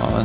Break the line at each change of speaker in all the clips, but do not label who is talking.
Ja,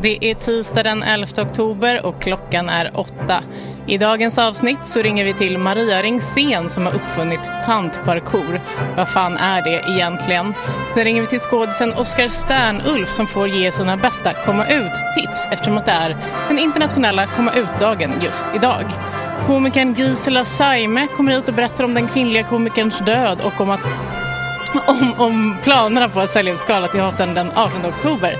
Det är tisdag den 11 oktober och klockan är åtta. I dagens avsnitt så ringer vi till Maria Ringsen som har uppfunnit tantparkour. Vad fan är det egentligen? Sen ringer vi till skådisen Oskar Sternulf som får ge sina bästa komma ut-tips eftersom att det är den internationella komma ut-dagen just idag. Komikern Gisela Saime kommer hit och berättar om den kvinnliga komikerns död och om, att, om, om planerna på att sälja ut Skala teatern den 18 oktober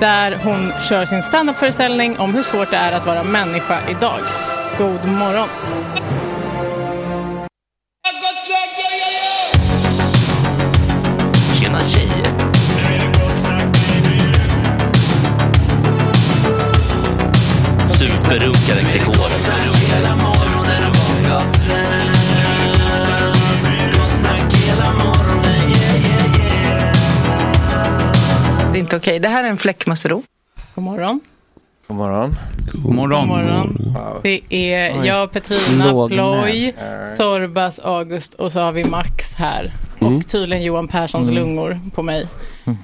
där hon kör sin standupföreställning om hur svårt det är att vara människa idag. God morgon!
Tjena tjejer! Superrunkaren Gregor.
Det är inte okej. Det här är en fläckmössero.
God morgon!
God morgon.
God morgon.
God morgon. Det är jag, Petrina,
Låg
Ploy, Sorbas, August och så har vi Max här. Och tydligen Johan Perssons lungor på mig.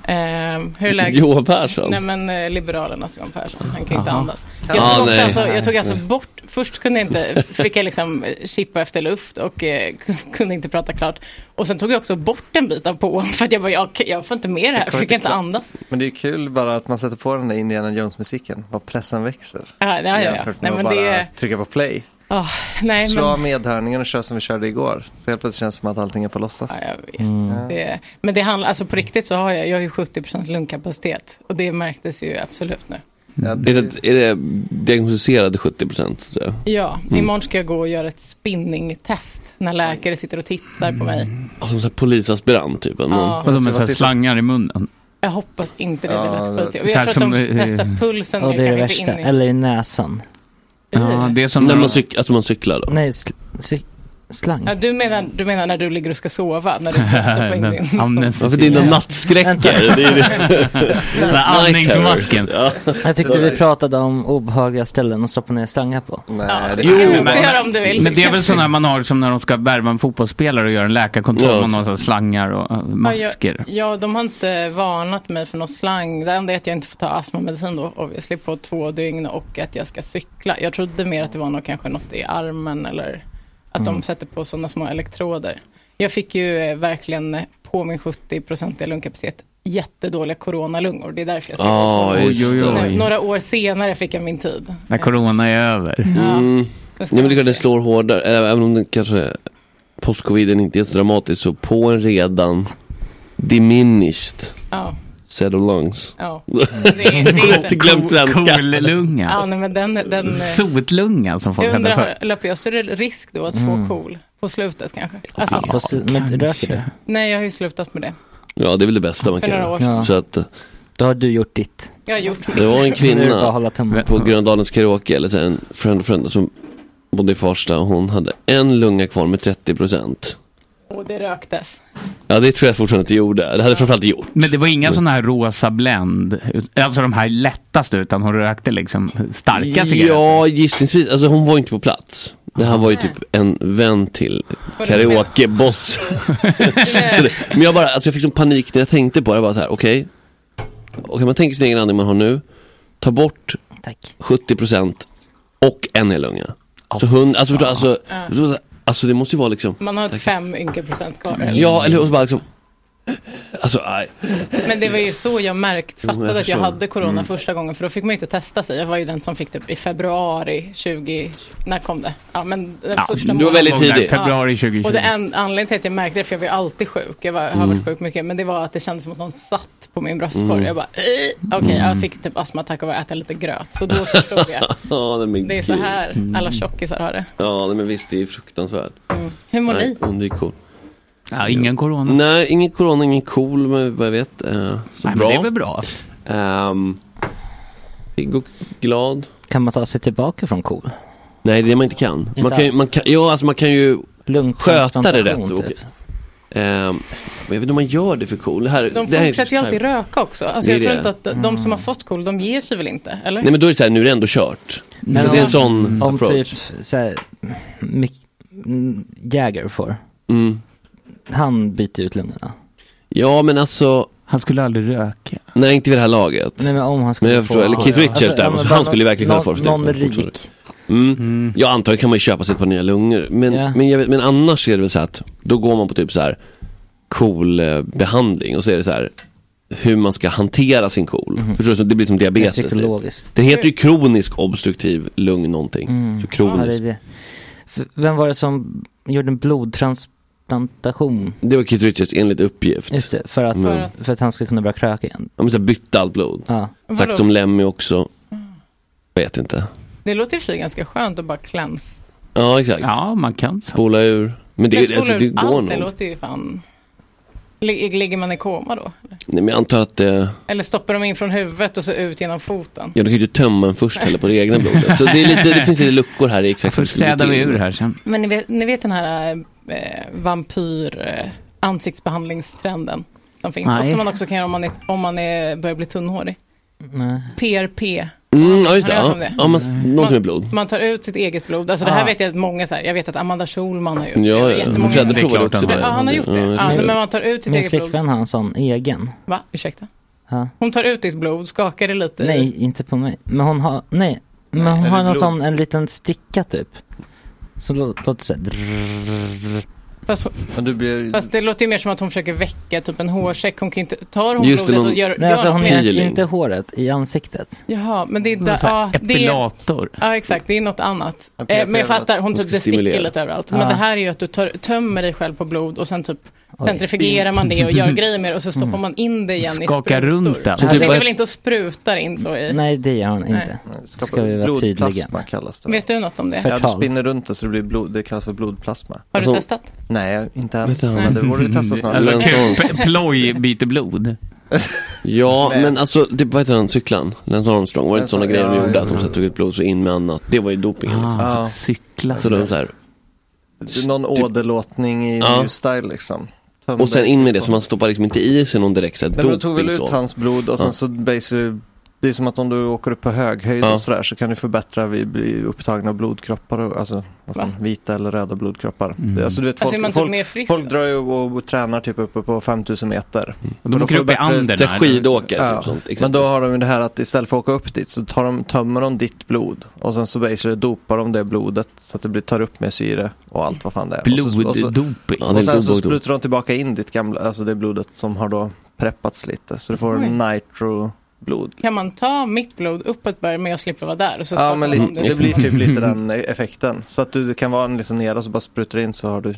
Ehm, hur är läget?
Johan Persson.
Nej men eh, Liberalernas Johan Persson, han kan ju inte andas. Jag tog, också, alltså, jag tog alltså bort, först kunde jag inte, fick jag liksom eh, chippa efter luft och eh, kunde inte prata klart. Och sen tog jag också bort en bit av påan för att jag bara, jag, jag får inte med det här, jag
kommer
fick inte
inte klar-
andas.
Men det är kul bara att man sätter på den där Indiana Jones-musiken. Vad pressen växer.
Ja, ja, ja.
Jämfört
Nej
med
men
att bara
det är,
trycka på play.
åh, nej
Slå
men.
av medhörningen och kör som vi körde igår. Så helt plötsligt känns det som att allting är på låtsas.
Ja, jag vet.
Mm.
Det, men det handlar, alltså på riktigt så har jag, jag har ju 70% lungkapacitet. Och det märktes ju absolut nu.
Ja, det,
Är det, är det diagnostiserade 70 procent? Så.
Ja,
Mm.
imorgon ska jag gå och göra ett spinningtest när läkare sitter och tittar på mig.
Alltså, så här polisaspirant typ. eller någon.
Ja, Alltså,
Men
de är så här
slangar i munnen.
jag hoppas inte det blir
Ja, det-
lättskjutigt. Och
så
Jag
här
tror att de
som, eh,
testar pulsen.
Och det är det
kanske inte
värsta.
in i-
Eller i näsan.
Ja,
det är som
När man cyk- alltså man cyklar då?
Nej, sl sl slang.
Ja, du, menar, du menar när du ligger och ska sova? När du stoppar in din...
Varför dina nattskräckar? Det är det.
andningsmasken.
Ja.
Jag tyckte vi pratade om obehagliga ställen att stoppa ner slangar på.
Ja,
Nej, det
jo,
är
men... Får göra om du vill.
Men det är väl sådana man har som när de ska värva en fotbollsspelare och göra en läkarkontroll.
Ja.
Man har så här slangar och eh, masker.
Ja, jag, ja, de har inte varnat mig för någon slang. Det enda är att jag inte får ta astmamedicin då obviously på två dygn och att jag ska cykla. Jag trodde mer att det var något, kanske något i armen eller att
Mm.
de sätter på sådana små elektroder. Jag fick ju eh, verkligen eh, på min 70-procentiga lungkapacitet jättedåliga coronalungor. Det är därför jag ska
Ja,
gå
Ah, just
Oj, oj,
på
oj.
corona. Några år senare fick jag min tid.
När corona är över.
Ja,
Mm.
jag ska-
Nej men det är klart det slår hårdare, Ä- även om det kanske postcoviden inte är så dramatisk så på en redan diminished
ja,
set of lungs.
ja. Det, är- det är inte-
Inte glömt svenska. Mm.
Ja,
Cool-lunga.
nej, men den, den, eh,
Sotlunga som folk
Jag
kallar
undrar,
för.
löper jag större risk då att få
Mm.
KOL på slutet kanske? Alltså,
På sl- men röker du?
Nej, jag har ju slutat med det
Ja det är väl det bästa man
för
kan
några
göra.
år sedan.
Ja.
Så att eh,
Då har du gjort ditt.
Jag har gjort
det var en
Nu är det bara att
kvinna
hålla tummen.
på Gröndalens karaoke, eller så här, en friend of friend som bodde i Farsta och hon hade en lunga kvar med 30%.
och det röktes.
Ja det tror jag fortfarande inte gjorde. Det hade framförallt gjort.
Men det var inga sådana här rosa Blend, alltså de här lättaste, utan hon rökte liksom starka cigaretter.
Ja, gissningsvis. Alltså hon var ju inte på plats. Det här var ju typ en vän till
Var det
karaokeboss. Så det- Men jag bara, alltså jag fick sån panik när jag tänkte på det. Jag bara så här, okej. Okej, man tänker sin egen andning man har nu. Ta bort
Tack.
70% och en hel lunga. Så hund, alltså förstå, alltså, då- alltså det måste ju vara liksom,
Man har ett fem ynka procent kvar. eller?
ja eller och så bara liksom, alltså nej.
Men det var ju så jag märkt,
Jo, men jag
fattade att jag
förstår. Mm.
hade corona första gången. För då fick man ju inte testa sig. Jag var ju den som fick typ i februari 20, när kom det? Ja, men den
Ja,
första
du var
månaden.
väldigt tidig.
Februari 2020.
Och det en, anledningen till att jag märkte det, för jag var ju alltid sjuk, jag var, har
Mm.
varit sjuk mycket, men det var att det kändes som att någon satt på min bröstkorg. Jag bara, "Eh." okej,
Mm.
jag fick typ astmaattack av att äta lite gröt. Så då förstod jag.
Ja, nej, men
Det är så
gud.
här alla tjockisar har det.
Ja nej, men visst, det är ju fruktansvärt.
Hur mår
Nej,
ni?
hon är ju cool.
Ja, ingen corona.
Nej, ingen corona, ingen cool, men vad jag vet. Eh, så
Nej, men
bra.
det är väl bra.
Ehm, pigg och glad.
Kan man ta sig tillbaka från KOL?
Nej, det är det man inte kan. man kan, ju,
alls.
man kan ja, alltså man kan ju...
Lungtransplantation,
Sköta det rätt, okej.
Typ.
ehm, men jag vet inte om man gör det för cool. Det här,
De
det här är typ-
fortsätter ju
inte-
alltid röka också. Alltså
Det är
jag tror
det. Mm.
inte att de som har fått KOL, de ger sig väl inte? Eller?
Nej men då är det så här, nu är det ändå kört.
Men
så det är
om-
en sån
Om
approach.
typ såhär, Mick, mm, Jagger får.
Mm.
Han byter ut lungorna.
Ja men alltså,
Han skulle aldrig röka.
Nej, inte vid det här laget.
Nej, men om han skulle
Men jag förstår,
få-
eller Keith
Ja, ja.
Richards där,
ja, men
han
bara
skulle ju verkligen kunna få
någon, någon
förstärkning, fortfarande.
rik.
Mm. Jag antar, kan man ju köpa sig ett par nya lungor. Men,
Ja.
men, jag vet, men annars är det väl så att då går man på typ så här cool eh, behandling och så är det så här hur man ska hantera sin KOL. Förstår du? Så Det blir som diabetes. typ.
Mhm. Psykologiskt.
Det heter ju kronisk obstruktiv lung någonting.
Mm.
Så
Ja, det
kronisk.
är det. F- Vem var det som gjorde en blodtransplantation?
det var Keith Richards enligt uppgift.
Just det, för att,
Mm.
för att han skulle kunna börja kröka igen.
Ja, men så här, bytte allt blod.
Ja.
Sagt
Vadå?
som Lemmy också. Vet inte.
Det låter i och för sig ganska skönt att bara kläms.
Ja exakt.
Ja, man kan.
Spola ur. Men
Men
det,
spolar
alltså, det
du
går
allt, det
nog.
låter ju fan... Lig- Ligger man i koma då?
Nej, men jag antar att eh,
Eller stoppar de in från huvudet och så ut genom foten?
Ja, du kan ju inte tömma en först heller på det egna blodet. Så det, är lite, det finns lite luckor här i
Jag
exakt
får städa mig ur här sen.
Men ni vet, ni vet den här eh, vampyr eh, ansiktsbehandlingstrenden som finns.
Nej.
Och som man också kan göra om man, är, om man är, börjar bli tunnhårig.
Nej. Mm.
PRP.
Mm, ja, just det.
Har ni hört
Ja.
om det? Mm.
Ja, man, någonting med blod.
Man tar ut sitt eget blod. Alltså det
Ah.
här vet jag att många så här, jag vet att Amanda Schulman har gjort det.
Ja,
Och
ja.
jättemånga-
Fredde
Det är klart
provade
han
också. det.
har.
Ja, han har gjort det.
Ja,
Ja,
jag
men
tror det.
man tar ut sitt
Min
eget blod.
flickvän har en sån egen.
Va? Ursäkta?
Ja.
Hon tar ut ditt blod, skakar det lite.
Nej, inte på mig. Men hon har, nej. Men hon
är
har
det
någon
blod?
sån, en liten sticka typ. Så lå- låter det såhär.
Fast, hon-
Men du blir...
fast det låter ju mer som att hon försöker väcka typ en hårsäck. Hon kan ju inte, tar hon
Just det,
blodet
någon-
och gör,
Nej
gör
alltså hon
något
är
med-
Peeling.
inte håret, i ansiktet.
Jaha, men det är,
Så
där,
här,
ja, det är
Epilator.
Ja, exakt. Det är något annat.
Ja, PRP
Eh, men jag
är väl
fattar, hon
ska
typ det
stimulera.
sticker lite överallt. Men
Ja.
det här är ju att du tar, tömmer dig själv på blod och sen typ centrifugerar man det och
Mm.
gör grejer med det och så stoppar man in det igen i
Skaka
sprutor.
runt den.
Så
Alltså,
typ
det är
bara-
väl inte att spruta in så i...
Nej det gör hon
Nej.
inte.
Skapar
Ska vi vara
blodplasma
tydliga med.
kallas det.
Vet du något om det?
För-
Ja, du
Förtal.
spinner runt det så det blir blod, det kallas för blodplasma.
Har du
Alltså-
testat?
Nej, inte än.
Vet du,
Men det borde vi testa snart.
Eller en sån.
Alltså, P- Ploj byter blod.
Ja,
Nej.
men alltså, typ, vad heter den, cyklan? Lance Armstrong. Var det inte
Lance-
sådana grejer de
ja,
gjorde?
ja.
Att de så här tog ut blod så in med annat. Det var ju doping. Liksom.
Ah,
Ja.
cykla.
Så de så här.
Någon åderlåtning i
Ja.
new style liksom. Tömde
Och sen in med det, så man stoppar liksom inte i sig någon direkt så här,
Nej, men de tog väl ut
dopingsål.
hans blod och sen
Ja.
så basically, det är som att om du åker upp på hög höjd
Ja.
och sådär så kan du förbättra vid bli upptagna blodkroppar, och, alltså vad fan,
Va?
vita eller röda blodkroppar.
Mm.
Det, alltså, du vet, folk,
Alltså är man typ
folk,
mer frisk?
folk drar ju och, och tränar typ uppe på 5000 meter.
Mm. De åker
får
upp i
bättre-
anden.
Så här, skidåkare,
Ja.
typ sånt.
Men
Exakt.
då har de ju det här att istället för att åka upp dit så tar de, tömmer de ditt blod och sen så basically dopar de det blodet så att det blir, tar upp mer syre och allt vad fan det är. Och så, och så,
Bloddoping.
Ja, det
och
är
sen så
dop- dop-
sprutar de tillbaka in ditt gamla, alltså det blodet som har då preppats lite. Så du får
Oj.
nitro-blod.
Kan man ta mitt blod uppåt bara men jag slipper vara där? Och så
Ja,
skakar
men
man
li-
om det,
det
så
blir
man-
typ lite den effekten. Så att du kan vara liksom nere och så bara sprutar in så har du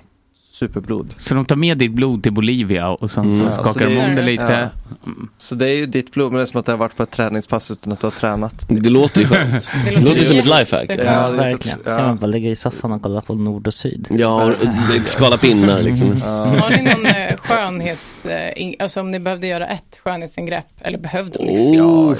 superblod.
Så de tar med ditt blod till Bolivia och sen så
Mm.
Ja, så
skakar de
Alltså det-
om det lite.
Så det är ju ditt blod, men det är som att det har varit på ett träningspass utan att du har tränat.
Det låter ju skönt. Det låter ju som ett lifehack.
Det-
Ja,
Ja, det är inte-
verkligen.
ja.
Kan man bara ligga i soffan och kolla på nord och syd. Mm.
Ja, och- och skala pinnar liksom.
Har ni någon eh, skönhets... Eh, in- alltså om ni behövde göra ett skönhetsingrepp, eller behövde ni?
Oh.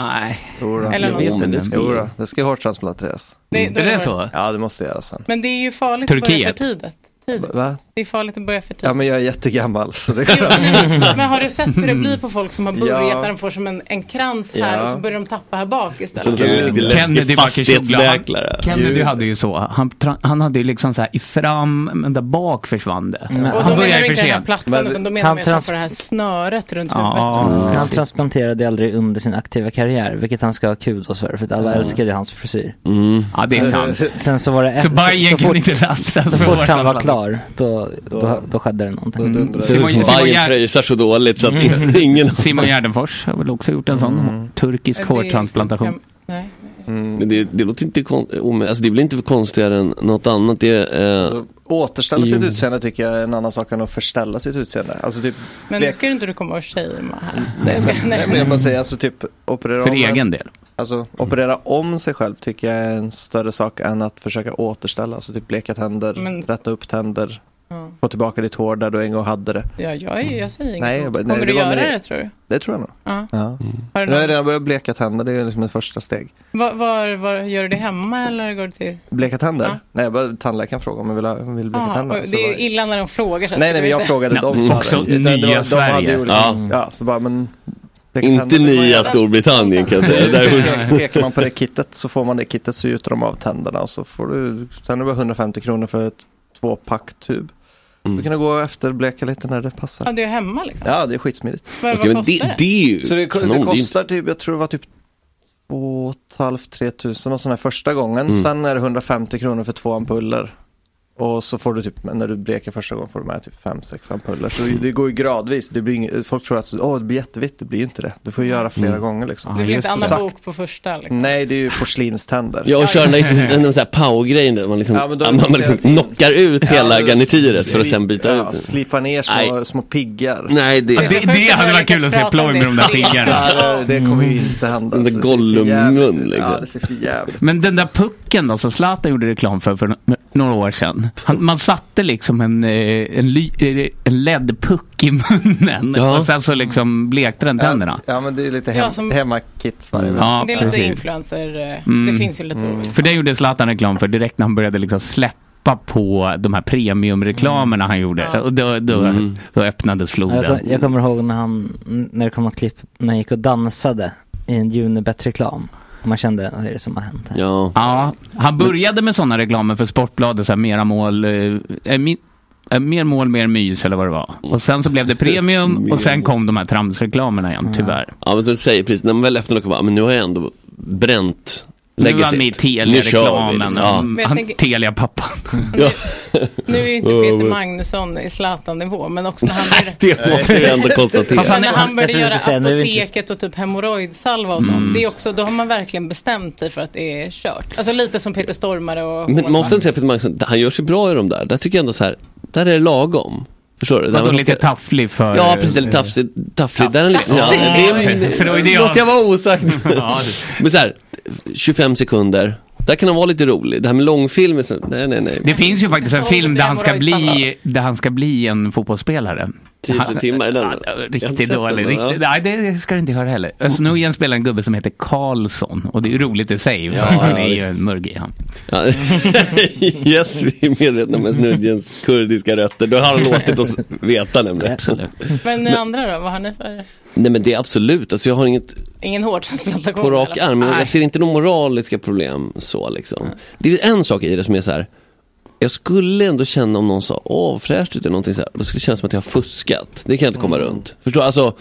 Nej.
Jodå.
Eller något
vet
sånt.
inte, det skulle-
Jodå, det ska ju hårt transplanteras.
Nej, då
Är det
var-
så?
Ja, det måste jag göra sen.
Men det är ju farligt att börja
Turkiet.
för tidigt. tidigt.
Va?
Det är farligt att börja för tidigt.
Ja, men jag är jättegammal så det
Jo,
går
men-
Mm.
men har du sett hur det blir på folk som har börjat
Ja.
när de får som en, en krans här
Ja.
och så börjar de tappa här bak
Sen
istället?
så är det lite
Kennedy
läskig
var
fastighetsmäklare.
Kennedy hade ju så. Han, tra- han hade ju liksom så här i fram, men där bak försvann det.
Men
Och då
han
menar
börjar
du
för
inte den här
sent.
plattan
Men- Mm.
utan då menar man
han
ju att
trans-
på det här snöret runt huvudet.
Ja,
Han transplanterade aldrig under sin aktiva karriär, vilket han ska ha kudos för, för att alla älskade hans frisyr.
Mm.
ja, det är sant.
Sen så var det
Så Bajen
så
kan
fort,
inte lastas
så
för
fort
vårt
han var
anfall.
klar, då, då, då skedde det någonting. Mm.
Du undrar.
Det
Simon-
ser ut som
Simon
Bajen
Gärd- Mm.
pröjsar så dåligt så att det- ingen
Simon Gärdenfors har väl också gjort en sån
Mm.
turkisk hårtransplantation.
Nej.
Men det, det låter inte konstigt, alltså det blir inte konstigare än något annat. Det, är, eh,
Så återställa
Jo.
sitt utseende tycker jag är en annan sak än att förställa sitt utseende. Alltså typ,
Men nu
blek-
ska du inte du komma och shamea här.
nej, men, nej, men jag bara säger alltså typ operera
För
om en-
egen del.
Alltså operera om sig själv tycker jag är en större sak än att försöka återställa. Alltså typ bleka tänder,
Men-
rätta upp tänder,
Ja.
få tillbaka ditt hår där du en gång hade det.
Ja, jag, är- jag säger inget.
Nej,
Nej,
jag bara- nej,
Kommer du
det var
göra
med-
det tror du?
Det tror jag nog.
Ja.
Ja.
Har du
Nu har jag
någon,
redan börjat bleka tänder, det är liksom ett första steg.
var, var, var, gör du det hemma eller går du till...
Bleka tänder?
Ja.
Nej, jag bara tandläkaren frågade om jag ville, ha- vill bleka
Ah,
tänder.
och
Så
det är
bara-
illa när de frågar. Så här,
Nej,
ska
nej,
du
men jag
inte-
frågade
Nej,
dem.
men
sa det.
också
Utan det
nya
var- de hade
Sverige.
ju olika-
Ja.
ja, så bara, men bleka
inte
tänder, det var
nya
jag-
Storbritannien kan jag säga. Där,
Pekar man på det kittet så får man det kittet så gjuter de av tänderna och så får du, sen är det bara 150 kronor för ett tvåpack tub.
Mm.
Du kan gå och efterbleka lite när det passar.
Ja, det är hemma liksom.
Ja, det är skitsmidigt.
Vad,
Okej,
vad
men
kostar
det,
det?
det är ju
Så det,
kanon.
det
är ju-
kostar typ, jag tror det var typ 2 500-3 tusen och sådär första gången. Sen är det 150 kronor för två ampuller. Och så får du typ, när du bleker första gången får du med typ 5-6 ampuller. Så det går ju gradvis. Det blir inget, folk tror att åh det blir jättevitt, det blir ju inte det. Du får ju göra flera gånger liksom.
Ja,
Det blir inte
just
Anna
det.
Bok på första liksom.
Nej, det är ju porslinständer.
Ja, och kör den där, den där så här pow-grejen där man liksom,
Ja, men då-
man, man liksom
hela tiden.
knockar ut hela
Ja,
garnityret för att
slip-
sen byta
ja,
ut.
Slipa ner små,
Nej.
små piggar.
Nej, det
Alltså,
Det, det hade varit kul att se Ploy med de där piggarna.
Ja, det, det kommer ju inte hända.
Den där
så det ser för
Gollum-mun,
jävligt ut.
liksom.
Ja, det ser för jävligt
Men den där pucken då som Zlatan gjorde reklam för för no- några år sedan. Han, man satte liksom en, eh, en, ly- eh, en LED-puck i munnen
Ja.
och sen så liksom blekte den tänderna. Mm.
Ja, men det är lite hem,
Ja, som-
hemmakits varje vecka.
Ja,
det är lite
precis.
influencer, eh, det
Mm.
finns ju lite olika.
För det gjorde Zlatan reklam för direkt när han började liksom släppa på de här premiumreklamerna han gjorde.
Ja.
Och då, då,
Mm.
då öppnades
Jag,
floden.
jag kommer ihåg när han, när det kom något klipp, när han gick och dansade i en Unibet-reklam. Och man kände, vad är det som har hänt här?
Ja.
Ja, han började med sådana reklamer för Sportbladet, så här, mera mål, eh, eh, mi- eh, mer mål, mer mys eller vad det var. Och sen så blev det premium och sen kom de här tramsreklamerna igen, tyvärr.
ja, men så säger precis, när man väl öppnar luckan bara, men nu har jag ändå bränt
Nu var han med i
legacyt.
Telia-reklamen.
liksom. Ja.
Han,
Men jag
han,
tänker-
Telia-pappan.
Nu är ju inte Peter Magnusson i Zlatan-nivå, men också när han började,
Det måste vi ändå konstatera.
Fast han-
men när
jag
han började
tänkte
göra
säga, nu är det inte-
apoteket och typ hemorrojdsalva och sånt.
Mm.
Det är också, då har man verkligen bestämt sig för att det är kört. Alltså lite som Peter Stormare och
Men man
Hårdman.
måste ändå säga Peter Magnusson, han gör sig bra i de där. Där tycker jag ändå så här, där är det lagom. Förstår du? Där
Vadå,
man
lite
ska-
tafflig för...
Ja, precis. Lite tafflig. tafflig. Där är lite-
Tafflig.
Ja, det-
För det var ju det jag-
Låt jag vara osagt.
Ja, det-
Men så här, 25 sekunder. Där kan han vara lite rolig. Det här med långfilm, är så- nej nej nej.
Det finns ju faktiskt en
Tolv
film där han ska
hemorrojdsalva.
bli, där han ska bli en fotbollsspelare.
10 timmar är den.
Ja,
Jag har inte
Riktigt
sett
dålig.
den,
Riktigt, nej, det ska du inte höra heller. Özz Nujen spelar en gubbe som heter Karlsson och det är ju roligt i sig. för
Ja,
han
ja,
är ju
visst.
en mörgig han.
Ja. yes, vi är medvetna om Snudgens kurdiska rötter. Då har han låtit oss veta nämligen.
Men ni andra då, vad har ni för?
Nej men det är absolut, alltså jag har inget
Ingen hårtransplantation?
på rak
eller?
arm. Men
Nej.
jag ser inte några moraliska problem så liksom. Det är en sak i det som är så här. Jag skulle ändå känna om någon sa åh fräscht ut eller någonting så här. Då skulle det kännas som att jag har fuskat. Det kan jag inte komma runt. Förstår du? Alltså,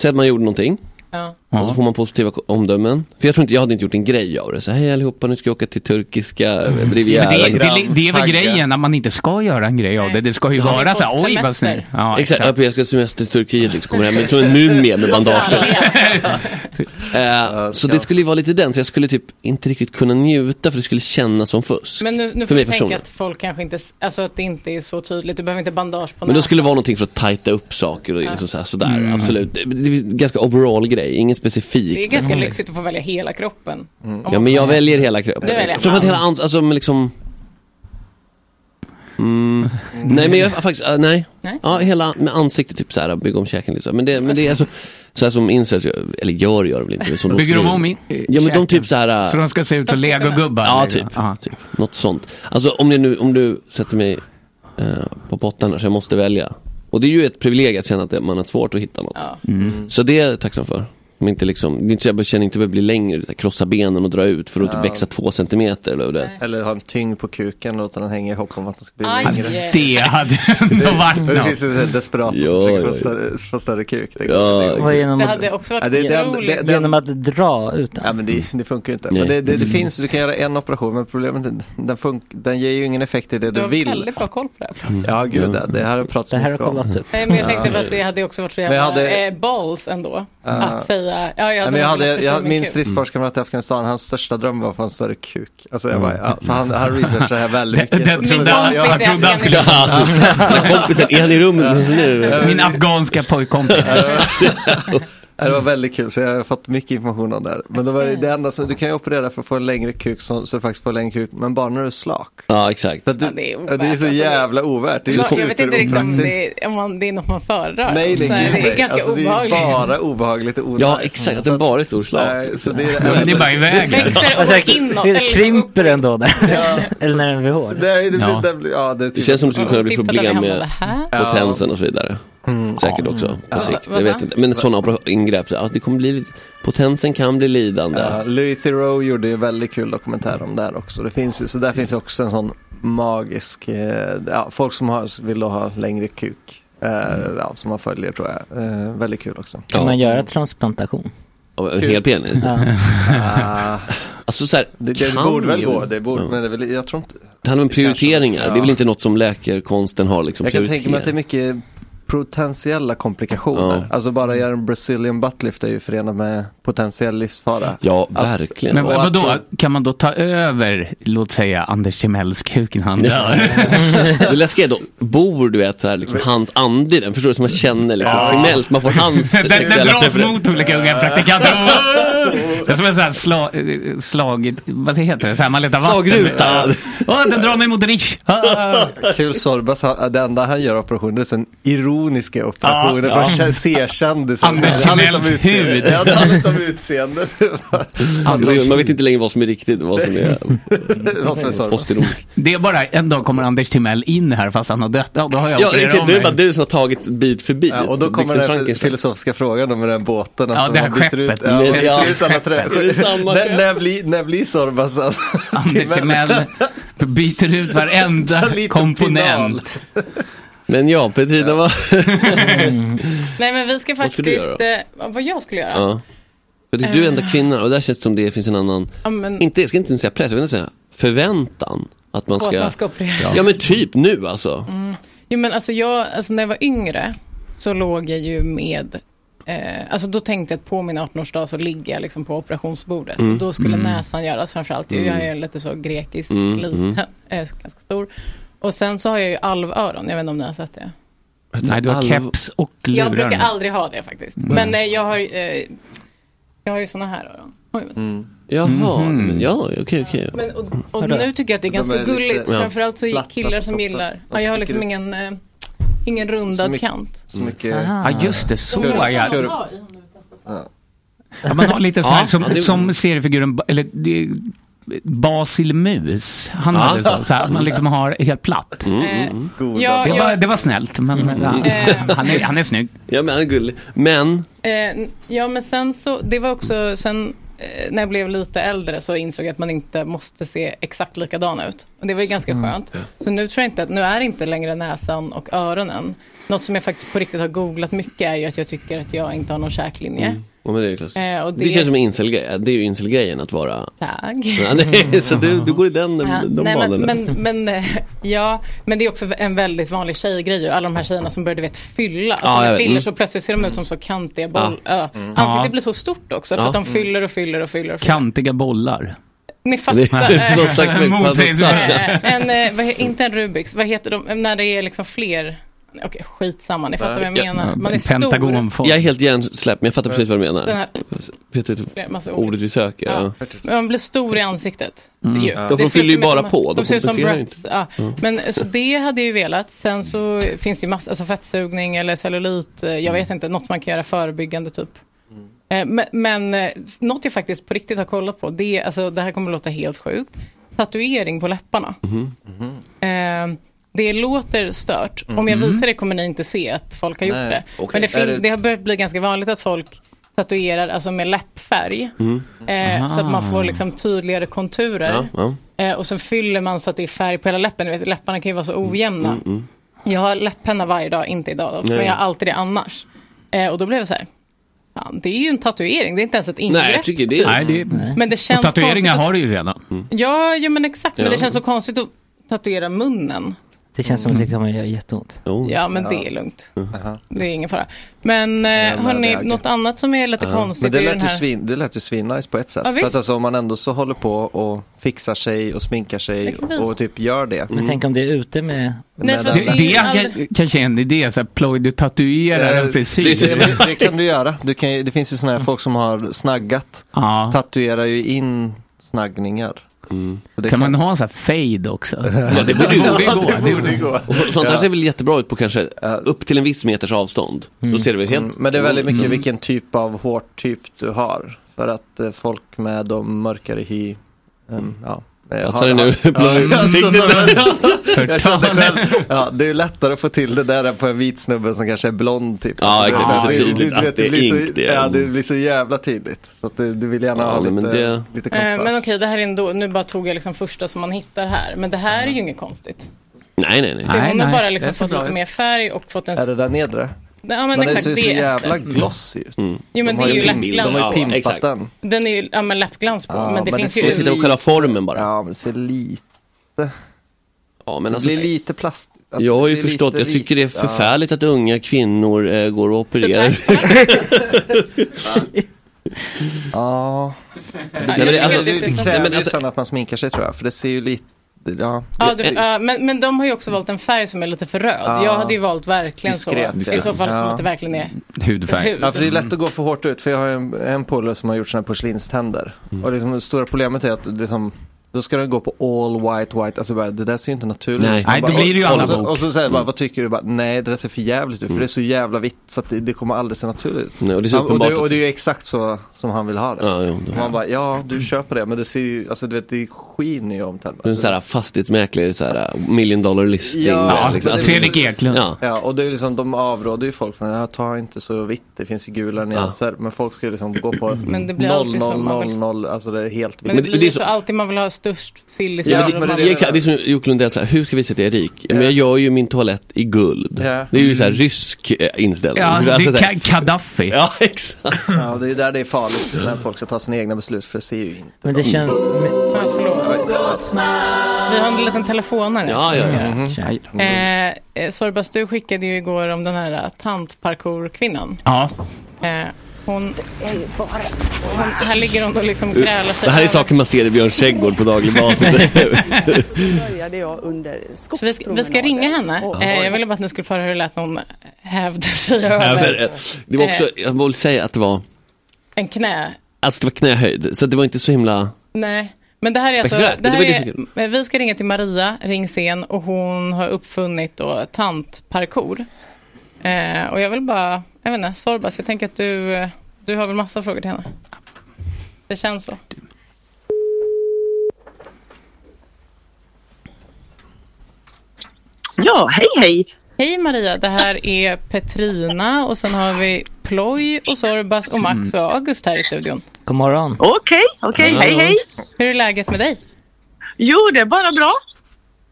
säg att man gjorde någonting.
Ja.
Ja.
Och så får man positiva ko- omdömen. För jag tror inte, jag hade inte gjort en grej av det. Så här, hej allihopa, nu ska jag åka till turkiska eh,
Men det,
Rivieran.
det, det, det är väl
Tagga.
grejen att man inte ska göra en grej av det. Det ska ju
Ja, det är
vara så här, oj vad
postsemester.
snygg. Ja,
Exakt, ja, jag ska semester till Turkiet liksom. Kommer hem med- som en mumie med bandage. Eh, så det skulle ju vara lite den, så jag skulle typ inte riktigt kunna njuta för det skulle kännas som fusk.
Men nu, nu
För
får vi
mig
tänka
personligen.
att folk kanske inte, s- alltså att det inte är så tydligt. Du behöver inte bandage på
Men då
näsan.
skulle det vara någonting för att tajta upp saker och liksom så här, sådär,
Mm.
absolut. Det, det är en ganska overall grej, ingen specifik.
Det är
Mm.
ganska lyxigt att få välja hela kroppen. Om
Ja
man-
men jag väljer hela kroppen.
Du väljer.
Framförallt hela ans, alltså men liksom Mm. Nej men jag faktiskt, äh, nej.
Nej.
Ja, hela med ansiktet typ såhär, bygga om käken lite så. Men det, men det är så, så här som incels gör, eller gör gör de väl inte. men Som de
Bygger de
skriver.
om i, i
Ja men de
käken?
typ såhär.
Så de ska se ut som
De ska kunna-
legogubbar?
Ja,
liksom.
typ. typ. Något sånt. Alltså om, ni nu, om du sätter mig eh, på botten här så jag måste välja. Och det är ju ett privilegium att känna att det- man har svårt att hitta något.
Ja.
Mm.
Så det är jag tacksam för. Men inte liksom, det är inte så jag känner inte att jag blir längre, utan krossa benen och dra ut för att inte växa två centimeter. Eller vad det. är.
Eller ha en tyngd på kuken och låta den hänga i hopp om att den ska bli
Aj.
längre.
Det hade ändå varit
Men Mm. Det
något.
finns ju desperata
Ja,
som försöker
ja,
få
ja.
större, få större kuk. Det,
Ja.
Och genom
Det
att,
hade också
Ja,
varit
det- det- det-
otroligt.
det-
genom att dra ut den.
ja, men det, det funkar ju inte.
Nej.
Men det, det, det finns, du kan göra en operation men problemet är att den, funk, den ger ju ingen effekt i det
Du
du
har
vill.
väldigt bra koll på det här.
Ja gud, det, det här har pratats
Det här har
mycket om.
kollats upp.
Nej, men jag tänkte på att det hade också varit så jävla
Men jag hade-
eh, balls ändå. att säga, ja, jag
Nej,
hade
men jag hade,
velat
jag,
se
min
min kuk.
stridsparskamrat i Afghanistan, hans största dröm var att få en större kuk. Alltså,
Mm.
jag bara, ja, så han, han researchade här väldigt mycket.
Det- det
Så-
trodde
så-
han-
jag-
han trodde han skulle
Ja. Kompisen, är han i rummet nu?
Min afghanska pojkkompis.
Ja, Det var väldigt kul, så jag har fått mycket information om det här. Men då var det, det enda som, du kan ju operera för att få en längre kuk, så, så du faktiskt får en längre kuk, men bara när du är slak.
Ja exakt.
Så att
Ja, det är ovärt,
ja, det är så
alltså.
jävla ovärt. Det är ju
Jag vet inte riktigt om
superopraktiskt.
det, är- om man, det är något man föredrar.
Nej, det
Så här,
är,
det är ganska
alltså, det är
obehagligt.
bara obehagligt och onajs.
Ja exakt, att den bara är stor slag.
Nej, så det är,
Den är bara i vägen.
Växer
Alltså,
och inåt.
det
eller
krymper
upp.
den då när den växer. Eller när den blir hård.
Nej, det blir,
Ja.
det blir, ja, det är
Det
typ,
känns som det skulle kunna bli
Titta, där vi
problem
hamnade
med
här.
Ja. Mm.
potensen och så vidare. Säkert också på
Alltså,
sikt.
vad
Jag vet
sa?
inte. Men sådana opera- ingrepp, ja, det kommer bli, lite- potensen kan bli lidande.
Ja, Louis Theroux gjorde ju väldigt kul dokumentär om det här också. Det finns, ju- så där finns ju också en sån magisk, eh, ja, folk som har, vill ha längre kuk. Eh, ja, som man följer tror jag. Eh, väldigt kul också.
Kan
Mm. Ja.
man göra transplantation?
Av En hel penis.
Ja.
Ah,
Alltså så här,
det det
kan
borde väl
ju-
gå, det borde,
Ja.
men det är väl, jag tror inte.
Det handlar om
Det kanske-
prioriteringar. Det är väl
ja.
inte något som läkarkonsten har liksom
Jag kan tänka mig att det är
prioriterat.
mycket potentiella komplikationer.
Ja.
Alltså bara göra en Brazilian buttlift är ju förenat med potentiell livsfara.
Ja, verkligen.
Men
Och att-
vadå, kan man då ta över, låt säga, Anders Timells kuk när han dör?
Det läskiga är då, bor du vet så här, liksom, hans ande i den, förstår du? Som man känner liksom, kriminellt, man får hans
Den, den
sexuella
dras
preferens.
mot olika unga praktikanter. Det är som en sån här sla, eh, slag... Vad heter det? Så här, man letar vatten.
Slagruta.
Åh, den drar mig mot Rich. Ah.
Kul Sorbas, han- det enda han gör operationer är sen ironiska operationer
Ja,
för
ja.
att kä- se kändisen.
Anders
Det handlar inte om
Timells
utseende.
hud.
Det handlar inte om utseendet.
Man- Man vet inte längre vad som är riktigt och vad som är
Vad som är Sorbas.
postironiskt.
Det är bara, en dag kommer Anders Timell in här fast han har dött. Ja, då har jag
Ja,
opererat
exakt,
om
det är
mig.
bara du som har tagit bit för bit.
Ja, och då
Byggt
kommer
en
den f-
Frankenstein.
filosofiska frågan om den båten. Att
Ja,
de
det här
har bytt
skeppet.
Ut, ja,
Ja,
det är samma trä-
skeppet. Det är samma
när,
skepp.
när, blir, när blir Sorbas
Anders Timell byter ut varenda
Liten
komponent.
Men ja, Petrina, vad,
Nej men vi ska
Vad skulle du
faktiskt, eh, vad jag skulle göra? Ja,
ja. För det är du är enda kvinnan och där känns det som det finns en annan,
Eh. men,
inte, jag ska inte ens säga press, jag vill inte säga förväntan. Att man
på att
ska,
man ska operera.
ja men typ nu alltså.
Jo men alltså jag, alltså när jag var yngre så låg jag ju med, eh, alltså då tänkte jag att på min 18-årsdag så ligger jag liksom på operationsbordet. Och då skulle näsan göras framförallt. Mm. Jag är ju lite så grekiskt liten, eh, ganska stor. Och sen så har jag ju alvöron, jag vet inte om ni har sett det.
Nej, du har
Alv-
keps och lurar.
Jag brukar
nu.
aldrig ha det faktiskt. Men eh, jag har, eh, jag har ju såna här öron. Oj, vänta.
Jaha,
Mhm.
men ja, okej, okej.
Mm. Men, och, och nu tycker jag att det är ganska
är lite-
gulligt.
Ja.
Framförallt så är
platta
killar
på
som
toppen.
gillar.
Och
Ja, jag har
sticker
liksom
ut.
ingen, eh, ingen
Så
rundad
mycket-
kant.
Så mycket.
Mm. Ja, just det. Så
Kurva,
ja.
kurva.
Ja, man har lite så här, som,
ja, det-
som seriefiguren, ba- eller det är Basil Mus. Han hade så, så här, man liksom har helt platt.
Mm,
Eh, ja,
Det, var,
jag,
det var snällt, men ja, han, är, han är snygg.
Ja men han är gullig. Men,
eh, ja, men sen så, det var också, sen eh, när jag blev lite äldre så insåg jag att man inte måste se exakt likadan ut. Och det var ju ganska
Mm.
skönt. Så nu tror jag inte att, nu är inte längre näsan och öronen. Något som jag faktiskt på riktigt har googlat mycket är ju att jag tycker att jag inte har någon käklinje.
Mm.
ja, men det är klart.
Eh, och
det...
det-
känns som en incel-grej, eh, det är ju incel-grejen att vara
Tack.
Ja, nej, så du, du går i den,
Ja,
de
nej, men,
banorna.
men, men, eh, ja, men det är också en väldigt vanlig tjejgrej ju. Alla de här tjejerna som började du vet, fylla. Alltså
Ja, jag
med
vet.
filler
Mm.
så plötsligt ser de ut som så kantiga boll. Ja. Ansiktet blir så stort också. För
Ja. Mm.
att de fyller och fyller och fyller. Och fyller.
Kantiga bollar.
Ni
Det
fattar.
är någon
eh,
slags Alltså,
Moses.
paradoxalt.
eh, en, eh, vad he- inte en Rubiks. Vad heter de? När det är liksom fler. Okej, skitsamma. Ni fattar vad jag
Ja.
menar. Man är stor.
Pentagonform.
Jag är helt hjärnsläpp, men jag fattar precis vad du menar.
Den här-
Vet du
Det är massa ord.
ordet vi söker? Ja.
Ja. Men man blir stor i ansiktet. ju.
Mm. De
Det
fyller ju
slutar med
bara
att
på,
De,
de
ser ut som
kompenserar
brats. Ja.
Mm.
Men så det hade jag ju velat. Sen så finns det ju massa, alltså fettsugning eller cellulit. eh, Jag
Mm.
vet inte, något man kan göra förebyggande typ.
Mm.
Eh, Men, men eh, något jag faktiskt på riktigt har kollat på, det, är- alltså, det här kommer låta helt sjukt. Tatuering på läpparna.
Mhm.
Mm.
Eh, det låter stört. Om jag visar det kommer ni inte se att folk har gjort
Nej,
det.
Mm. okej.
Men det,
Är
fin-
det-
det har börjat bli ganska vanligt att folk tatuerar alltså med läppfärg. Eh, så att man får liksom tydligare konturer.
Mm. Ja, ja.
Eh, och sen fyller man så att det är färg på hela läppen. Ni Vet, läpparna kan ju vara
Mm.
så ojämna. Jag har läppenna varje dag, inte idag dock, men
Nej.
jag har alltid det annars. Eh, och då blev jag så här, fan, det är ju en tatuering, det är inte ens ett ingrepp. typ.
Nej, jag tycker det.
Nej, det,
Men det
och
känns konstigt.
tatueringar
Att,
har du ju redan.
ja, ja, men exakt, men
Ja.
det känns så konstigt att tatuera munnen.
Det känns som att det kommer göra jätteont.
Jo.
Ja, men det är lugnt. Det är ingen fara. Men eh, hörni,
det är-
något annat som är lite
Men
konstigt
det
är ju
lät
den
ju,
här...
svin, det lät ju svinnice på ett sätt.
Ja,
För att
visst.
alltså, om man ändå så håller på och fixar sig och sminkar sig
Exakt.
och typ gör det.
Men tänk om det är ute med...
Nej,
Men
fast
Det,
är
det
ju
är
aldrig-
kan- kanske en idé, så här, ploj, du tatuerar
Eh,
en
Det,
frisyr.
det, det kan du göra. Du kan, ju- det finns ju sådana här folk som har snaggat.
Ja. Mm.
Tatuerar ju in snaggningar. Så det
Kan man ha en sån här fade också? Ja, det
borde ju gå.
ju gå. Det borde-
gå.
Och sånt där ser väl jättebra ut på kanske eh, upp till en viss meters avstånd. Då ser det väl helt...
Mm, Men det är väldigt mycket vilken typ av
Mm.
hårtyp du har. För att eh, folk med de mörkare hy, em, ja,
Passar det nu?
Ja, alltså, jag kände
Förtal.
själv, ja, det är lättare att få till det där än på en vit snubbe som kanske är blond typ.
Ja,
Alltså,
exakt.
så
Det är så
här,
tydligt att
vet,
det är
blir så-
ink, det är-
Ja, det blir så jävla tydligt. Så att du, du vill gärna
Ja,
ha lite,
men det-
lite
Eh,
kontrast.
Men okej, det här är ändå, nu bara tog jag liksom första som man hittar här. Men det här är ju inget konstigt.
Nej, nej, nej.
Så
Nej,
hon har
nej,
bara
det
liksom
ser
fått
bra
lite
ut.
mer färg och fått en...
Är det där nedre?
Ja men
Men den
exakt,
ser ju
det
så jävla
efter.
glossy ut.
Jo men
De
det
har
är ju
ju en bild,
läppglans
De har
på.
ju pimpat
Mm. Exakt.
den.
Den är ju, ja men läppglans på.
Ja,
men det
men
finns
det
ju...
ser
Titta på själva formen bara.
Ja, men det ser lite...
Ja, men
Det
alltså,
blir lite plast. alltså,
jag har ju
det blir
förstått,
lite
jag tycker det är
vit. Ja.
förfärligt att unga kvinnor eh, går och opererar sig.
Ja.
Ja,
men
jag
det-
tycker
alltså,
väl det
Det
ser-
Nej,
kräver
men
ju
alltså-
sen att man sminkar sig tror jag, för det ser ju lite, ja.
Ja, det, ja, men, men de har ju också valt en färg som är lite för röd.
Ja.
Jag hade ju valt verkligen
Diskret, liksom.
så. I så fall som
ja.
att det verkligen är
Hudfärg.
hud.
Ja, för det är
Mm.
lätt att gå för hårt ut, för jag har ju en, en polare som har gjort sådana här porslinständer.
Mm.
Och liksom, det stora problemet är att det som, då ska den gå på all white white, alltså bara, det där ser ju inte naturligt
Nej.
ut. Man
Nej, då
bara,
blir det ju
och-
alla
och så,
bok.
Och så säger jag
Mm.
bara, vad tycker du? Bara, nej, det där ser för jävligt ut, för det är så jävla vitt så att det, det kommer aldrig se naturligt ut.
Nej, och det är så
Ja, och,
uppenbart
det,
att-
och det är ju exakt så som han vill ha det.
Ja, jo,
Och
då.
man bara, ja du köper det, men det ser ju, alltså du vet det skiner ju om tänderna.
Det är en sån här fastighetsmäklare, så här, eh, million dollar listing.
Ja,
Ja,
liksom.
men det-
Fredrik Eklund.
ja.
Ja, och det är ju liksom, de avråder ju folk från att ta inte så vitt, det finns ju gula nyanser. Men folk ska ju liksom gå på
Men det blir alltid så, man vill-
0000, alltså det är
Men
helt vitt.
det
Men det-
blir
det är
ju
så-
så alltid man vill ha störst sill i
Ja,
ja,
men det-
det,
det-
exakt, det är som Jocke Lundell, så här, hur ska vi se att jag är rik? Men jag gör ju min toalett i guld.
Ja.
Det är ju så här rysk eh, inställning.
Ja, det
Alltså,
är
så här-
Ka- Kaddafi.
ja exakt.
Ja, det är ju där det är farligt när folk ska ta sina egna beslut för det ser ju inte.
Men det känns...
förlåt. Vi har en liten telefon här.
Ja, Mm-hmm. ja, ja.
Nej.
Eh, eh, Sorbas, du skickade ju igår om den här eh, tantparkourkvinnan.
Ja,
Eh, hon, hon, här ligger hon och liksom grälar sig.
Det här är
över-
saker man ser i Björn Trädgård på daglig basis.
började jag under
Så vi, ska- vi ska ringa henne. Eh, jag ville bara att ni skulle få höra hur det lät när hon hävde sig
Ja,
över eh,
men, eh, det var också, jag vill säga att det var,
en knä.
alltså det var knähöjd, så det var inte så himla,
Nej, men det här är alltså...
Spektakulärt.
Det här
Det var det som
är, vi ska ringa till Maria Ringsen och hon har uppfunnit då tantparkour. Eh, och jag vill bara, jag vet inte, Sorbas, jag tänker att du, eh, du har väl massa frågor till henne? Det känns så.
Ja, hej hej!
Hej Maria, det här är Petrina och sen har vi Ploy och Sorbas och Max och August här i studion.
God morgon.
Okej, okej, hej hej!
Hur är läget med dig?
Jo, det är bara bra.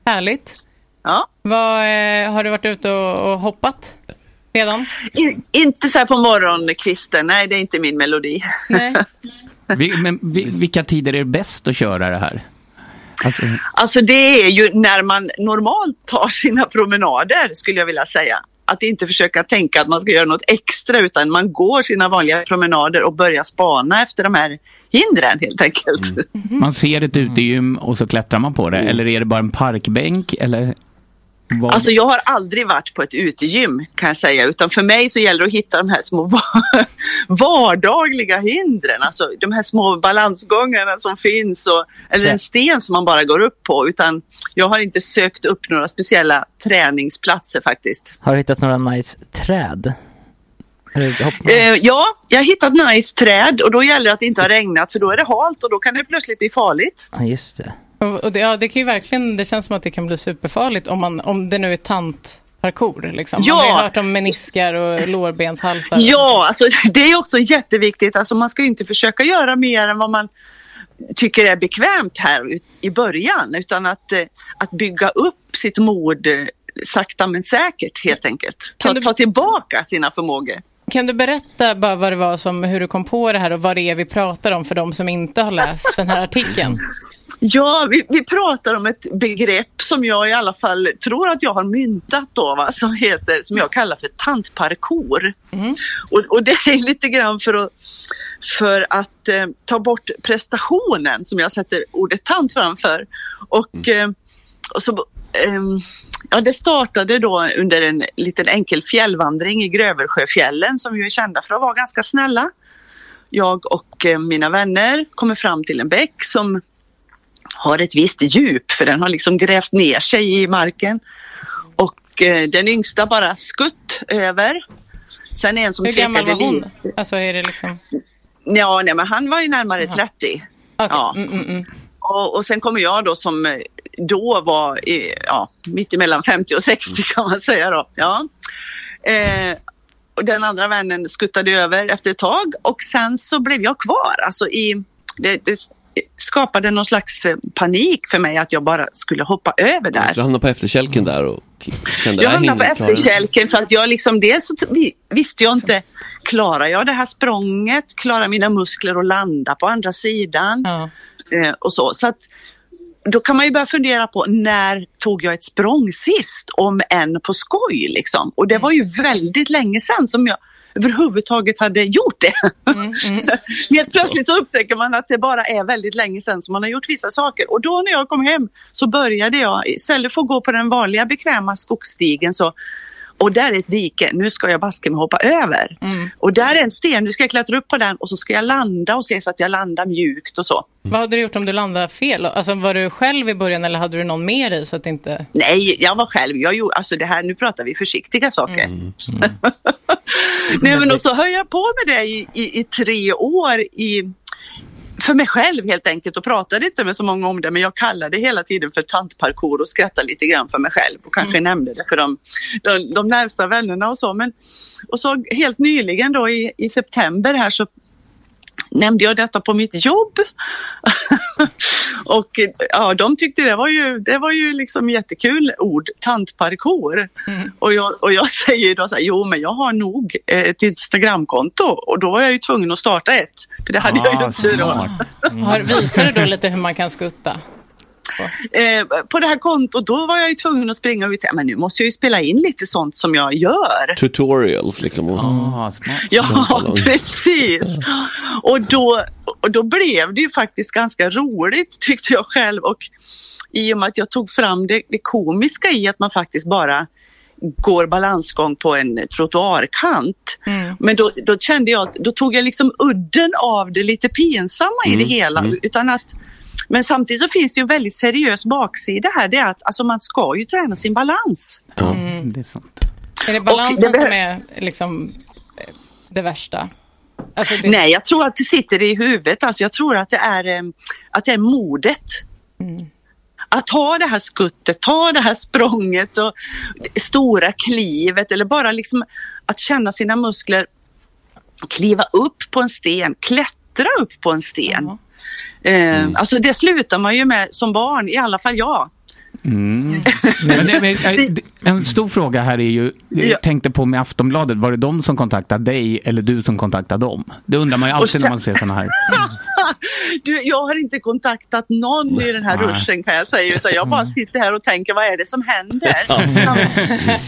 Härligt.
Ja.
Vad, eh, har du varit ute och, och hoppat redan?
In, inte så här på morgonkvisten, nej det är inte min melodi.
Nej.
vi, men vi, vilka tider är det bäst att köra det här? Alltså,
Mm.
Alltså det är ju när man normalt tar sina promenader skulle jag vilja säga. Att inte försöka tänka att man ska göra något extra utan man går sina vanliga promenader och börjar spana efter de här hindren helt enkelt.
man ser ett utegym och så klättrar man på det.
Mm.
Eller är det bara en parkbänk? Eller vad?
Alltså jag har aldrig varit på ett utegym kan jag säga, utan för mig så gäller det att hitta de här små va- vardagliga hindren, alltså de här små balansgångarna som finns och, eller en sten som man bara går upp på, utan jag har inte sökt upp några speciella träningsplatser faktiskt.
Har du hittat några nice träd? Eller hopp-
Eh, ja, jag har hittat nice träd och då gäller det att det inte har regnat för då är det halt och då kan det plötsligt bli farligt.
Ja, just det.
Och, och det, ja, det kan ju verkligen, det känns som att det kan bli superfarligt om, man, om det nu är tantparkour. Liksom. Man
Ja.
har ju hört om meniskar och lårbenshalsar.
Ja, alltså, det är också jätteviktigt. Alltså, man ska ju inte försöka göra mer än vad man tycker är bekvämt här ut- i början, utan att, eh, att bygga upp sitt mod eh, sakta men säkert helt enkelt. Ta,
Kan du-
ta tillbaka sina förmågor.
Kan du berätta bara vad det var som, hur du kom på det här och vad det är vi pratar om för de som inte har läst den här artikeln?
Ja, vi, vi pratar om ett begrepp som jag i alla fall tror att jag har myntat då, va? Som, heter, som jag kallar för tantparkour.
Mm.
Och, och det är lite grann för att, för att eh, ta bort prestationen som jag sätter ordet tant framför. Och, eh, och så, ehm, ja, det startade då under en liten enkel fjällvandring i Gröversjöfjällen som ju är kända för att vara ganska snälla. Jag och eh, mina vänner kommer fram till en bäck som har ett visst djup för den har liksom grävt ner sig i marken. Och eh, den yngsta bara skutt över. Sen en som
Hur gammal var
tvekade
hon?
lite.
Alltså är det liksom...
Ja, nej, men han var ju närmare 30.
Okej,
Ja.
mm, mm, mm.
Och, och sen kommer jag då som eh, då var i, ja, mitt emellan 50 och 60 kan man säga då. Ja. Eh, och den andra vännen skuttade över efter ett tag och sen så blev jag kvar. Alltså i, det, det skapade någon slags eh, panik för mig att jag bara skulle hoppa över där.
Så du hamnade på efterkälken där och k- kände "Äh,
Jag
"Det här
hamnade på
hinner jag klara."
efterkälken för att jag liksom, dels så t- vi- visste jag inte, klarar jag det här språnget? Klarar mina muskler att landa på andra sidan?
Ja.
Eh, och så. så att, då kan man ju börja fundera på när tog jag ett språng sist, om än på skoj liksom. Och det var ju väldigt länge sedan som jag överhuvudtaget hade gjort det. Helt plötsligt så upptäcker man att det bara är väldigt länge sedan som man har gjort vissa saker. Och då när jag kom hem så började jag, istället för att gå på den vanliga bekväma skogsstigen så och där är ett dike, nu ska jag baske mig hoppa över. Och där är en sten, nu ska jag klättra upp på den och så ska jag landa och se så att jag landar mjukt och så.
Vad hade du gjort om du landade fel? Alltså, var du själv i början eller hade du någon med dig? Så att det inte...
Nej, jag var själv. Jag gjorde, alltså det här, nu pratar vi försiktiga saker. Nej, men och så höll jag på med det i, i, i tre år i, för mig själv helt enkelt och pratade inte med så många om det. Men jag kallade det hela tiden för tantparkour och skrattade lite grann för mig själv och kanske nämnde det för de, de, de närmsta vännerna och så. Men, och så helt nyligen då i, i september här så nämnde jag detta på mitt jobb. och eh, ja, de tyckte det var ju, det var ju liksom jättekul ord, tantparkour.
Mm,
Och, jag, och jag säger ju då så här, jo men jag har nog eh, ett Instagramkonto och då var jag ju tvungen att starta ett. För det hade jag ju inte då.
smart.
Har, visar du då lite hur man kan skutta?
Eh, på det här kontot då var jag ju tvungen att springa ut, men nu måste jag ju spela in lite sånt som jag gör.
Tutorials liksom. Och,
Ah, smart.
Ja,
Samtal.
precis. Och då, och då blev det ju faktiskt ganska roligt tyckte jag själv. Och i och med att jag tog fram det, det komiska i att man faktiskt bara går balansgång på en trottoarkant.
Mm.
Men då, då kände jag att då tog jag liksom udden av det lite pinsamma i det hela. Utan att, men samtidigt så finns det ju en väldigt seriös baksida här. Det är att alltså man ska ju träna sin balans.
ja.
Mm.
Det är sant.
Är det balansen
det behö-
som är liksom, eh, det värsta? Alltså, det...
Nej, jag tror att det sitter i huvudet. Alltså, jag tror att det är, eh, att det är modet.
Mm.
Att ta det här skuttet, ta det här språnget och det stora klivet eller bara liksom att känna sina muskler kliva upp på en sten, klättra upp på en sten.
Ja.
Eh, Alltså det slutar man ju med som barn, i alla fall jag.
Mm. Men det, men, eh, det- en stor fråga här är ju, jag
Ja.
tänkte på med Aftonbladet, var det de som kontaktade dig eller du som kontaktade dem? Det undrar man ju alltid när man ser sådana här.
Du, jag har inte kontaktat någon i den här
Nej.
ruschen kan jag säga, utan jag bara sitter här och tänker vad är det som händer? Sam-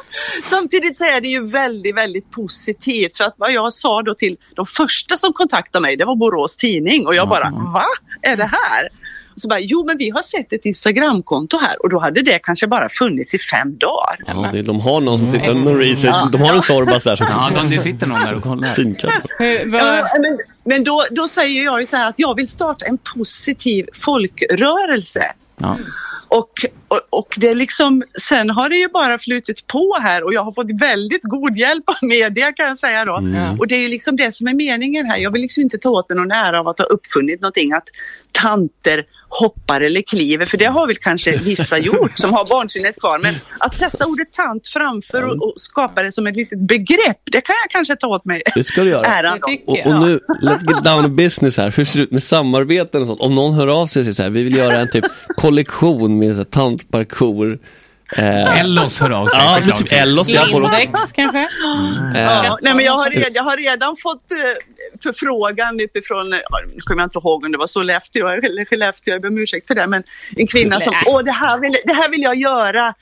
Samtidigt så är det ju väldigt, väldigt positivt för att vad jag sa då till de första som kontaktade mig, det var Borås Tidning och jag bara, va? Är det här? Och så bara, jo men vi har sett ett Instagramkonto här och då hade det kanske bara funnits i fem dagar.
Ja, det, de har någon som sitter någon research. De har en Sorbas där som
Mm. Ja, de, det sitter någon där och kollar.
finklappar.
Hur, vad...
Ja, men men då, då säger jag ju så här att jag vill starta en positiv folkrörelse.
Ja.
Och, och, och det är liksom, sen har det ju bara flutit på här och jag har fått väldigt god hjälp av media kan jag säga
Mm.
då. Och det är ju liksom det som är meningen här. Jag vill liksom inte ta åt mig någon ära av att ha uppfunnit någonting, att tanter hoppar eller kliver, för det har väl kanske vissa gjort som har barnsinnet kvar. Men att sätta ordet tant framför och, och skapa det som ett litet begrepp, det kan jag kanske ta åt mig
Det ska du göra.
äran
Det
av.
tycker
Och,
jag.
och nu, let's get down to business här. Hur ser det ut med samarbeten och sånt? Om någon hör av sig och säger så här, vi vill göra en typ kollektion med så här tantparkour. Eh,
Ellos hör av sig.
ja, men
förklarar
typ
sig.
Ellos. Jag har
Lindex kanske?
eh,
Ja, nej, men jag, har redan, jag har redan fått eh, förfrågan utifrån, eh, ja, nu kommer jag inte ihåg om det var Sollefteå eller Skellefteå, jag ber om ursäkt för det, men en kvinna som, åh det här, vill, det här vill jag göra,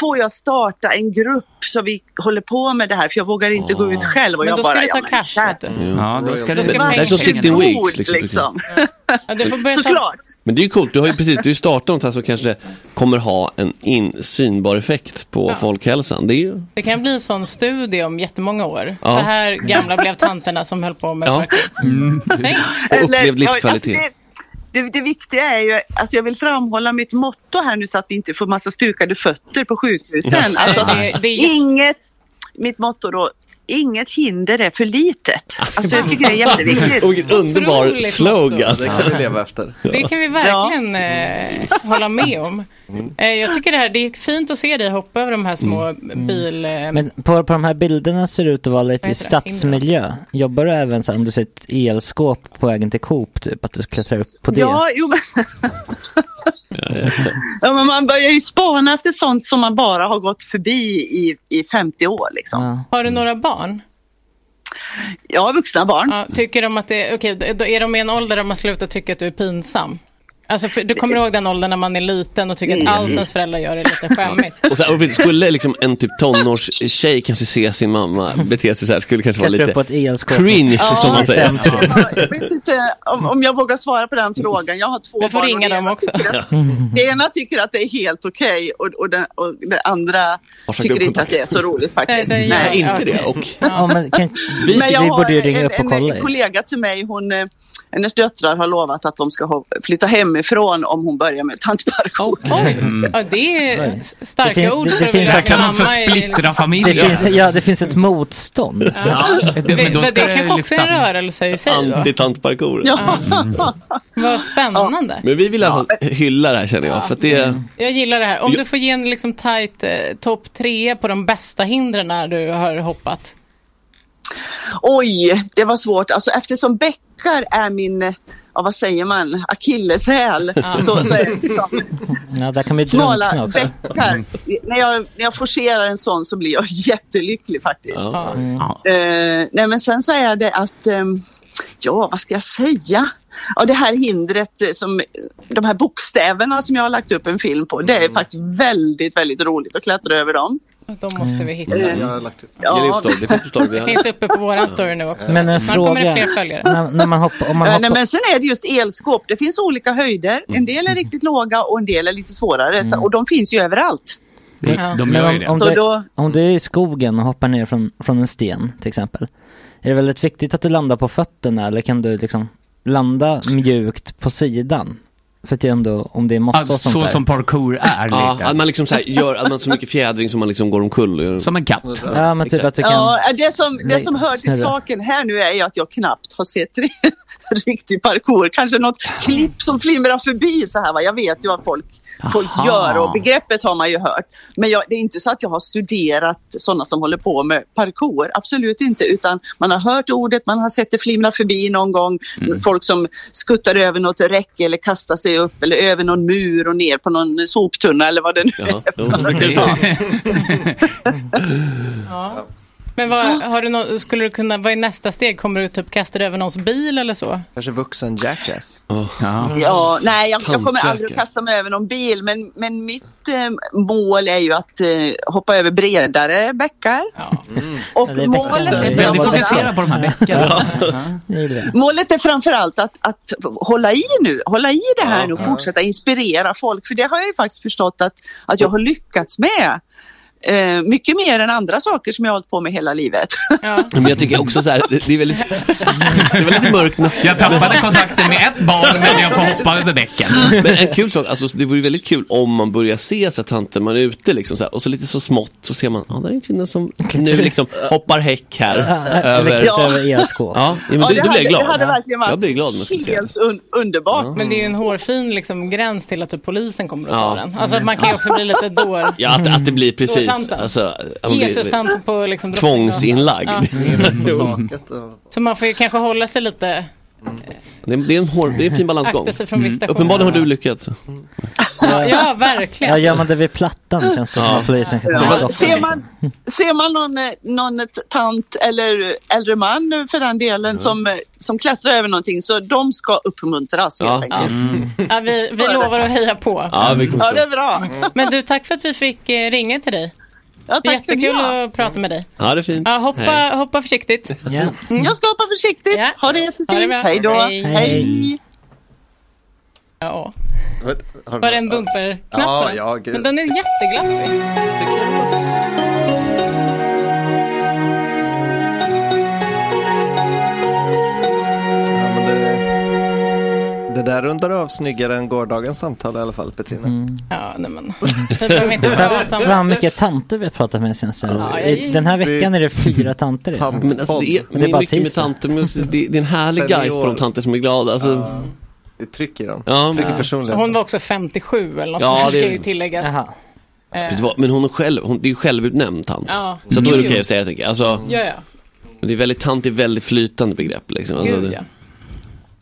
får jag starta en grupp så vi håller på med det här, för jag vågar inte gå ut själv. Och
Ah. Men
jag
då ska
bara,
du ta
men
cash.
kära
Vet du.
Ja, då ska
Då
det...
ska
man-
Det är så 16 weeks.
Liksom.
Liksom.
liksom.
Ja, du får börja ta...
Såklart.
Men det är ju coolt. Du har ju precis du startat något här som kanske kommer ha en in, synbar effekt på folkhälsan. Det är ju...
Det kan bli en sån studie om jättemånga år.
Ja.
Så här gamla blev tanterna som höll på med
Ja.
parkour. Nej.
Och upplevd
ja,
livskvalitet.
Alltså det, det, det viktiga är ju, alltså jag vill framhålla mitt motto här nu så att vi inte får massa stukade fötter på sjukhusen. Alltså,
Det- det är-
inget, mitt motto då, Inget hinder är för litet. Alltså jag tycker det är jätteviktigt.
Och vilket underbar
Otroligt
slogan.
Det kan vi leva efter.
Det kan vi verkligen eh, hålla med om. Eh, jag tycker det här, det är fint att se dig hoppa över de här små
Mm.
bil... Eh,
Men på, på de här bilderna ser det ut att vara lite
Vad
i
heter det?
stadsmiljö. Jobbar du även så här, om du ser ett elskåp på vägen till Coop, typ att du klättrar upp på det?
Ja, jo, men... ja, men man börjar ju spana efter sånt som man bara har gått förbi i, i 50 år. Liksom.
Ja.
har du några barn?
Jag har vuxna barn.
Ja, tycker de att det, okej, då är de i en ålder där man slutar tycka att du är pinsam? Alltså, för, du kommer ihåg den åldern när man är liten och tycker att
Mm.
allt ens föräldrar gör är lite skämmigt.
Och så här, och skulle liksom en typ tonårstjej kanske se sin mamma bete sig så här, skulle kanske vara
Klättrar upp på ett
lite
elskåp.
cringe som man
I
säger.
centrum.
Ja, jag vet inte om, om jag vågar svara på den frågan. Jag har två
Vi får
barn. och
ringa
det
dem
ena
också.
tycker att- Det ena tycker att det är helt okej och, och, den, och det andra
Varsågod,
tycker inte att
kontakt.
det är så roligt faktiskt.
Nej, det gör
Nej,
Ja,
inte det.
okej.
Och
Ja, men kan, vi,
Men jag
vi
har
borde ju ringa
en,
upp och
en,
kolla.
en
ju.
kollega till mig, hon, eh, hennes döttrar har lovat att de ska ho- flytta hemifrån om hon börjar med tantparkour.
Oj,
Mm.
ja, det är s- starka
Det fin-
ord
det-
för
det
att
finns-
vilja
Jag
Jag
kan
kan
knamma
också
i-
splittra
Det
familjer.
finns, ja, det finns ett motstånd.
Ja.
Det- men då
det,
ska
det
det
kanske också är en
lyftas.
rörelse i sig då.
antitantparkouren.
Ja.
Mm.
Vad spännande.
Men vi vill i alla fall hylla det här känner jag. För att
Mm.
det,
Jag gillar det här. Om du får ge en liksom tajt eh, topp tre på de bästa hindren när du har hoppat.
Oj, det var svårt. Alltså, eftersom bäckar är min, eh, ja, vad säger man, akilleshäl. Så, så är det liksom
Ja, där kan vi drunkna
smala
också. Mm.
bäckar. När jag, när jag forcerar en sån så blir jag jättelycklig faktiskt.
Ja.
Mm.
Eh, nej, men sen så är det att, ehm, ja, vad ska jag säga? Ja, det här hindret, eh, som, de här bokstäverna som jag har lagt upp en film på, det är faktiskt väldigt, väldigt roligt att klättra över dem.
De
Mm.
måste vi hitta.
Jag har lagt upp.
ja.
Ja,
det finns förslag vi har.
Finns uppe på våran story nu också.
Men en
Snart kommer det
fråga.
fler följare.
När, när man hoppar, om man
eh, nej,
hoppar,
men sen är det just elskåp. Det finns olika höjder. En del är riktigt låga och en del är lite svårare. Så, och de finns ju överallt.
De, de gör ju
men om, om,
det.
Så
du,
då-
om du är i skogen och hoppar ner från, från en sten till exempel. Är det väldigt viktigt att du landar på fötterna eller kan du liksom landa mjukt på sidan? För att det är ändå, om det är mossa
Alltså,
och sånt
så
där.
som parkour är
Ja, att
lite.
man liksom så här gör att man har så mycket fjädring som man liksom går omkull. och gör-
Som en katt.
Ja men typ
Exakt.
att du kan...
Ja, äh, det som, det
Nej,
som hör till
snurra.
saken här nu är ju att jag knappt har sett riktig parkour. Kanske något klipp som flimrar förbi så här. Va? Jag vet ju vad folk, folk
Aha.
gör och begreppet har man ju hört. Men jag, det är inte så att jag har studerat sådana som håller på med parkour. Absolut inte. Utan man har hört ordet, man har sett det flimra förbi någon gång. Folk som skuttar över något räcke eller kastar sig upp eller över någon mur och ner på någon soptunna eller vad det nu
Ja,
är.
jo, det är så.
Ja. Men vad, har du nå- skulle du kunna, vad är nästa steg? Kommer du typ kasta dig över någons bil eller så?
Kanske vuxen jackass.
Ja.
Ja, nej, jag, jag kommer
Tantöker.
aldrig att kasta mig över någon bil, men, men mitt eh, mål är ju att eh, hoppa över bredare bäckar. Mm. Och
Ja, det är
målet,
bäckar. Ja,
är
Väldigt
vad-
fokuserad
framförallt,
på de här bäckarna.
det är det.
målet är framförallt att, att hålla i nu, hålla i det här nu och fortsätta inspirera folk, för det har jag ju faktiskt förstått att, att jag har lyckats med. Eh, mycket mer än andra saker som jag har hållit på med hela livet.
Ja.
Men jag tycker också så här, det, det är väldigt, det var lite mörkt. men-
Jag tappade kontakten med ett barn men jag får hoppa över bäcken.
Men en kul sak, alltså, det vore ju väldigt kul om man börjar se så här, tanten man är ute liksom, så här, och så lite så smått så ser man, ja ah, det är en kvinna som nu liksom hoppar häck här.
Eller
över,
klättra över elskåp.
ja, men det,
det,
då blir
hade,
jag glad.
det hade verkligen
jag blir glad om jag ska
varit
se det.
helt un underbart.
Men det är ju en hårfin liksom, gräns till att typ polisen kommer att ta
Ja. Mm.
den. Alltså att man kan ju också bli lite dår.
Ja, att, att det blir precis,
tanten.
alltså, ja, men det-
Jesus-tanten på liksom Drottninggatan.
tvångsinlagd.
Ja. Så man får ju kanske hålla sig lite,
Det, är- det, är en hår, det är en fin balansgång. Mm.
akta sig från viss station.
Uppenbarligen har du lyckats.
Ja,
Ja,
verkligen.
gör man det vid plattan känns det som
Ja.
att polisen kan
Ja,
komma loss.
ser, man, ser man någon, eh, någon t- tant eller äldre man eh, för den delen som, eh, som klättrar över någonting så de ska uppmuntras helt
Ja.
enkelt.
Ja, vi, vi lovar att heja på.
Ja, vi kommer
Ja, det
se.
är bra.
Mm. Men du, tack för att vi fick eh, ringa till dig.
Ja, tack ska ni
Jättekul
ha.
att prata med dig.
ja, det är fint.
Ja,
Hej.
hoppa, hoppa försiktigt.
Ja.
Mm. Jag ska hoppa försiktigt.
Ja.
Ha det
Ha det
jättefint.
bra.
Hej då.
Hej.
Hej.
Ja,
Har
var det en bumperknapp?
Ja,
eller?
ja, gud.
Men den är jätteglappig.
Ja, men det, det där rundar du av snyggare än gårdagens samtal i alla fall Petrina.
Mm.
Ja, nej men. Vi behöver inte prata om
Fan vilka tanter vi har pratat med senast.
Ja,
I- Den här veckan är det fyra tanter. i.
Tant-
Men alltså, det, är,
Men
det,
det är bara
är mycket med
tisdag.
tanter, men också, det, det är en härlig
Senior.
geist på de tanter som är glada. Alltså,
Det trycker i dem.
ja.
Trycker
Hon
personligheten.
var också 57 eller något
Ja,
sånt här,
det-
ska ju tilläggas.
Jaha.
Eh,
Vet du vad? Men hon är själv, hon, det är ju självutnämnd tant.
Ja.
Så då är det
Jo,
okej
jo.
att säga jag tänker. Alltså,
Ja, ja.
det är väldigt, tant är väldigt flytande begrepp liksom. Alltså,
Gud,
det-
ja.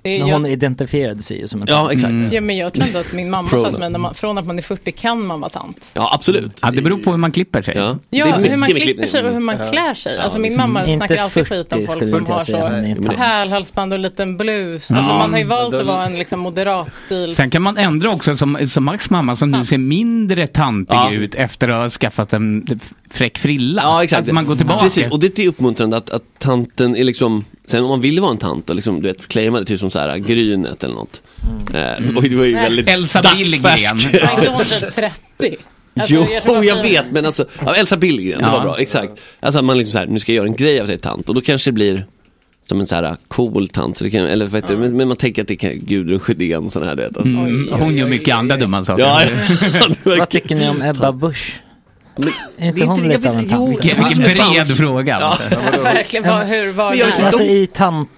Det är,
Men hon
jag,
identifierade sig ju som en Mm.
ja, exakt.
ja, men jag tror ändå att min mamma sa
Pronoun.
att man, när man, från att man är 40 kan man vara tant.
Ja, absolut.
Ja, det beror på hur man klipper sig.
Ja.
Ja,
Det är
hur
mycket
man
med
klipper
klippning.
sig och hur man klär sig. Alltså min mamma
Inte
snackar alltid
40
skit om folk
skulle
som
inte jag
har
säga, men inte
så
tant.
pärlhalsband och liten blus. Alltså man har ju valt att vara en liksom moderat stil.
Sen kan man ändra också, som, som Max mamma som nu ser mindre tantig
Ja.
ut efter att ha skaffat en fräck frilla.
Ja, exakt.
Att man går tillbaka.
Precis, och det är uppmuntrande att, att tanten är liksom, sen om man vill vara en tant och liksom, du vet, claima det typ som så här Grynet eller något. Eh, och det var ju
Mm. Nej.
väldigt
Elsa
dagsfärsk.
Billgren.
Nej, då är hon typ 30. Alltså,
jo,
tror
jag,
att vi-
vet, men alltså, ja, Elsa Billgren, det
Ja.
var bra, exakt. Alltså att man liksom så här, nu ska jag göra en grej av sig tant och då kanske det blir som en så här cool tant, så det kan, eller vad heter det, men, men man tänker att det kan Gudrun Sjödén, sån här du vet. Alltså.
Mm, hon gör mycket andra dumma saker.
Ja, ja, det var-
Vad tycker ni om Ebba Busch? Är inte
det är
hon
inte- jag
lite
vet-
av en
jo, alltså,
tant?
Vilken, vilken bred fråga.
Ja.
Alltså.
Verkligen, vad, hur, var,
Men jag vet
när?
inte
Alltså
de-
i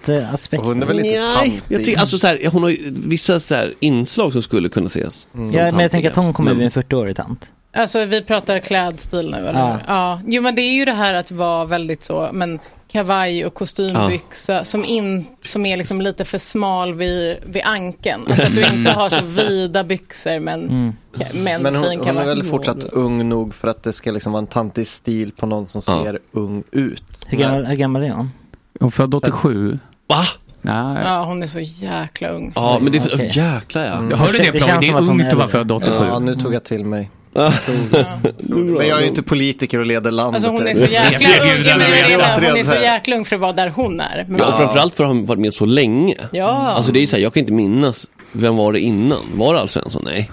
tantaspekten.
Hon är väl inte
Nej,
tantig?
jag tycker, alltså så här, hon har ju vissa så här inslag som skulle kunna
Mm.
ses. som Mm.
Ja, men jag
tantiga.
tänker att hon kommer bli en 40-årig tant.
Alltså vi pratar klädstil nu eller?
Ja.
Ja. Jo men det är ju det här att vara väldigt så, men kavaj och kostymbyxa som, in, som är liksom lite för smal vid, vid ankeln. Alltså att du inte har så vida byxor men, men,
Men hon,
fin
hon är
kavaj.
väl fortsatt ung nog för att det ska liksom vara en tantig stil på någon som
Ja.
ser ung ut.
Hur gammal, hur gammal är hon?
Hon född 87.
Va?
Nej.
Ja hon är så jäkla ung.
Ja, men det är,
Okej.
jäklar ja.
Jag hörde
Det
det,
känns
Ploy. Det
som
är
att hon
ungt
är
att vara född 87.
Mm. Ja, nu
Mm.
tog jag till mig.
Men
Men jag är ju inte politiker och leder landet.
Alltså hon är så jäkla
ser
ung.
gudarna
Ja, men jag
redan.
menar, Hon är
Återigen så
så
här.
jäkla ung för att vara där hon är. Men,
Ja, och framförallt för att ha varit med så länge.
ja.
Alltså det är ju så här, jag kan inte minnas, vem var det innan? Var det Alf Svensson? Nej.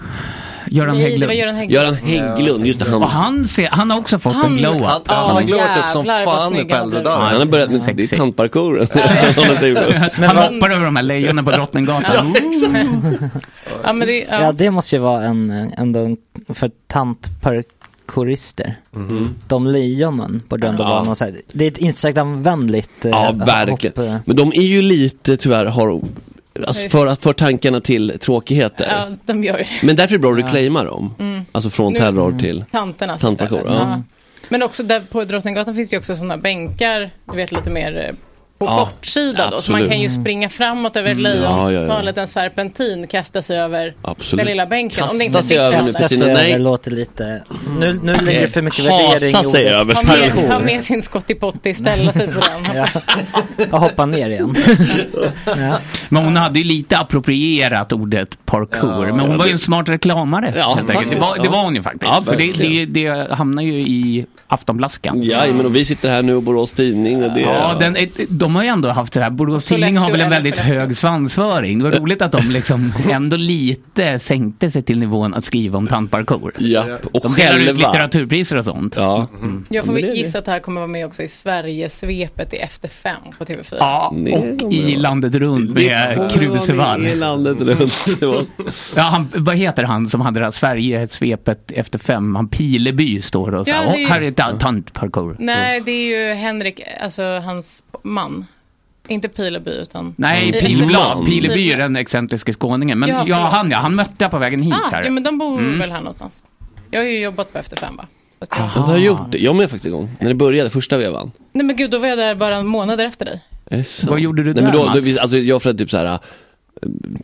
Göran
Nej, det
Hägglund.
var Göran Hägglund.
Mm. Göran Hägglund, just det, han.
Och han, ser, han har också fått en
Han-
glow-up.
Han,
Ja,
han har glowat
typ
upp som
jävlar, vad
fan nu
snygg
på
han typ
äldre
blev.
Han
dagar.
har börjat med det
Sexy.
är tantparkouren. Han säger-
Han hoppar över de här lejonen på Drottninggatan.
Ja, men det, ja.
Ja, det måste ju vara en, ändå en, för tantparkourister. De lejonen borde ändå
Mm-hmm. Ja.
vara någon så här, det är ett Instagram-vänligt eh,
ja,
hopp, eh.
verkligen. Men de är ju lite, tyvärr, har, alltså, för att för tankarna till tråkigheter.
ja, de gör ju det.
Men därför är det bra att reclaima dem. Alltså från
Nu- Mm.
terror till...
Tanterna
Tantparkour, ja.
Men också där på Drottninggatan finns det ju också sådana bänkar, du vet lite mer eh, på
Ja,
kortsida då. Så
absolut. Mm.
man kan ju springa framåt över ett lejon,
Ja, ja, ja.
ta en liten serpentin, kasta sig över
Absolut.
den lilla bänken. om det
Kasta
inte
sig
sitter
över med
där.
Kasta sig
Petrina, nej.
över, låter lite, nu, nu lägger du för mycket värdering
Hasa sig
i ordet.
över
Ha med, ha med sin skottipotti, ställa sig på den.
och hoppa ner igen. ja.
Men hon hade ju lite approprierat ordet parkour. men hon var ju en smart reklamare.
Ja,
helt enkelt. det, var, det
faktiskt.
var hon ju faktiskt.
Ja,
För det, det,
verkligen.
det hamnar ju i aftonblaskan.
Ja, men och vi sitter här nu och Borås Tidning och det...
Ja, den, är- de har ju ändå haft det här. Borås
Sollefteå
Tidning har väl en
eller
väldigt
Skellefteå.
hög svansföring. Det var roligt att de liksom ändå lite sänkte sig till nivån att skriva om tantparkour.
Japp, och
De delar ut
själva.
litteraturpriser och sånt. Mm.
Ja.
Jag får
men det är
väl
det.
gissa att det här kommer vara med också i Sverige-svepet i Efter fem på TV4.
Ja,
Nej,
och
de
i landet runt med Krusevall.
I landet runt. Det var-
Ja, han, vad heter han som hade det här Sverige-svepet efter fem? Han Pileby står och så här.
Ja, det är ju-
"Åh, Här är ta- tantparkour.
Nej, det är ju Henrik, alltså hans man. Inte Pileby utan...
Nej,
Mm.
I-
Pilblad.
Man.
Mm. Pileby är den excentriska skåningen. Men ja,
Ja, förlåt.
han ja, han mötte jag på vägen hit
Ah,
här. Mm.
ja, men de bor väl här någonstans. Jag har ju jobbat på Efter fem va? Så att jag...
Alltså, jag har gjort det. Jag med faktiskt en gång. När det började, första vevan.
Nej men gud, då var jag där bara månader efter dig.
Är det sant?
Vad gjorde du
Nej, men
där,
då, då,
Mats?
vi- alltså, Jag försökte typ så här äh,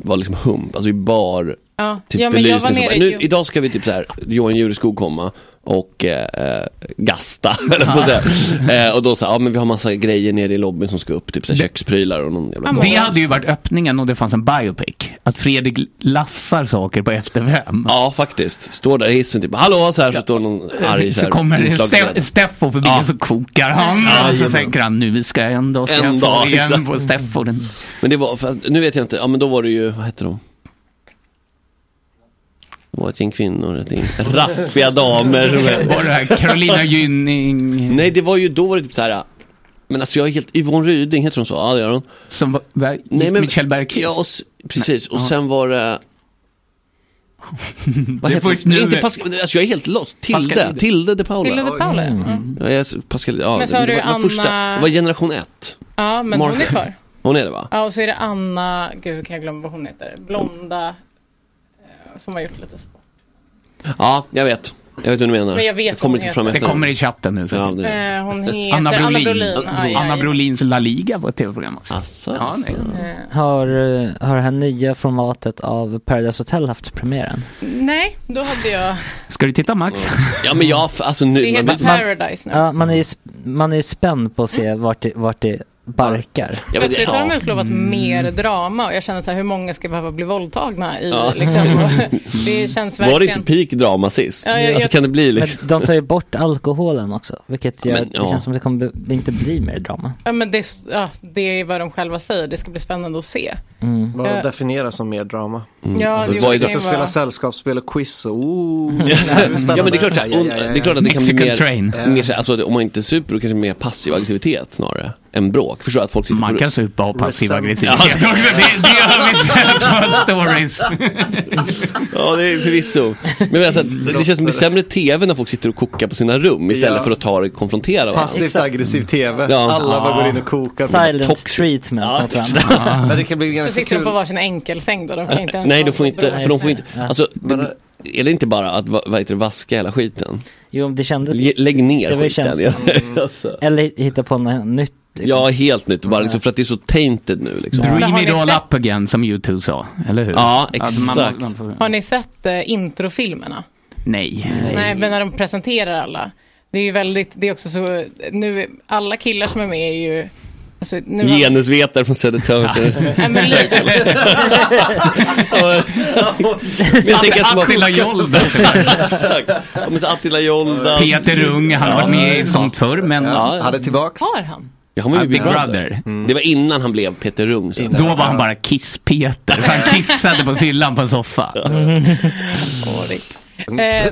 var liksom hump, alltså i bar,
Ja,
typ
ja men jag var
belysning. Jag
nere
nu,
i...
idag ska vi typ så här, Johan Jureskog komma och eh, eh, gasta, eller på så här. Eh, Och då så här, ja men vi har massa grejer nere i lobbyn som ska upp, typ så här, köksprylar och någon jävla
Ja, men-
Det hade ju varit öppningen och det fanns en biopic. Att Fredrik lassar saker på efter fem.
Ja faktiskt, står där i hissen typ, hallå så här så står någon arg så
Så
här,
kommer
inslagsledare.
Ste- Steffo förbi
Ja.
och så kokar han. och så
Jajamän.
tänker han, nu ska jag ändå ska
En
jag få
dag,
igen
exakt.
på
Mm.
Steffo. Den-
Men det var, fast, nu vet jag inte, ja men då var det ju, vad hette de? Det var ett gäng kvinnor, ett gäng raffiga damer som
Var det här Carolina Gynning?
Nej det var ju, då var det typ så här. Men alltså jag är helt, Yvonne Ryding, heter hon så? Ja det gör hon.
Som var, var, gift
Nej, men-
med Kjell Bergqvist.
Ja, och, s- precis. Och
ja.
sen var det... Vad
Det är
heter
först
hon?
nu-
Inte Pascal, alltså jag är helt lost. Tilde,
Pascalide.
Tilde de Paula.
Tilde de Paula,
Mm.
ja.
Ja, jag, Pascal, ja,
Men sa
det
du
var den
Anna-
första. Det var generation ett.
Ja, men
Mark-
hon är kvar.
Hon är det va?
Ja, och så är det Anna, gud kan jag glömma vad hon heter, blonda, eh, som har gjort lite sport.
Ja, jag vet. Jag vet vad du menar.
Men jag vet
kommer
vad hon
inte fram
Det
efter
kommer i chatten nu. Så.
Ja, det är...
Eh, Hon heter
Anna Brolin.
Anna Brolin. Aj, aj,
Anna
aj.
Brolins La Liga var ett tv-program också.
Asså, alltså.
Ja,
asså.
nej.
Eh,
Har, eh, har det här nya formatet av Paradise Hotel haft premiären?
Nej, då hade jag,
Ska du titta Max?
Mm. Ja, men jag, alltså nu.
det
man-
heter Paradise nu. Mm.
Ja, man är, sp- man är spänd på att se vart det, vart det barkar.
jag vet-
Plötsligt har de
ja.
utlovat
Mm.
mer drama och jag känner så här, hur många ska behöva bli våldtagna i,
Ja.
liksom. Det känns verkligen.
Var det inte peak drama sist?
Ja, eh, jag-
alltså
jag-
kan det bli liksom...
Men de tar ju bort alkoholen också, vilket gör
Men,
att det
ja.
känns som att det kommer be- inte bli mer drama.
Ja, men det, ja, det är vad de själva säger, det ska bli spännande att se.
Vad definieras som mer drama?
Ja,
Alltså,
det
vad
måste
är Mm. det-
Sitta
ju
och spela
vara-
sällskapsspel och quiz och oh, ooh.
Ja men det är klart, så här,
Aj, aj, aj,
det, är klart att det kan bli
Mexican
mer,
train.
mer så här, alltså, om man inte är super då kanske mer passiv aggressivitet snarare än bråk. Förstår att folk sitter
Man
på...
kan supa och passiv
Resent-
aggressivitet också. Det, det har vi sett på stories.
Ja det är förvisso. Men alltså, att det känns som det är sämre tv när folk sitter och kokar på sina rum istället
Ja.
för att ta och konfrontera varandra.
Passivt aggressiv tv.
Mm. Ja.
Alla bara går in och kokar.
Silent
toxic.
treatment
Ja,
mot varandra.
Men det kan bli
Så
ganska
sitter de på
kul.
varsin enkelsäng då, de kan inte ens
Nej,
vara
de får
så
inte,
bra.
för de får inte, alltså, det,
Men-
är det inte bara att va- vad heter det, vaska hela skiten?
Jo, det kändes...
Ge- Lägg ner
Det var ju
skiten. alltså.
Eller hitta på något nytt. Liksom.
Ja, helt nytt, bara liksom för att det är så tainted nu liksom.
Men
Dream
har
it
ni
all
sett-
up again som U2 sa, eller hur?
Ja,
Alltså, man-
exakt.
man får-
Har ni sett eh, introfilmerna?
Nej.
Nej, men när de presenterar alla. Det är ju väldigt, det är också så, nu, alla killar som är med är ju, alltså, nu har-
Genusvetare från Södertörn.
Nej, men lite.
Men jag tänker att som har-
Attila Jolda.
Exakt. Ja, men så Attila Jolda.
Peter Rung, han har varit med i sånt förr, men
Ja,
Han är tillbaks.
Har han?
Ja, han var ju Mm.
Big Brother.
Det var innan han blev Peter Rung. Så att
Då
säga.
var han bara Kiss-Peter, för han kissade på fyllan på en soffa.
Mm.
Mm.
Eh, eh,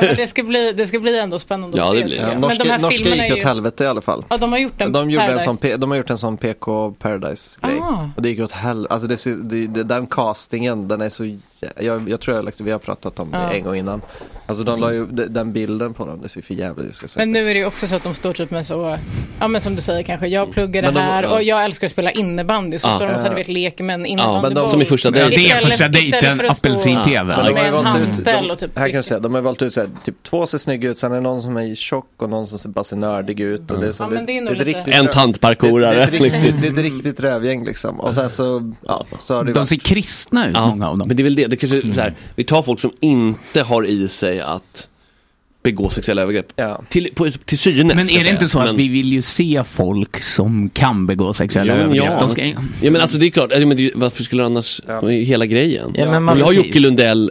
men det, ska bli, det ska bli ändå spännande
Ja,
att se.
det blir
tycker
det.
Ja,
jag.
norska,
men de här
norska
filmerna
gick
är
åt
ju,
helvete i alla fall.
ja, de har gjort en
De, gjorde en
Paradise.
sån, P- de har gjort en sån PK Paradise-grej.
Ah.
Och det gick åt helvete. Alltså det, ser- det, det, den castingen, den är så... jä- Jag, jag tror jag, lagt- vi har pratat om det
Ja.
en gång innan. Alltså de la ju de- den bilden på dem, det ser för jävligt ut ska jag säga.
Men nu är det ju också så att de står typ med så, ja men som du säger kanske, jag pluggar det
Men de-
här
ja.
och jag älskar att spela innebandy. Så
Ja.
står de och så här, du vet, leker med en
Ja,
innebandyboll.
men de som i första
Ja,
dejten.
det är
Istället-
första
istället för
dejten,
att stå-
apelsin-tv.
Men
Men de har
med
ju
en
valt ut,
hantel och
de,
typ
här kan
trycker.
jag säga, de har ju valt ut så här, typ två ser snygga ut, sen är det någon som är tjock och någon som ser bara ser nördig ut. Och det är så,
Ja, men det är nog
ett
lite-
riktigt
Mm. En
rö- det, det, är
tantparkourare.
ett riktigt, det är ett riktigt rövgäng liksom. Och sen så, ja, så har det ju
De
varit.
ser kristna ut, många av dem. Mm.
Men det är väl det, det kanske är så här, vi tar folk som inte har i sig att begå sexuella övergrepp.
Ja.
Till, på, till synes.
Men
ska jag
är det
säga.
inte så att
Men-
vi vill ju se folk som kan begå sexuella
Jo, men
övergrepp?
ja.
De ska,
Ja men alltså det är klart, ja, men det, är ju- varför skulle det annars,
Ja.
det är ju hela grejen.
Ja, men
Och vi har
man,
ju-
Jocke Lundell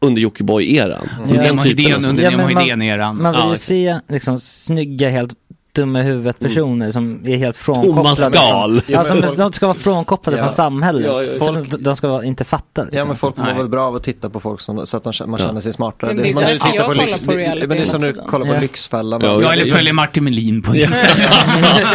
under Jockiboi-eran. Det är den
Ja.
Nemo
typen
Hedén
alltså.
under
Mm. Ja,
Nemo
men man-
Hedén eran.
man vill
Ja,
ju
exakt.
se liksom, snygga, helt dumma i huvudet personer som är helt
Tomma
frånkopplade.
skal.
Från,
Ja,
alltså,
men
men de ska vara frånkopplade
Ja.
från samhället.
Ja, ja, ja.
Folk, de ska vara, inte fatta. Liksom.
Ja men folk mår
Nej.
väl bra av att titta på folk som, så att de, kä- man
Ja.
känner sig smartare.
Men det är
som
så
när
här jag kollar
lyx-
på
det-
reality
men det är som när
hela
du
tiden.
kollar på
Ja.
Lyxfällan.
Ja,
Ja,
Ja, eller följer Martin Melin på Instagram.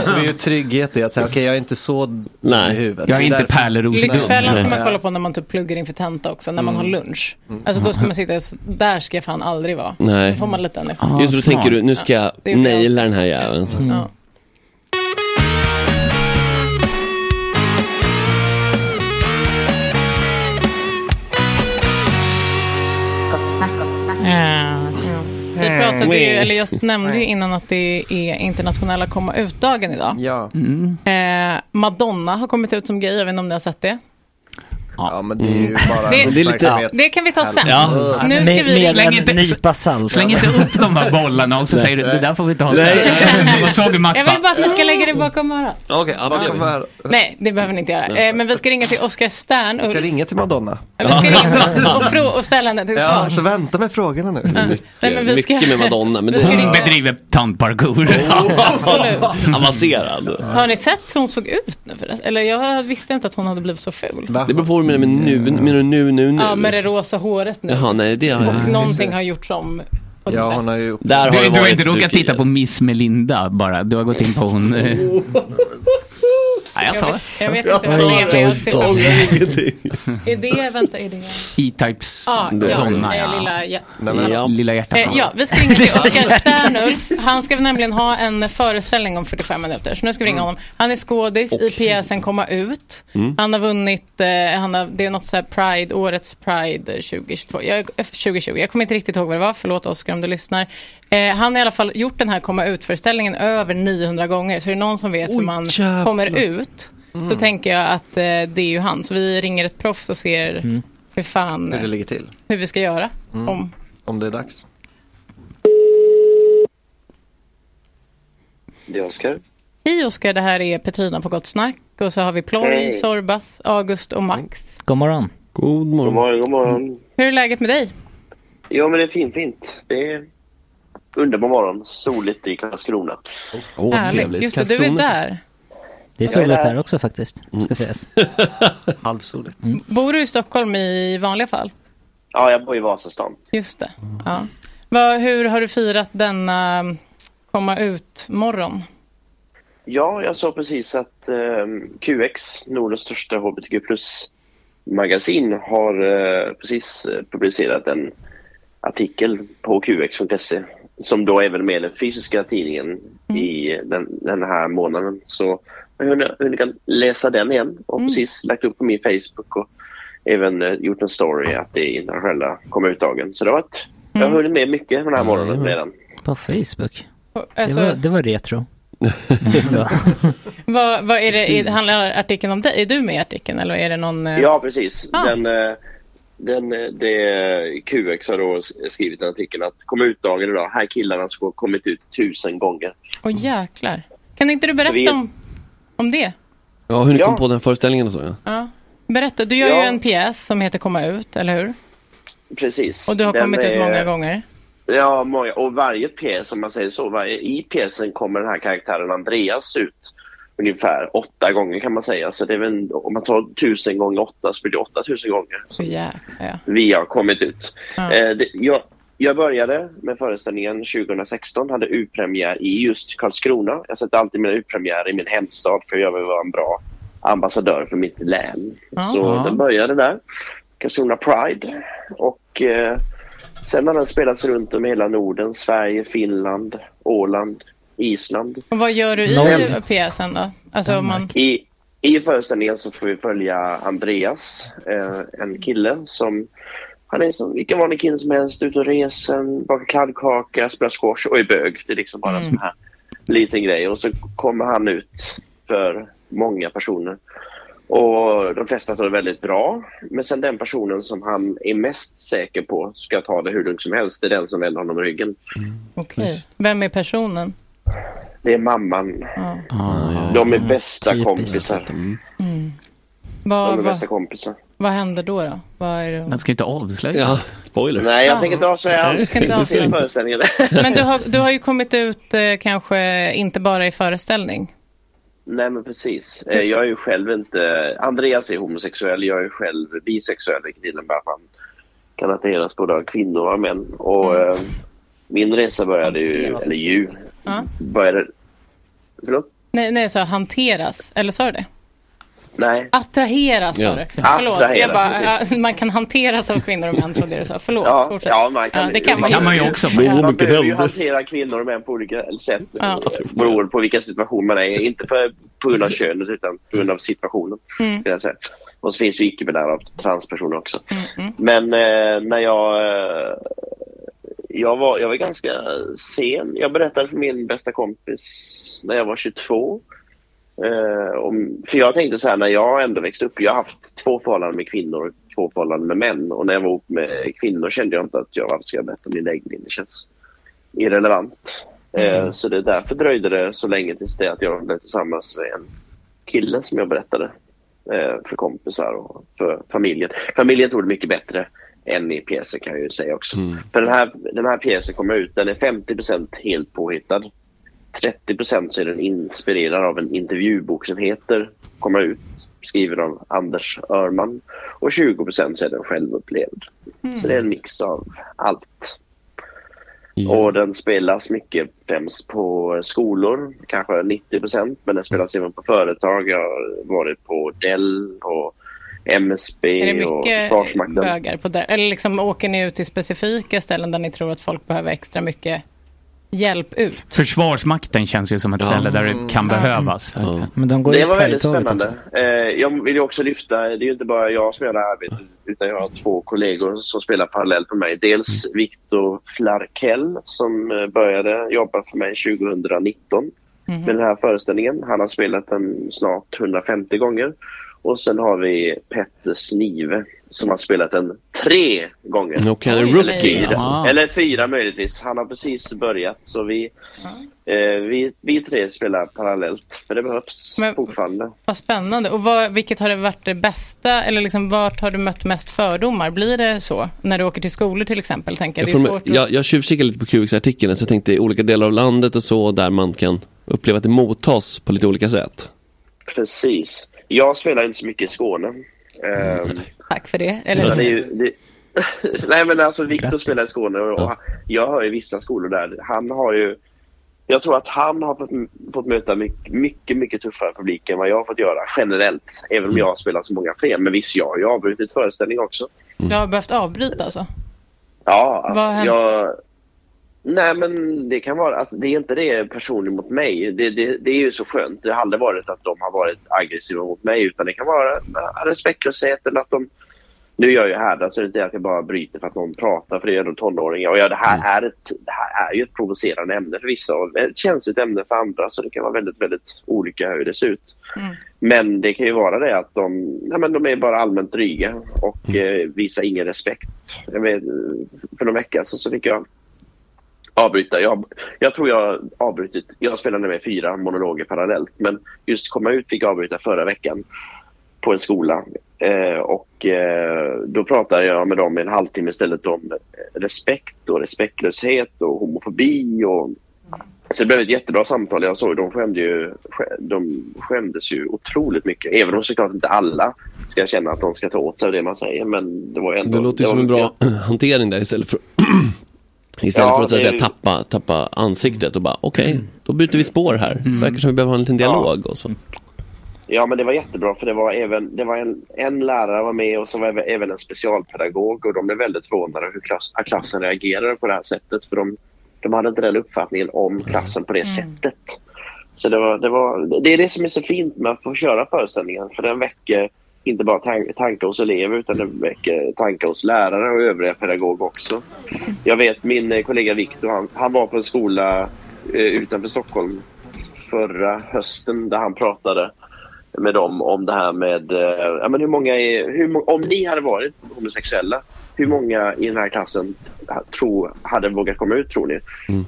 Så det är ju trygghet i att säga okej jag är inte så dum
Nej.
i huvudet.
Jag är
Det
inte
därför-
pärleros
Lyxfällan ska man
Ja.
kolla på när man typ pluggar inför tenta också, när man har lunch. Alltså då ska man sitta, så- där ska jag fan aldrig vara.
Nej.
Då får man lite energi.
Ah,
Just då
smart. Mm.
tänker du, nu ska jag
det är bra.
naila den här jäveln.
Ja. Ja. Vi pratade ju, eller jag nämnde ju innan att det är internationella komma ut-dagen idag.
Ja.
Mm.
Eh, Madonna har kommit ut som gay, jag vet inte om ni har sett det.
ja, men det är
Mm.
ju bara
Det-
en
det är
lite-
uppmärksamhets-
Det kan vi ta sen.
Ja.
Mm.
Nu ska
Med,
vi...
med
Släng
en
inte-
nypa salt.
Släng inte upp de här bollarna och så säger du, det där får vi inte ha. Såg du Max
Jag vill bara att ni ska lägga det bakom örat.
Okej, ja, men det gör
Bakom
vi.
här.
Nej, det behöver ni inte göra. Eh, men vi ska ringa till Oskar Stern och,
Ska jag ringa till Madonna?
vi ska ringa och, frå- och ställa henne till
Ja,
svars.
så vänta med frågorna nu.
Nej, men vi ska-
Mycket med Madonna, men
vi
det
ska
Hon
ringa-
är
bedriver tantparkour.
Absolut.
avancerad.
Har ni sett hur hon såg ut nu förresten? Eller jag visste inte att hon hade blivit så ful.
Va?
Det beror på vad du menar med nu, menar du nu, nu, nu?
Ja, med det rosa håret nu.
Jaha, nej det har jag
Någonting har gjorts om
Ja, hon har ju upp...
Där
Du,
har det
du har
varit
inte råkat
stryk i
titta
det.
på Miss Melinda bara. Du har gått in på hon... eh. Nej, jag sa det.
Jag vet inte vad det är, men jag ser
ingenting.
Är det, vänta, är det...
E-Types
Ah, ja,
donna,
eh,
ja.
lilla... Ja.
Ja.
Lilla hjärtat.
Eh, ja, vi ska ringa till Oskar Sternulf. Han ska nämligen ha en föreställning om 45 minuter. Så nu ska vi ringa honom. Han är skådis i pjäsen Komma ut.
Mm.
Han har vunnit, eh, han har, det är något så här Pride, årets Pride 2022. Jag, eh, 2020. Jag kommer inte riktigt ihåg vad det var. Förlåt Oskar om du lyssnar. Eh, han har i alla fall gjort den här Komma ut-föreställningen över 900 gånger. Så är det någon som vet hur
Oj,
man
jävlar. Mm.
kommer ut. Så tänker jag att eh, det är ju han. Så vi ringer ett proffs och ser
Mm.
hur fan, eh,
hur det ligger till.
hur vi ska göra. Om
Mm. Om det är dags.
Det är Oskar.
Hej Oskar, det här är Petrina på Gott Snack och så har vi Ploy,
Hej.
Sorbas, August och Max.
God morgon.
God
God
morgon.
morgon, god morgon.
Hur är läget med dig?
Jo, men det är fint, fint. Det är underbar morgon. Soligt i Karlskrona.
Åh, vad trevligt.
Just det, du är
Karlskrona.
där.
Det är soligt här också faktiskt,
Mm.
ska sägas.
Halvsoligt.
Bor du i Stockholm i vanliga fall?
Ja, jag bor i Vasastan.
Just det. Ja. Vad- hur har du firat denna mm, komma ut-morgon?
Ja, jag såg precis att eh, QX, Nordens största hbtq plus-magasin, har eh, precis eh, publicerat en artikel på qx.se E, som då är väl med den fysiska tidningen i den, den här månaden. Så jag har hunnit kan läsa den igen och precis lagt upp på min Facebook och även eh, gjort en story att det är internationella kommer ut-dagen. Så det har varit, jag har hunnit med mycket den här morgonen redan.
På Facebook. Det
Alltså,
var, det var retro. Ja.
vad, vad är det, är, handlar artikeln om dig? Är du med i artikeln eller är det någon... eh,
Ja, precis.
Ah.
Den, eh, den, eh, det, QX har då skrivit en artikel att kom ut dagen idag. Här killarna som har kommit ut tusen gånger.
Åh jäklar. Kan inte du berätta
Vi-
om, om det?
Ja, hur ni
Ja.
kom på den föreställningen och så ja.
Ja. Berätta, du gör ju
Ja.
en pjäs som heter Komma ut, eller hur?
Precis.
Och du har
Den
kommit ut
är-
många gånger.
Ja, många. Och varje pjäs, om man säger så, varje, i pjäsen kommer den här karaktären Andreas ut ungefär åtta gånger kan man säga. Så det är väl, en- om man tar tusen gånger åtta så blir det åtta tusen gånger.
Åh, jäklar, ja.
vi har kommit ut.
Ja.
Eh, det, jag, jag började med föreställningen 2016, hade utpremiär i just Karlskrona. Jag sätter alltid mina utpremiärer i min hemstad för jag vill vara en bra ambassadör för mitt län.
Ja.
Så den började där, Karlskrona Pride. Och eh, sen har den spelats runt om i hela Norden, Sverige, Finland, Åland, Island.
Och vad gör du i
Noll.
pjäsen då? Alltså om man...
I, I föreställningen så får vi följa Andreas, eh, en kille som han är som vilken vanlig kille som helst, ute och reser, bakar kladdkaka, spelar squash och är bög. Det är liksom bara
Mm.
en sån här liten grej. Och så kommer han ut för många personer. Och de flesta tar det väldigt bra. Men sen den personen som han är mest säker på ska ta det hur lugnt som helst, det är den som vänder honom ryggen.
Okej. Vem är personen?
Det är mamman.
Ah, Ja, ja. Mm.
De är bästa
typiskt.
kompisar.
Vad,
De är
vad,
bästa kompisar.
vad händer då? då? Vad är det?
Man ska ju inte avslöja.
Ja, spoiler.
Nej,
Ja.
jag tänker inte avslöja allt.
Du ska inte avslöja.
Se föreställningen.
Men du har, du har ju kommit ut eh, kanske inte bara i föreställning.
Nej, men precis. Eh, Jag är ju själv inte... Andreas är homosexuell, jag är själv bisexuell, vilket innebär att man kan attraheras både av kvinnor och män. Och eh, min resa började ju, eller ju,
Ja.
började... Förlåt?
Nej, nej, så hanteras. Eller sa du det?
Nej.
Attraheras sa
Ja.
du. Förlåt, jag
Attraheras,
bara,
precis.
ja, man kan hanteras av kvinnor och män trodde jag du sa. Förlåt,
Ja,
fortsätt.
ja, man kan-
det kan man,
kan man ju också.
Åh,
Man
mycket
behöver ju
händer.
hantera kvinnor och män på olika sätt
Ja.
beroende på vilken situation man är i. Inte för, på grund av könet utan på grund av situationen. vill jag säga. Och så finns ju icke-binära och transpersoner också. Men eh, när jag... Eh, jag, var, jag var ganska sen. Jag berättade för min bästa kompis när jag var 22. Eh, om, för jag tänkte så här när jag ändå växte upp. Jag har haft två förhållanden med kvinnor och två förhållanden med män. Och när jag var ihop med kvinnor kände jag inte att jag varför ska jag berätta om min läggning. Det känns irrelevant. Eh, så det är därför dröjde det så länge tills det att jag blev tillsammans med en kille som jag berättade eh, för kompisar och för familjen. Familjen tog det mycket bättre än i pjäsen kan jag ju säga också. För den här, den här pjäsen kommer ut, den är 50% helt påhittad. 30% så är den inspirerad av en intervjubok som heter Komma ut, skriven av Anders Örman. Och
Mm.
20% så är den självupplevd. Så det är en mix av allt. Och den spelas mycket främst på skolor, kanske 90 procent. Men den spelas även på företag. Jag har varit på Dell och MSB
Är det
och
mycket
Försvarsmakten.
bögar på det? Eller liksom åker ni ut till specifika ställen där ni tror att folk behöver extra mycket hjälp ut?
Försvarsmakten känns ju som ett ställe där det kan behövas.
Men de går
det
ju
var väldigt
Pride-tåget
spännande. Eh, jag vill ju också lyfta, det är ju inte bara jag som gör det här arbetet utan jag har två kollegor som spelar parallellt med mig. Dels
Mm.
Viktor Flarkell som eh, började jobba för mig 2019
Mhm.
med den här föreställningen. Han har spelat den snart 150 gånger. Och sen har vi Petter Snive som har spelat den tre gånger.
Okej,
Oj,
Eller
rookie. alltså.
fyra.
Ah.
Eller fyra möjligtvis. Han har precis börjat. Så vi, eh, vi, vi tre spelar parallellt. För det behövs
Men-
fortfarande.
Vad spännande. Och vad, vilket har det varit det bästa? Eller liksom, vart har du mött mest fördomar? Blir det så? När du åker till skolor till exempel? Tänker jag.
Jag,
Det är
får,
svårt att...
jag, jag tjuvkikade lite på QX-artikeln, så jag tänkte i olika delar av landet och så, där man kan uppleva att det mottas på lite olika sätt.
Precis. Jag spelar inte så mycket i Skåne. Ehm,
Mm.
Tack för det.
utan det är
Eller,
ju, det... Nej men alltså Viktor
Grattis.
spelar i Skåne och och han- jag hör ju vissa skolor där. Han har ju... Jag tror att han har fått, fått möta mycket, mycket, mycket tuffare publik än vad jag har fått göra generellt. Även
Mm.
om jag har spelat så många fler. Men visst, jag har ju avbrutit föreställning också.
du har behövt avbryta alltså?
Ja, alltså,
Vad har hänt?
jag... Nej men det kan vara, alltså, det är inte det personligt mot mig. Det, det, det är ju så skönt. Det har aldrig varit att de har varit aggressiva mot mig utan det kan vara eh, respektlöshet eller att de... Nu gör jag här, alltså det är inte att jag bara bryter för att någon pratar för det är ändå tonåringar. Och ja, det, här är ett, det här är ju ett provocerande ämne för vissa och ett känsligt ämne för andra så det kan vara väldigt, väldigt olika hur det ser ut. Men det kan ju vara det att de, nej men de är bara allmänt dryga och eh, visar ingen respekt. Jag vet, för någon vecka sedan så fick jag avbryta. Jag, jag tror jag avbrutit. Jag spelade med fyra monologer parallellt men just komma ut fick jag avbryta förra veckan på en skola. Eh, och eh, då pratade jag med dem i en halvtimme istället om respekt och respektlöshet och homofobi och så det blev ett jättebra samtal. Jag såg de skämde ju, skä- de skämdes ju otroligt mycket. Även om såklart inte alla ska känna att de ska ta åt sig av det man säger. Men det var ju ändå...
Det låter ju
var
som en
mycket-
bra hantering där istället för Istället
Ja,
för att, så att
det är
säga,
ju-
tappa, tappa ansiktet och bara okej,
Mm.
då byter vi spår här. Verkar som vi behöver ha en liten dialog och så.
Ja, men det var jättebra för det var även det var en, en lärare var med och så var även- även en specialpedagog och de blev väldigt förvånade hur klass, att klassen reagerade på det här sättet för de, de hade inte den uppfattningen om klassen på det sättet. Så det, var, det, var, det är det som är så fint med att få köra föreställningen för den väcker inte bara tan- tankar hos elever utan den väcker tankar hos lärare och övriga pedagoger också. Jag vet min eh, kollega Viktor, han, han var på en skola eh, utanför Stockholm förra hösten där han pratade med dem om det här med eh, ja, men hur många är, hur, må- om ni hade varit homosexuella, hur många i den här klassen ha- tro, hade vågat komma ut tror ni?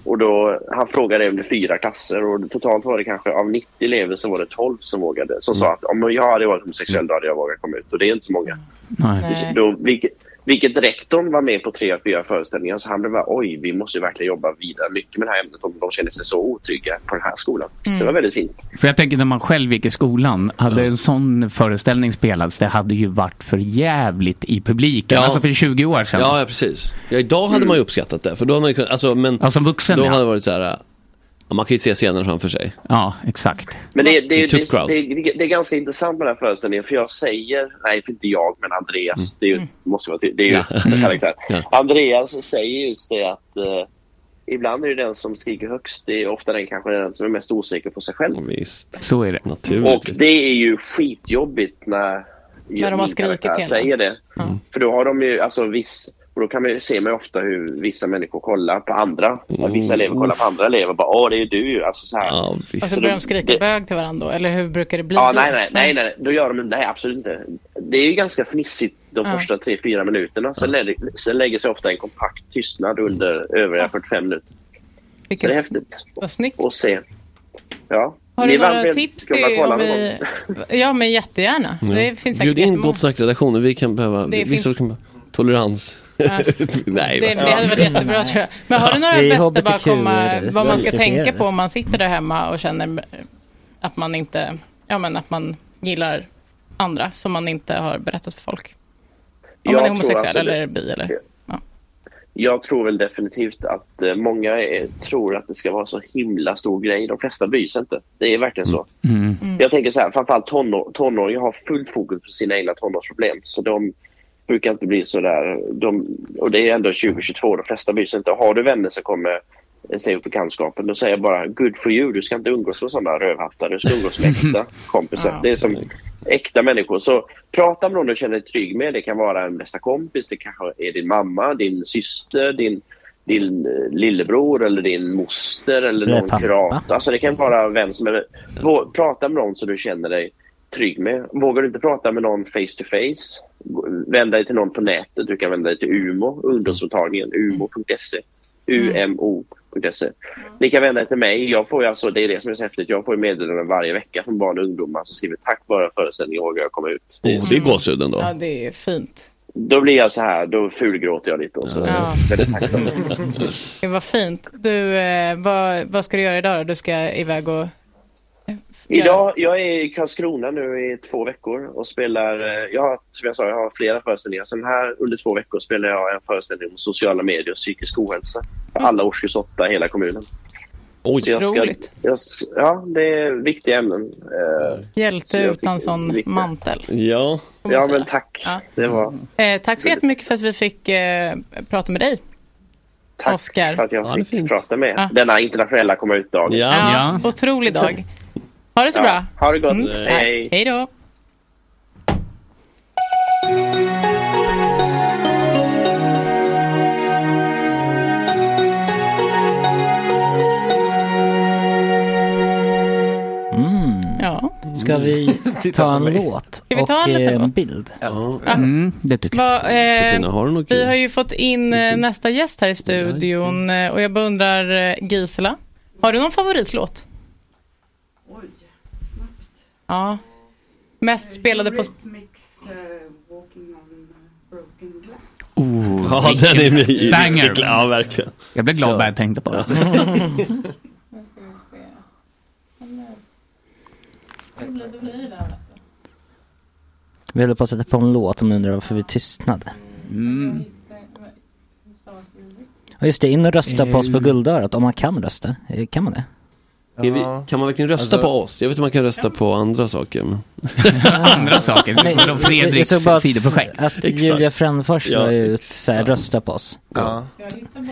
Och då, han frågade om det fyra klasser och totalt var det kanske av 90 elever så var det 12 som vågade. Som sa att om jag hade varit homosexuell då hade jag vågat komma ut och det är inte så många.
Nej.
Nej.
Då, vilket, vilket rektorn var med på tre av fyra föreställningar så han blev bara oj vi måste ju verkligen jobba vidare mycket med det här ämnet om de känner sig så otrygga på den här skolan. Det var väldigt fint.
För jag tänker när man själv gick i skolan, hade en sån föreställning spelats, det hade ju varit för jävligt i publiken.
Ja.
Alltså för 20 år sedan.
Ja, ja precis. Ja, idag hade man
Mm.
ju uppskattat det. För då hade man ju kunnat, alltså, men
Ja, som vuxen,
då
ja.
hade det varit så här, ja, man kan ju se scenen framför sig.
Ja, exakt.
Men det, det,
Det är
det,
tuff
det,
crowd.
det, det är ganska intressant med den här föreställningen för jag säger, nej för inte jag men Andreas, det är ju, måste vara tydligt, det är ju
Mm. Ja. Mm.
en karaktär.
Ja.
Andreas säger just det att eh, ibland är det den som skriker högst, det är ofta den kanske den som är mest osäker på sig själv.
Visst,
Så är det.
Och
naturligt.
det är ju skitjobbigt när,
När de har
min
skrikit
karaktär
hela.
säger det.
Mm.
För då har de ju, alltså viss, och då kan man ju se man ju ofta hur vissa människor kollar på andra. Att vissa elever kollar på andra elever och bara åh det är ju du ju. Alltså, så här.
Mm. Ja, visst.
Och så
Så
börjar
de-
de skrika
det-
bög till varandra då? Eller hur brukar det bli
Ja,
då?
nej, nej, nej, nej, då gör de inte, nej absolut inte. Det är ju ganska fnissigt de
Ja.
första 3-4 minuterna. Sen, lägger, sen lägger sig ofta en kompakt tystnad under övriga 45 minuter. Så det är
Vilket,
häftigt
vad snyggt.
att se. Ja.
Har
Ni
du
är varmt
några
välkomna
tips
att
till
kolla
om
någon
vi... Ja, men jättegärna. Det finns säkert
Bjud in
jättemånga.
Gott snack-redaktionen, vi kan behöva,
Det
vissa
finns-
kan behöva tolerans. Nej,
Det, det hade varit
Mm.
jättebara tror jag. Men har du några
Det är
bästa
HBTQ
bara komma,
är det.
vad man ska
Det är
tänka
det.
på om man sitter där hemma och känner att man inte, ja men att man gillar andra som man inte har berättat för folk. Om
Jag
man är
tror
homosexuell
absolut-
eller bi eller?
Jag tror väl definitivt att eh, många eh, tror att det ska vara så himla stor grej. De flesta bryr sig inte. Det är verkligen så.
Mm.
Jag tänker så här, framförallt tonår, tonåringar har fullt fokus på sina egna tonårsproblem. Så de brukar inte bli så där. De, och det är ändå 2022, de flesta bryr sig inte. Har du vänner som kommer eh, säga upp bekantskapen, då säger jag bara good for you. Du ska inte umgås med sådana rövhattar. Du ska umgås med äkta kompisar.
Ja.
Det är som äkta människor. Så prata med någon du känner dig trygg med. Det kan vara en bästa kompis, det kanske är din mamma, din syster, din din eh, lillebror eller din moster eller
Eller
någon
pappa.
kurator. Alltså det kan vara vem som helst. Vå- Prata med någon som du känner dig trygg med. Vågar du inte prata med någon face to face, gå- vänd dig till någon på nätet. Du kan vända dig till UMO, ungdomsmottagningen,
Mm.
umo.se. UMO.se. E. Ni kan vända er till mig. Jag får ju alltså, det är det som är så häftigt. Jag får ju meddelanden varje vecka från barn och ungdomar som skriver tack vare föreställningen vågar jag komma ut.
Oh, det är gåshud ändå.
Ja, det är fint.
Då blir jag så här, då fulgråter jag lite och så är jag
Ja.
väldigt tacksam.
Det var fint. Du, eh, vad, vad ska du göra idag då? Du ska iväg och...
Idag, jag är i Karlskrona nu i två veckor och spelar, eh, jag har, som jag sa, jag har flera föreställningar. Sen här under två veckor spelar jag en föreställning om sociala medier och psykisk ohälsa. För
Mm.
alla årskurs åtta i hela kommunen.
Oj.
Så jag ska,
Otroligt.
jag, s- ja, det är viktiga ämnen. Eh,
Hjälte
Så jag
utan
fick-
sån
lite-
mantel.
Ja.
får man
ja,
säga.
men tack.
Ja.
Det var,
Eh, tack så jättemycket för att vi fick eh, prata med dig.
tack
Oscar.
för att
Ja,
jag
det är
fick
fint.
prata med er.
Ja.
denna internationella komma ut-dag.
Ja.
Ja, Otrolig dag. Ha det så bra.
ha det gott.
Mm.
Hej.
Hej då.
Mm.
Ja.
Ska vi ta en låt
vi ta
och
en liten
eh,
låt?
bild?
Mm, det tycker jag.
Vad, eh,
Tina, har du något
vi har
kul?
ju fått in eh, nästa gäst här i studion eh, och jag bara undrar, eh, Gisela, har du någon favoritlåt?
Oj, snabbt.
Ja. Mest spelade på...
Mix Walking on Broken Glass.
Oh,
Ja, den är min.
Banger.
Ja, verkligen.
Jag blev glad bara jag tänkte på det.
Vi håller på att sätta på en låt om ni undrar varför vi tystnade.
Mm.
Och just det, in och rösta på oss på
Eh.
Guldörat om man kan rösta. Eh, Kan man det?
Är vi, kan man verkligen rösta
Alltså-
på oss? Jag vet att man kan rösta på andra saker. Men...
Andra saker. Det var då Fredriks
Jag såg bara att-
sidoprojekt.
Att Julia Frändfors
liksom. Ja,
la ut så här, rösta på oss.
Ja.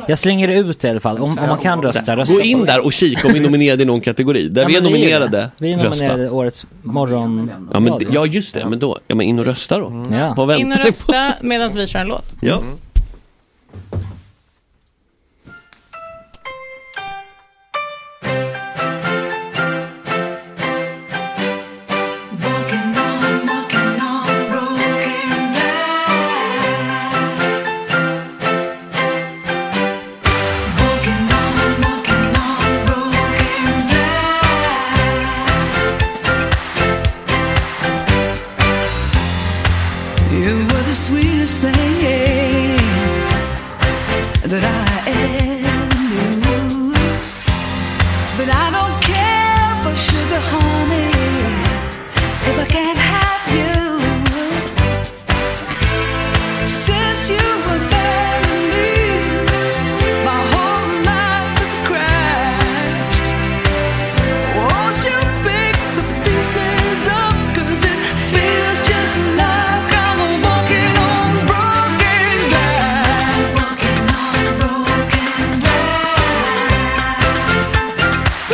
Jag slänger ut det i alla fall. Om, om man kan rösta, rösta
Gå
på
in
oss.
där och kika om vi är nominerade i någon kategori. Där
Ja,
vi är
men det ju
nominerade,
det. Vi är nominerade
rösta.
årets morgon...
Ja, men, d- ja, just det. Men då, ja, men in och rösta då.
Mm. Ja.
Vad
In och
väntar ni på?
rösta Mm. medan vi kör en låt.
Ja.
Walking on, walking on broken glass. Walking on, walking on broken glass. You were the sweetest thing that I ever knew, but I don't care for sugar, honey. If I can't have you, since you abandoned me, my whole life is a crash. Won't you pick the pieces up? 'Cause it feels just like I'm walking on broken glass. Walking on broken Oh,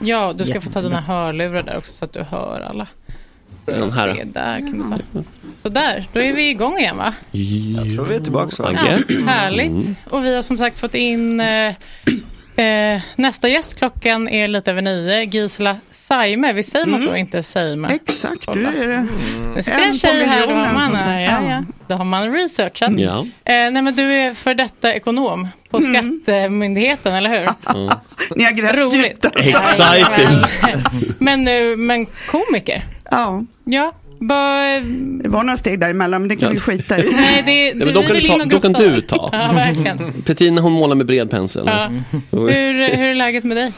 Ja, du ska få ta
Jättebra.
dina hörlurar där också så att du hör alla.
Den här.
Se, där kan du ta. Så där, då är vi igång igen va?
Jag
tror vi är tillbaka va?
Ja,
Mm.
Mm.
härligt. Och vi har som sagt fått in eh, eh, nästa gäst. Klockan är lite över nio. Gisela Saime. Vi säger man
Mm.
så, inte Seime?
Exakt, du är det.
Mm.
Nu ska
en
en
på
tjej här, då
miljonen,
har man,
så att
ja,
säga.
ja, ja. Då har man researchat. Eh, nej, men du är för detta ekonom på
Mm.
Skattemyndigheten, eller hur?
Ni har grävt
Roligt.
Exciting.
Men nu, men komiker?
Ja.
Ja.
Det var några steg däremellan, men det kan vi skita i.
Nej, det,
Nej,
men då
vi
kan
vill
du ta-
in och
då kan
grotta.
du ta.
Ja, verkligen.
Petina hon målar med bred pensel.
Ja.
Så-
Hur, hur är läget med dig?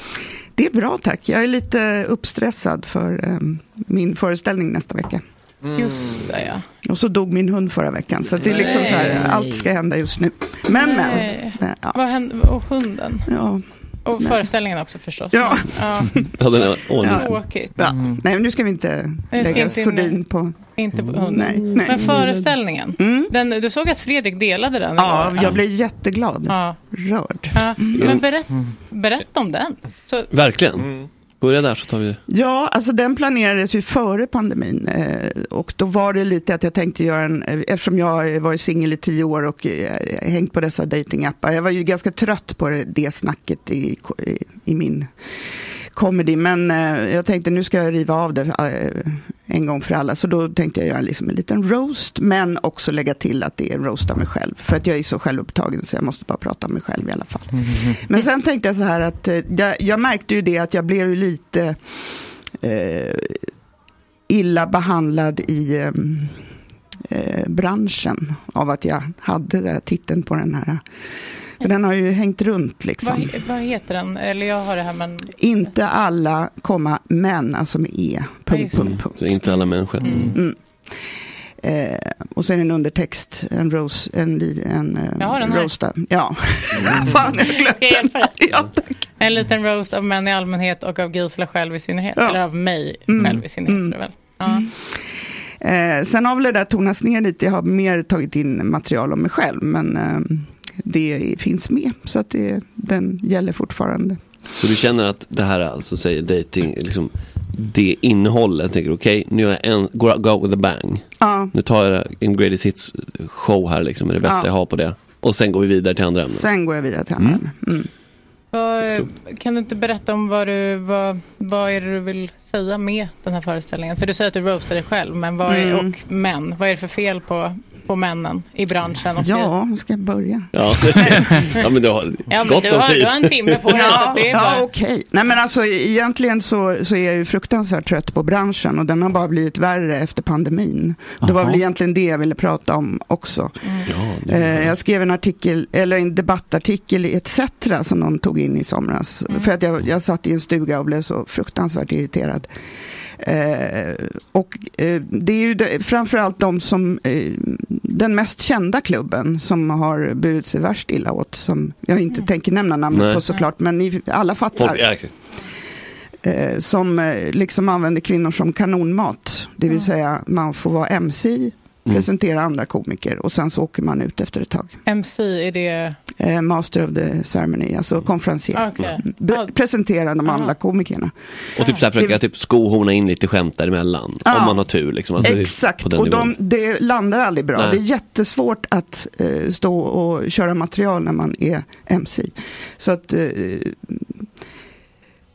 Det är bra tack. Jag är lite uppstressad för ehm, min föreställning nästa vecka. Mm.
Just det, ja.
Och så dog min hund förra veckan, så det är liksom så
Nej.
här, allt ska hända just nu. Men, men.
Nej.
Nej, ja.
Vad hände? Och hunden?
Ja.
Och
Nej.
föreställningen också förstås.
Ja.
ja.
Ja, den är
Ja.
ordning.
Tråkigt.
Ja. Nej, men nu ska vi inte
ska
lägga
inte in-
sordin på...
Inte på hunden.
Nej, nej. Mm.
Men föreställningen. Den, du såg att Fredrik delade den
Ja,
igår.
jag blev Mm. jätteglad.
Ja.
Rörd.
Ja. Men berätt, berätta om den. Så,
Mm.
Mm.
Verkligen. Börja där så tar vi det.
Ja, alltså den planerades ju före pandemin eh, och då var det lite att jag tänkte göra en, eh, eftersom jag har varit singel i tio år och eh, hängt på dessa datingappar. jag var ju ganska trött på det, det snacket i, ko- i, i min comedy, men eh, jag tänkte nu ska jag riva av det eh, en gång för alla, så då tänkte jag göra liksom en liten roast, men också lägga till att det är en roast av mig själv, för att jag är så självupptagen så jag måste bara prata om mig själv i alla fall. Men sen tänkte jag så här att eh, jag, jag märkte ju det att jag blev ju lite eh, illa behandlad i eh, eh, branschen av att jag hade den här titeln på den här. För den har ju hängt runt liksom.
vad, vad heter den? Eller jag har det här men...
Inte alla, komma, män, alltså med E. Punkt,
just
punkt, punkt.
Så inte alla människor.
Mm. Eh, och så är det en undertext, en rose, en, li- en, eh,
Jag har den här.
roast. där. Ja, fan jag glömde.
Ska jag hjälpa dig? En liten roast av män i allmänhet och av Gisela själv i synnerhet.
Ja.
Eller av mig
Mm.
själv i synnerhet. tror jag Väl. Ja.
Eh, sen har väl det där tonats ner lite. Jag har mer tagit in material om mig själv, men eh, det finns med. Så att det, den gäller fortfarande.
Så du känner att det här alltså säger dating, liksom, det innehållet, jag tänker okej, nu är jag en, go, go with a bang.
Ja,
Nu tar jag en greatest hits show här liksom, är det bästa
Ja.
jag har på det. Och sen går vi vidare till andra ämnen.
sen går jag vidare till andra ämnen. Mm.
Vad, kan du inte berätta om vad, du, vad, vad är det du vill säga med den här föreställningen? För du säger att du roastar dig själv men vad är,
Mm.
och män. Vad är det för fel på, på männen i branschen? Och i,
Ja, hur ska jag börja?
Ja. ja, men du har
ja men
gott
du,
om
har,
tid.
du har
Typ.
en timme på dig. så
Ja,
att det är
ja
bara,
okej. Nej men alltså e- egentligen så, så är jag ju fruktansvärt trött på branschen och den har bara blivit värre efter pandemin. Det var
Aha.
väl egentligen det jag ville prata om också.
Ja, det
Eh, jag skrev en artikel, eller en debattartikel i ETC som de tog in i somras.
Mm.
För att jag, jag satt i en stuga och blev så fruktansvärt irriterad. Eh, och eh, det är ju de, framförallt de som, eh, den mest kända klubben som har burit sig värst illa åt, som jag inte tänker nämna namnet
Mm. Nej.
på såklart, men ni alla fattar
folk, ja, exakt.
eh, som eh, liksom använder kvinnor som kanonmat. Det vill
Mm.
säga man får vara MC, presentera andra komiker och sen så åker man ut efter ett tag.
MC, är det...
Eh, Master of the ceremony, alltså konferencier.
Mm. Ah,
Mm.
Okej.
Be-
Ja.
Presentera de andra
Aha.
komikerna.
Och typ så här försöka typ, skohorna in lite skämt däremellan.
Ja.
Om man har tur liksom. Alltså, det är
Exakt,
på den
och de,
nivån.
det landar aldrig bra.
Nej.
Det är jättesvårt att eh, stå och köra material när man är MC. Så att, eh,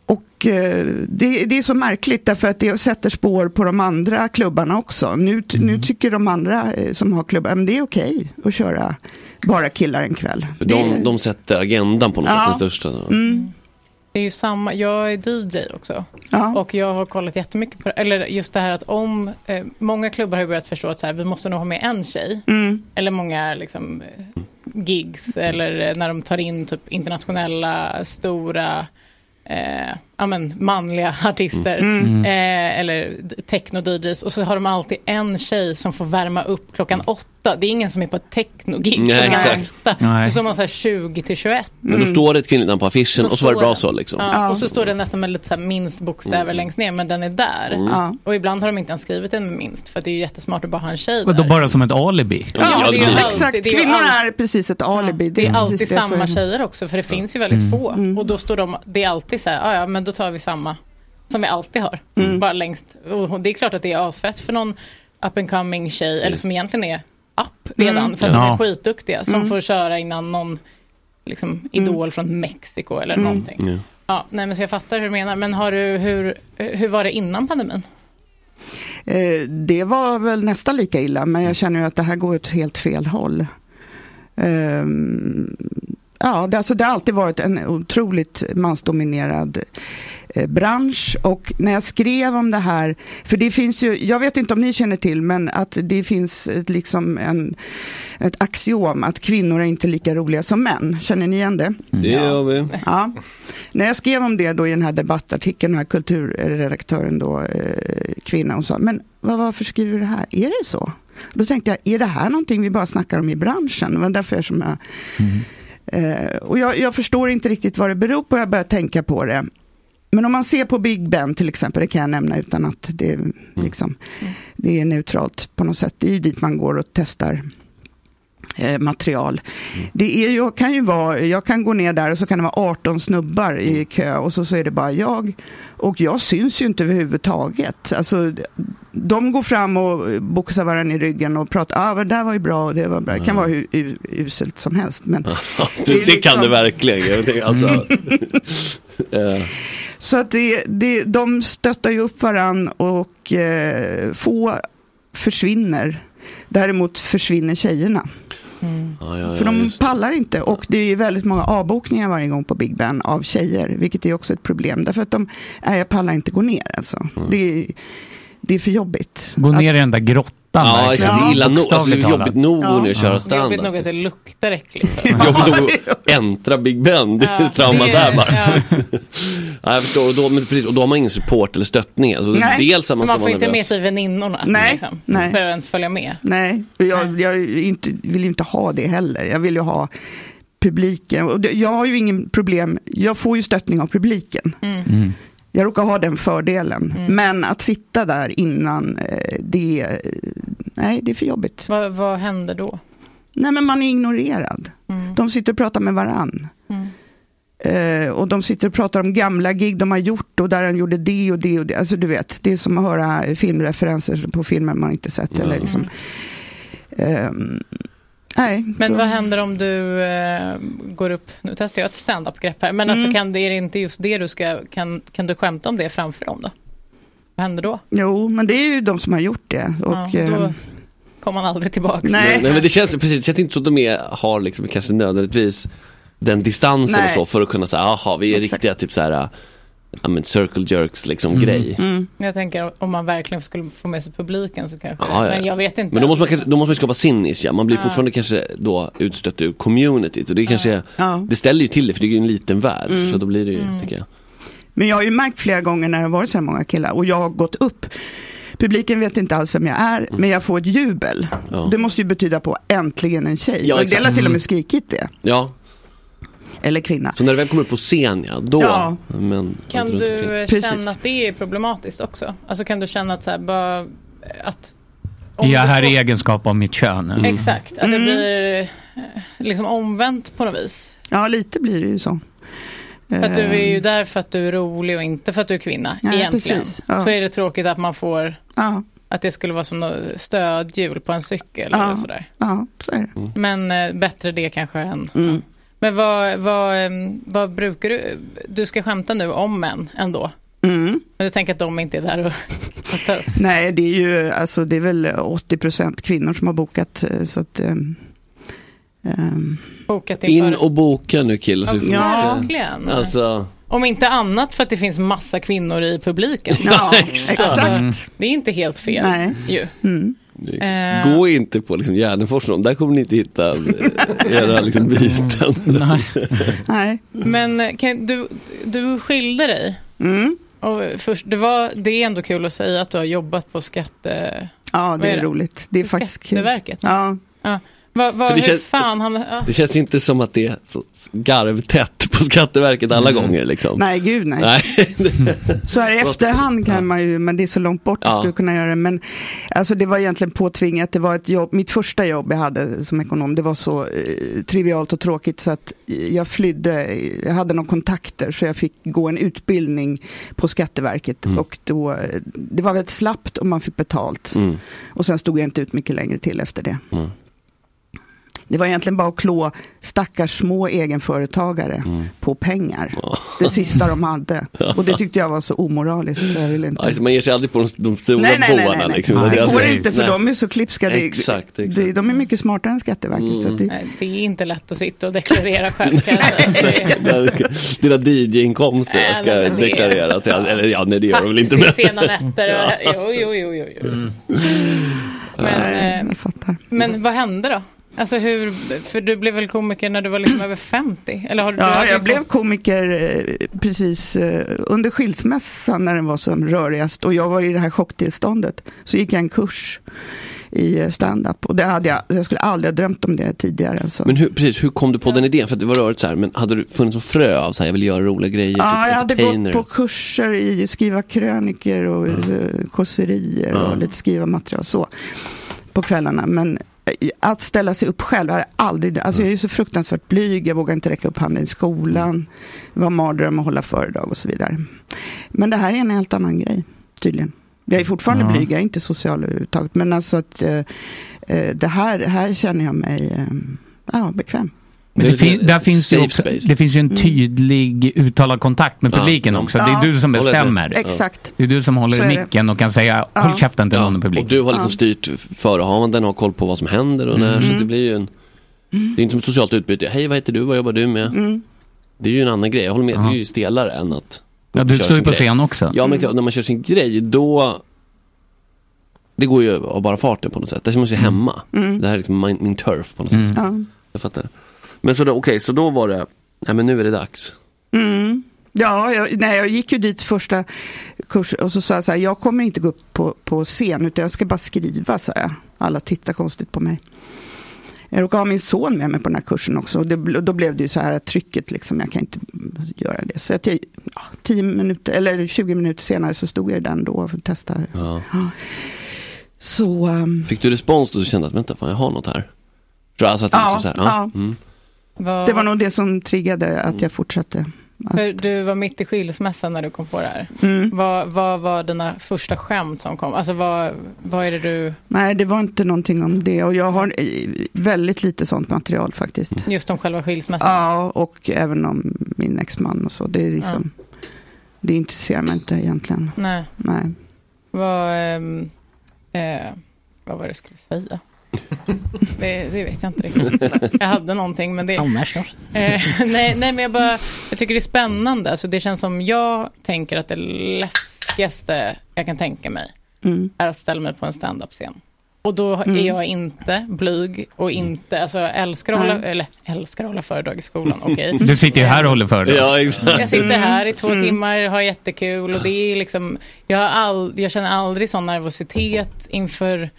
och eh, det, det är så märkligt därför att det sätter spår på de andra klubbarna också. Nu, t-
Mm.
nu tycker de andra eh, som har klubbar, men det är okej att köra bara killar en kväll.
För
Det-
de, de sätter agendan på något
Ja.
sätt, den största.
Mm,
Det är ju samma, jag är DJ också.
ja.
Och jag har kollat jättemycket på det. Eller just det här att om, eh, många klubbar har ju börjat förstå att så här, vi måste nog ha med en tjej.
Mm.
Eller många liksom, eh, gigs
Mm.
eller eh, när de tar in typ internationella stora eh, ja, men, manliga artister.
Mm.
Eh, eller d- techno-DJs. Och så har de alltid en tjej som får värma upp klockan åtta. Det är ingen som är på ett techno-gig
Mm. Nej,
klockan
exakt.
åtta.
Nej.
Och så har man så här 20 till 21.
Men då står det ett kvinnligt namn på affischen
Mm. Då
och så var det
står
bra
det.
så liksom. Mm.
Ja, och så står det nästan med lite så här minst bokstäver längst ner, men den är där.
Ja.
Och ibland har de inte ens skrivit en minst, för att det är ju jättesmart att bara ha en tjej
Vadå,
där.
bara som ett alibi?
Ja,
Ja,
det är ju
exakt.
alltid- det är ju
Kvinnor
alltid-
är precis ett alibi.
Det är
precis
alltid
det som
samma
är- Mm.
tjejer också, för det finns ju väldigt få. Och då står de, det är alltid så här, "Ah, ja men då tar vi samma som vi alltid har.
Mm.
Bara längst. Och det är klart att det är asfett för någon up and coming tjej, eller som egentligen är up redan,
Mm.
för att de
Ja.
är skitduktiga, som
Mm.
får köra innan någon
Mm.
liksom, idol från Mexiko eller
Mm.
någonting. Ja, nej men så jag fattar hur du menar. Men har du, hur, hur var det innan pandemin?
Eh, det var väl nästan lika illa, men jag känner ju att det här går åt helt fel håll. Ehm, ja, det, alltså, det har alltid varit en otroligt mansdominerad eh, bransch och när jag skrev om det här, för det finns ju, jag vet inte om ni känner till, men att det finns ett, liksom en, ett axiom att kvinnor är inte lika roliga som män. Känner ni igen det?
Det gör vi.
Ja. När jag skrev om det då i den här debattartikeln, den här kulturredaktören då, eh, kvinna, hon sa, men vad, varför skriver du det här? Är det så? Då tänkte jag, är det här någonting vi bara snackar om i branschen? Det var därför jag som jag Eh, och jag, jag förstår inte riktigt vad det beror på, jag börjar tänka på det. Men om man ser på Big Ben till exempel, det kan jag nämna utan att det, liksom, det är neutralt på något sätt. Det är ju dit man går och testar eh, material. Det är ju, kan ju vara, jag kan gå ner där och så kan det vara 18 snubbar i kö och så, så är det bara jag. Och jag syns ju inte överhuvudtaget. Alltså, de går fram och boxar varandra i ryggen och pratar, ah, men det där var ju bra och det var bra. Det kan vara hur u- uselt som helst. Men
Det, det kan
liksom-
det verkligen. Jag tänker, Alltså,
Mm.
eh,
Så att det, det, de stöttar ju upp varann och eh, få försvinner. Däremot försvinner tjejerna.
ja, ja,
För
ja,
de
just.
pallar inte och det är väldigt många avbokningar varje gång på Big Ben av tjejer, vilket är också ett problem. Därför att de, nej jag pallar inte gå ner alltså. Det, är, det är för jobbigt.
Gå ner i den där grottan
ja,
verkligen.
exakt, det är illa nog. Alltså, det är
Bokstavligt
jobbigt nog att nu
Ja.
Det
köra
är jobbigt
standard.
nog att det luktar äckligt.
Jobbigt nog att äntra Big Ben. Det
Ja,
är trauma
det är-
där bara.
ja.
Ja, jag förstår. Och då, men precis, och då har man ingen support eller stöttning. Alltså,
Nej.
dels att
Man,
man ska
får
vara
inte med
nervös.
sig väninnorna
Nej,
liksom,
nej.
för att ens följa med.
Nej, och jag, jag är inte, vill ju inte ha det heller. Jag vill ju ha publiken. Och det- Jag har ju ingen problem, jag får ju stöttning av publiken.
Mm.
Jag råkar ha den fördelen. Men att sitta där innan, eh, det, eh, nej, det är för jobbigt.
Vad, vad händer då?
Nej, men man är ignorerad.
Mm.
De sitter och pratar med varann. Eh, och de sitter och pratar om gamla gig de har gjort och där han gjorde det och det och det. Alltså du vet, det är som att höra eh, filmreferenser på filmer man inte sett. Eller liksom. Ehm, nej,
Men
de-
vad händer om du eh, går upp, nu testar jag ett stand-up-grepp här, men alltså kan, det- är det inte just det du ska, kan, kan du skämta om det framför dem då? Vad händer då?
Jo, men det är ju de som har gjort det. Och,
ja,
ehm,
då kommer man aldrig tillbaka.
Liksom. Nej. Nej, men det känns, precis, det känns inte så att de är, har liksom, kanske nödvändigtvis den distansen
Nej.
och så för att kunna säga, jaha, vi är riktiga typ så här, ja men circle jerks liksom
Mm.
grej.
Jag tänker om man verkligen skulle få med sig publiken så kanske,
Ja, ja, ja.
men jag vet inte.
Men då måste man, kanske- då måste man skapa sin nisch, ja. man blir
Ja.
fortfarande kanske då utstött ur communityt och det kanske,
Ja.
det ställer ju till det för det är ju en liten värld
Mm.
så då blir det ju,
Mm.
tänker jag.
Men jag har ju märkt flera gånger när det har varit så här många killar och jag har gått upp. Publiken vet inte alls vem jag är, men jag får ett jubel.
Mm. Ja.
Det måste ju betyda på äntligen en tjej.
Ja,
och en
exakt.
del har till och
Mm.
med skrikit det.
Ja.
Eller kvinna.
Så när du väl kommer upp på scen, ja, då.
Ja.
Men,
Kan
runt
du
omkring.
eh, känna att det är problematiskt också? Alltså kan du känna att så här, bara, att om
Jag är
du
här
får-
i egenskap av mitt kön.
Exakt, att det blir eh, liksom omvänt på något vis.
Ja, lite blir det ju så. Eh,
För att du är ju där för att du är rolig och inte för att du är kvinna
Nej,
egentligen.
precis. Ehm. Ja.
Så är det tråkigt att man får
Ja.
att det skulle vara som något stödhjul på en cykel eller
Ja.
sådär.
Ja, så är
Mm.
det.
Men eh, bättre det kanske än...
Mm.
Men vad, vad, ehm, vad brukar du... Du ska skämta nu om män ändå.
Mm.
Men du tänker att de inte är där och... att ta upp.
Nej, det är ju alltså, det är väl 80% kvinnor som har bokat. eh, Så att, ehm, ehm,
Bokat
In
inför...
och boka nu killar så vi får
Ja,
inte-
verkligen.
Alltså,
Om inte annat för att det finns massa kvinnor i publiken.
Ja,
Alltså,
exakt.
det är inte helt fel
Nej.
ju.
Mm.
Eh,
Gå inte på liksom Gärdenfors och de, där kommer ni inte hitta eh, era liksom, byten.
Nej.
Men eh, kan, du, du skilde dig.
Mm.
Och först, det, var, det är ändå kul att säga att du har jobbat på skatte...
ja,
vad
det är,
är det?
roligt. Det är faktiskt kul.
Skatteverket.
Ja.
Ja. Vad, vad,
För
hur
det känns-
fan han... Ja.
Det känns inte som att det är så garvtätt på Skatteverket alla gånger liksom.
Nej, gud nej. Så här i efterhand kan man ju, men det är så långt bort,
Ja.
du skulle kunna göra det. Men alltså det var egentligen påtvingat, det var ett jobb, mitt första jobb jag hade som ekonom, det var så eh, trivialt och tråkigt så att eh, jag flydde, jag hade några kontakter så jag fick gå en utbildning på Skatteverket
Mm.
och då, eh, det var väldigt slappt och man fick betalt.
Mm.
Och sen stod jag inte ut mycket längre till efter det.
Mm.
Det var egentligen bara att klå stackars små egenföretagare
Mm.
på pengar. Det sista de hade. Och det tyckte jag var så omoraliskt. Så jag ville inte.
Alltså, man ger sig aldrig på de, de stora
Nej, nej, nej, nej,
båarna
nej.
liksom.
Det
är
går
aldrig-
inte, för
nej.
de är så klipska. Det-
Exakt, exakt. Mm.
Det, de är mycket smartare än Skatteverket. Så att det,
Nej, det är inte lätt att sitta och deklarera själv kan jag säga. Det är-
Dina DJ-inkomster
Nej,
ska
men det-
deklareras. Ja, Eller ja, nej det gör de väl inte.
Taxi
men-
sena nätter. och-
Ja. Mm.
Jo, jo, jo, jo. jo. Men, eh,
jag fattar.
men vad hände då? Alltså hur, för du blev väl komiker när du var liksom över 50? Eller har du, du
Ja,
hade ju
jag blev komiker eh, precis eh, under skilsmässan när den var som rörigast och jag var i det här chocktillståndet. Så gick jag en kurs i eh, stand-up och det hade jag, jag skulle aldrig ha drömt om det tidigare. Alltså.
Men hur, precis, hur kom du på den idén? För att det var rörigt så här, men hade du funnits en frö av så här, jag vill göra roliga grejer?
Ja, jag hade
entertainer?
gått på kurser i skriva kröniker och eh, kåserier
Ja.
och lite skriva material så på kvällarna. Men eh, att ställa sig upp själv, jag hade aldrig, alltså jag är ju så fruktansvärt blyg, jag vågar inte räcka upp handen i skolan. Det var en mardröm att hålla föredrag och så vidare. Men det här är en helt annan grej, tydligen. Jag är fortfarande
Ja.
blyg, jag är inte social överhuvudtaget. Men alltså att eh, eh, det här, här känner jag mig eh, ja, bekväm.
Men det, fin- där finns det, också, det finns ju
Mm.
Mm.
en tydlig uttalad kontakt med
Ja.
publiken också. Det
Ja.
är du som
Håller det.
bestämmer.
Exakt.
Det är du som
Så
håller
är
i
det.
micken och kan säga håll
Ja.
käften till någon i publiken.
Och du har liksom
Ja.
styrt förehavanden och har koll på vad som händer och när.
Mm.
Så
Mm.
det blir ju en... Det är inte som ett socialt utbyte. Hej, vad heter du? Vad jobbar du med?
Mm.
Det är ju en annan grej. Jag håller med. Det är ju stelare än att...
Ja, du
köra
står ju
sin
på
grej.
scen också.
Ja, men exakt. När man kör sin grej, då... Det går ju av bara farten på något sätt. Det känns ju hemma.
Mm.
Det här är liksom min, min turf på något
Mm.
sätt.
Ja.
Jag fattar. Men så då, okej, så då var det... Nej, men nu är det dags.
Mm. Ja, jag, nej, jag gick ju dit första kursen och så sa jag så här, jag kommer inte gå upp på, på scen utan jag ska bara skriva, sa jag. Alla tittar konstigt på mig. Jag råkade ha min son med mig på den här kursen också och det, bl- då blev det ju så här att trycket liksom, jag kan inte göra det. Så att jag, ja, 10 minuter, eller 20 minuter senare så stod jag ju där ändå för att testa.
Ja.
Så, ehm,
Fick du respons då så kände att vänta, fan, jag har något här? Tror jag, Alltså att det
Ja,
liksom så här, ja.
ja.
Mm.
Vad-
det var nog det som triggade att jag fortsatte.
För du var mitt i skilsmässan när du kom på det här. Vad, vad var dina första skämt som kom? Alltså vad, vad är det du,
Nej, det var inte någonting om det och jag har eh, väldigt lite sånt material faktiskt.
just om själva skilsmässan?
Ja, och även om min exman och så. Det, är liksom, det intresserar mig inte egentligen.
Nej.
Nej.
Vad, ehm, eh, vad var det jag skulle säga? Det, det vet jag inte riktigt. Jag hade någonting men det...
Annars då?
Eh, nej, nej, men jag, bara, jag tycker det är spännande. Alltså, det känns som jag tänker att det läskigaste jag kan tänka mig
Mm.
är att ställa mig på en standup-scen. Och då är
Mm.
jag inte blyg och inte, alltså jag älskar att hålla,
Nej.
eller älskar att hålla föredrag i skolan, okej.
Du sitter ju här och håller föredrag.
Ja, exakt.
Jag sitter här i två
Mm.
timmar, har jättekul och det är liksom, jag, har all, jag känner aldrig sån nervositet inför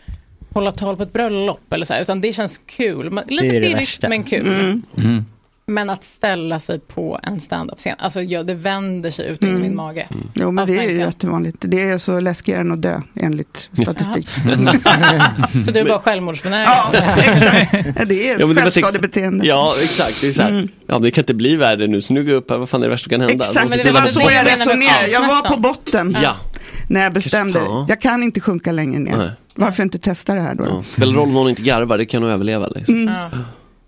hålla tal på ett bröllop eller så här, utan det känns kul. Men-
Det är
Lite
det
pirrigt
värsta.
men kul.
Mm.
Mm.
Men att ställa sig på en stand-up-scen, alltså ja, det vänder sig ut
Mm.
i min mage.
Jo, men
Av
det är ju
tanken.
jättevanligt. Det är så läskigare än att dö, enligt statistik.
Så du är bara självmordsbenägen?
Ja, det är ett
Ja, men det var tex-
självskadebeteende. Mm.
Ja, exakt. Det är så här. Ja, men det kan inte bli värre nu. Så nu går jag upp här. Vad fan är det värsta som kan hända?
Exakt,
Måste
det var
titta
så
på-
jag
Ja.
resonerade. Jag var på botten
Ja.
när jag bestämde.
Ja.
Jag kan inte sjunka längre
Nej.
ner. Varför inte testa det här då?
Ja. Spelar roll om någon inte garvar, det kan nog överleva. Liksom.
Mm.
Ja.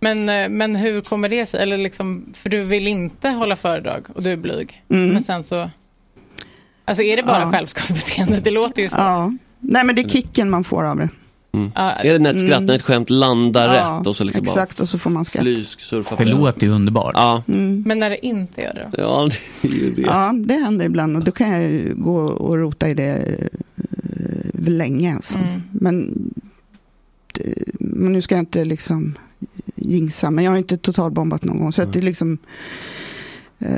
Men, eh, men hur kommer det sig? Eller liksom, för du vill inte hålla föredrag och du är blyg.
Mm.
Men sen så... Alltså är det bara
Ja.
självskadebeteende? Det låter ju så.
Ja. Nej, men det är kicken man får av det.
Mm.
Ja.
Är det när ett skratt,
Mm.
när ett skämt landar
Ja,
rätt och så liksom
Exakt, och så får man Mm.
bara
skratta.
flysk, surfa på
Det låter ju underbart.
Ja.
Men när det inte gör det då?
ja, det är ju det.
Ja, det händer ibland och då kan jag ju gå och rota i det eh, länge. Alltså.
Mm.
Men, det- men nu ska jag inte liksom jinxa, men jag har inte totalbombat någon gång. Så att det är liksom, eh,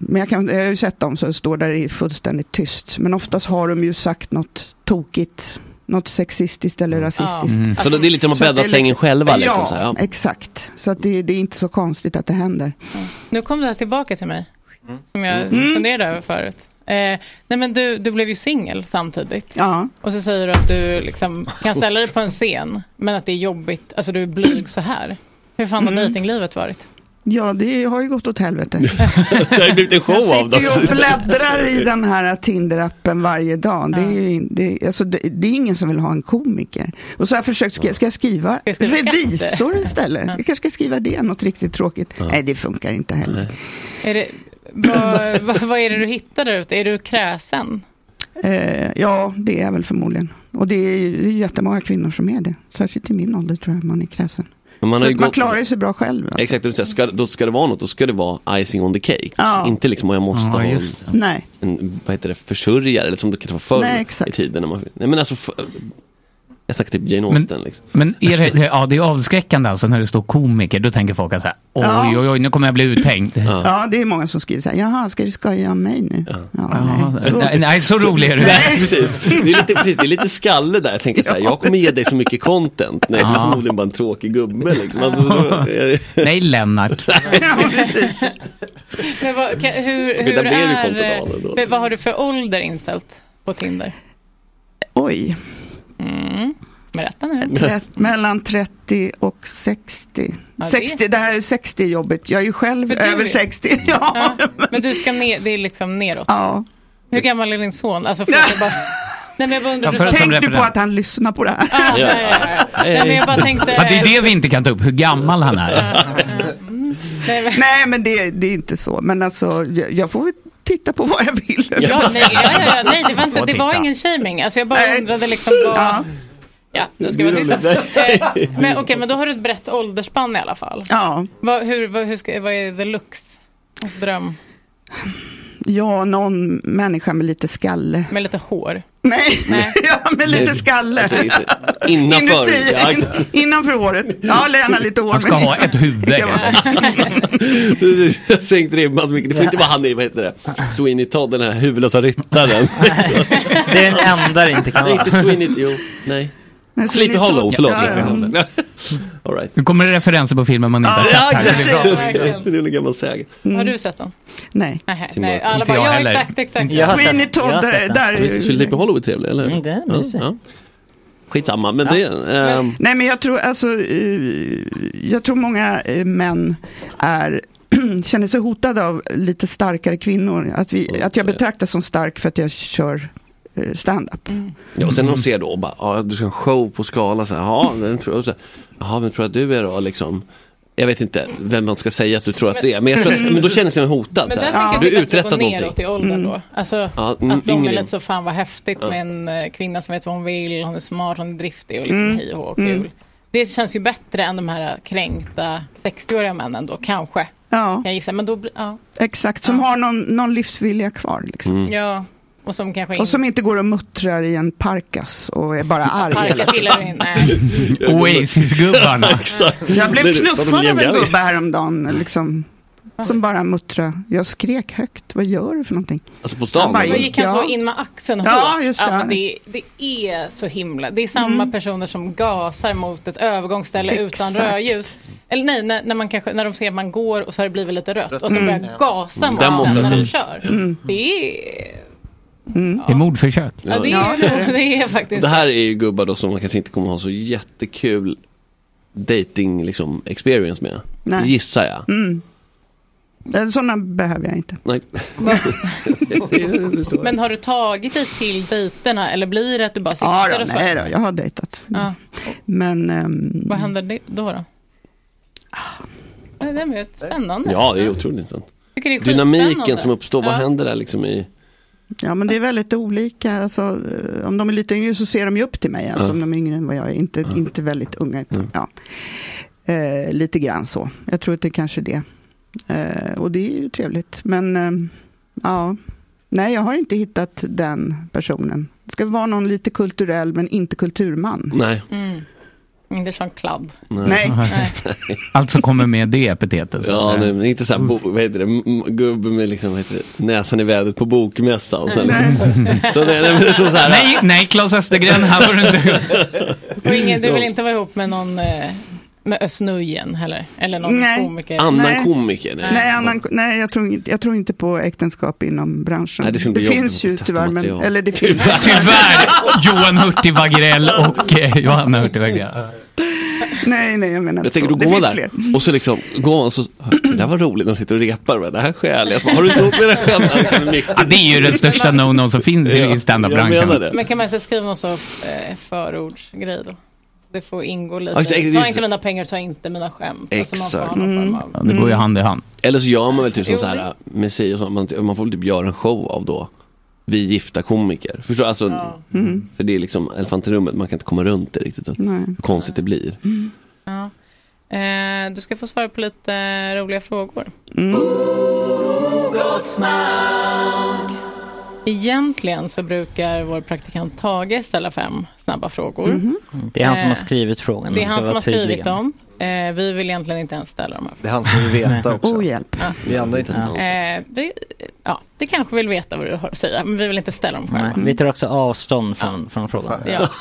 men jag, kan, jag har ju sett dem som står där i fullständigt tyst. Men oftast har de ju sagt något tokigt något sexistiskt eller rasistiskt.
Mm. Så det- det är lite som att
Så
bädda
det är
sängen själva, liksom,
ja,
så här, ja.
exakt. Så att det, det är inte så konstigt att det händer.
Mm. Nu kom det här tillbaka till mig, som jag
Mm.
funderade över förut. Eh, nej men du, du blev ju singel samtidigt.
Ja.
Och så säger du att du liksom kan ställa dig på en scen, men att det är jobbigt, alltså du är blyg så här. Hur fan har
Mm.
dejtinglivet varit?
Ja, det har ju gått åt helvete.
Det har ju blivit en show
Jag
av det
sitter ju
också.
och bläddrar i den här Tinder-appen varje dag. Det är, ju, in- det, alltså, det, det är ingen som vill ha en komiker. Och så har jag försökt, ska, ska jag skriva
jag skriva
revisor
katter?
istället? Jag kanske ska skriva det, något riktigt tråkigt. Nej, det funkar inte heller.
Är det, vad, vad, vad är det du hittar där ute? Är du kräsen?
Eh, ja, det är jag väl förmodligen. Och det är ju det är ju jättemånga kvinnor som är det. Särskilt i min ålder tror jag man är kräsen.
Men man
Man,
har ju
man
gått-
klarar ju sig bra själv. Alltså.
Exakt, det vill säga, ska, då ska det vara något, då ska det vara icing on the cake.
Ja.
Inte liksom, "Åh, jag måste
Ja,
ha en,
just det. Nej.
en vad heter det, försörjare, eller som det kanske var förr
Nej,
i tiden. När man, nej men alltså, för, jag sagt typ Jane Austen liksom.
Men är det, ja, det är avskräckande alltså när det står komiker. Då tänker folk att så här,
Ja.
oj, oj, oj, nu kommer jag bli uthängd.
Ja, det är många som skriver så här, jaha, ska du skoja om mig nu? Ja, nej.
Nej, nej, så rolig är du.
Nej, precis. Det är, lite, precis, det är lite skalle där. Jag tänker så här, jag kommer ge dig så mycket content. Nej, du är
Ja.
förmodligen bara en tråkig gubbe liksom. Alltså, så då,
Nej, Lennart.
Men vad, kan, hur, hur
Okej, där blev ju kontentan
är,
ändå.
men vad har du för ålder inställt på Tinder?
Oj.
Mm. Berätta nu.
Trett, mellan 30 och 60.
Ja, det-
60, det här är 60 jobbigt. Jag är ju själv
För du
över
är-
60. Ja.
Men du ska ner, det är liksom neråt?
Ja.
Hur gammal är din son? Alltså, förlåt, jag bara... Nej men jag bara undrar, du sa-
Tänk du på att han lyssnar på det här?
Ja, ja, ja, ja. Nej, men jag bara tänkte...
Att det är det vi inte kan ta upp, hur gammal han är.
Nej, men det, det är inte så. Men alltså, jag, jag får väl titta på vad jag vill.
Ja, nej, ja, ja, ja, nej, det var, inte, det var ingen shaming. Alltså, jag bara undrade liksom vad... Ja, nu ska jag vara tyst. Eh, Men okej, men då har du ett brett åldersspann i alla fall.
Ja.
Vad, hur, vad, hur ska, vad är the looks? Dröm?
Ja, någon människa med lite skalle.
Med lite hår?
Nej, ja, med lite skalle.
alltså, Innanför.
Inuti,
Ja,
in, innanför håret. Ja, Lena lite hår.
Han ska
men-
ha ett huvud.
Det kan vara-
Precis, jag har sänkt ribban så mycket. Det får inte vara han i, vad heter det, Sweeney Todd, den här huvudlösa ryttaren.
Det är den enda det inte kan
Nej,
vara.
inte Sweeney, jo, nej. Sleepy Hollow, förlåt. All right.
Nu kommer det referenser på filmen man inte har
Ja,
sett. här.
precis.
Det blir bra.
Det är en gammal säga.
Har du sett den?
Mm. Nej.
Nej,
Tim
nej
Burton.
alla
Inte
bara,
jag
ja
heller.
exakt, exakt.
Inte jag har sett den.
Todd,
eh,
där är ju-
Sleepy Hollow är trevlig, eller hur?
Mm, det är
Ja,
mysigt.
ja. Skitsamma, men det är... ehm,
Nej, men jag tror alltså, eh, jag tror många eh, män är känner sig hotade av lite starkare kvinnor. Att, vi,
Mm.
att jag betraktas som stark för att jag kör eh, stand-up.
Mm.
Ja, och sen de ser då och bara, ja, du ska ha en show på skala så här, jaha, vem tror, och så här, jaha, vem tror att du är då liksom? Jag vet inte vem man ska säga att du tror att det är, men, jag tror att, men då känner jag mig hotad.
Men
så
där
här.
tänker jag
Du
typ
har
att det går
uträttat
neråt
någonting.
i åldern då. Alltså
Ja, mm,
att de är
yngre.
lite så fan vad häftigt med en eh, kvinna som vet vad hon vill, hon är smart, hon är driftig och liksom
Mm.
hej och hå,
Mm.
kul. Det känns ju bättre än de här eh, kränkta 60-åriga männen då, kanske.
Ja.
Jag gissar, men då blir, ja.
Mm. Exakt, som har någon, någon livsvilja kvar. Liksom.
Mm.
ja. Och som kanske
Och som inte går och muttrar i en parkas och är bara arg. hela tiden.
Parkas gillar du inte. Nej.
Oasis-gubbarna.
Jag
Det
blev
är- vad
knuffad
de
av en
jämnare.
gubbe häromdagen. Liksom, som bara muttrade. Jag skrek högt. Vad gör du för någonting?
Alltså på
Han
stan?
bara
Då gick han så
Ja.
in med axeln
Ja,
hårt.
just det. Mm.
Att det, det är så himla... Det är samma personer som gasar mot ett övergångsställe utan
Exakt.
rödljus. Eller nej, när, när, man kanske, när de ser att man går och så har det blivit lite rött. Och att de
Mm.
börjar gasa
Mm.
mot den när de
Demonstrativt.
kör. Det är...
Det är mordförsök.
Ja, det,
Mm. Ja,
är,
det är
det. är faktiskt...
Det här är ju gubbar då som man kanske inte kommer ha så jättekul dating liksom, experience med.
Nej.
Gissar jag.
Mm. Eh, Sådana behöver jag inte.
Nej.
Men har du tagit dig till dejterna eller blir Alltså, det att du bara sitter
Ja, då,
och så?
nej då, jag har dejtat.
Ja.
Men... ehm,
Vad händer det- då? då? Nej, Det är spännande.
Ja, det är otroligt intressant.
Tycker det är
Dynamiken
skitspännande.
som uppstår, vad
Ja.
händer där liksom i...
Ja, men det är väldigt olika. Alltså, eh, om de är lite yngre så ser de ju upp till mig. Alltså,
Ja.
Om de är yngre än vad jag är. Inte, inte väldigt unga. utan- Ja. Eh, lite grann så. Jag tror att det är kanske det. Eh, och det är ju trevligt. Men eh, ja, nej, jag har inte hittat den personen. Det ska vara någon lite kulturell men inte kulturman.
Nej.
Mm. Inte som kladd.
Nej.
Nej.
Allt som Alltså kommer med det epitetet. så att
Ja,
säga.
nej, men inte såhär, bo, vad heter det, m- m- gubbe med liksom, vad heter det, näsan i vädret på bokmässa och sen så, nej, nej, men det är så så här,
Nej, nej, Claes Östergren, här får du inte...
Och ingen, du vill inte vara ihop med någon eh, med Özz Nujen heller? Eller någon
Nej.
komiker?
Annan
Nej.
komiker, nej.
Nej, annan, nej jag, tror inte, jag tror inte på äktenskap inom branschen.
Nej, det ska bli jobbigt
finns ju
att testa
tyvärr, men,
material.
eller det finns.
Tyvärr, Johan Hurtig Wagrell och eh, Johanna Hurtig Wagrell.
Nej, nej, jag menar
Jag
inte
tänker,
så.
då
Det
går man
finns
där
fler.
och så liksom, går man och så, det där var roligt, de sitter och repar, med, det här skäl jag. Så bara, Har du inte gjort med det skämtet?
Ja, det är ju den största no-no som finns i
Jag menar
standup-branschen.
det.
Men kan man inte skriva någon sån eh, förordsgrej då? Det får ingå lite.
Ja, just det, just det.
Ta inte mina pengar, ta inte mina skämt. Alltså man får ha
Exakt.
någon form av...
Mm. Ja, det går ju hand i hand.
Eller så gör man väl typ som
Jo,
så här med sig och sånt, man, man får väl typ göra en show av då vi gifta komiker. Förstår du? Alltså,
Mm.
För det är liksom elefanten i rummet, man kan inte komma runt det riktigt. Att,
Nej.
hur konstigt det blir.
Mm. Ja. Eh, du ska få svara på lite roliga frågor. Egentligen så brukar vår praktikant Tage ställa fem snabba frågor.
Det är han som har
Eh,
skrivit frågan.
Det är
ska
han som
vara
har skrivit
tydlig.
dem. Eh, vi vill egentligen inte ens ställa de här
Det är han som vill veta också.
Oh, hjälp.
Vi andra inte
Ja.
frågorna. Eh, vi, ja, det kanske vill veta vad du har att säga, men vi vill inte ställa dem själva.
Nej, vi tar också avstånd från, från frågan.
Ja.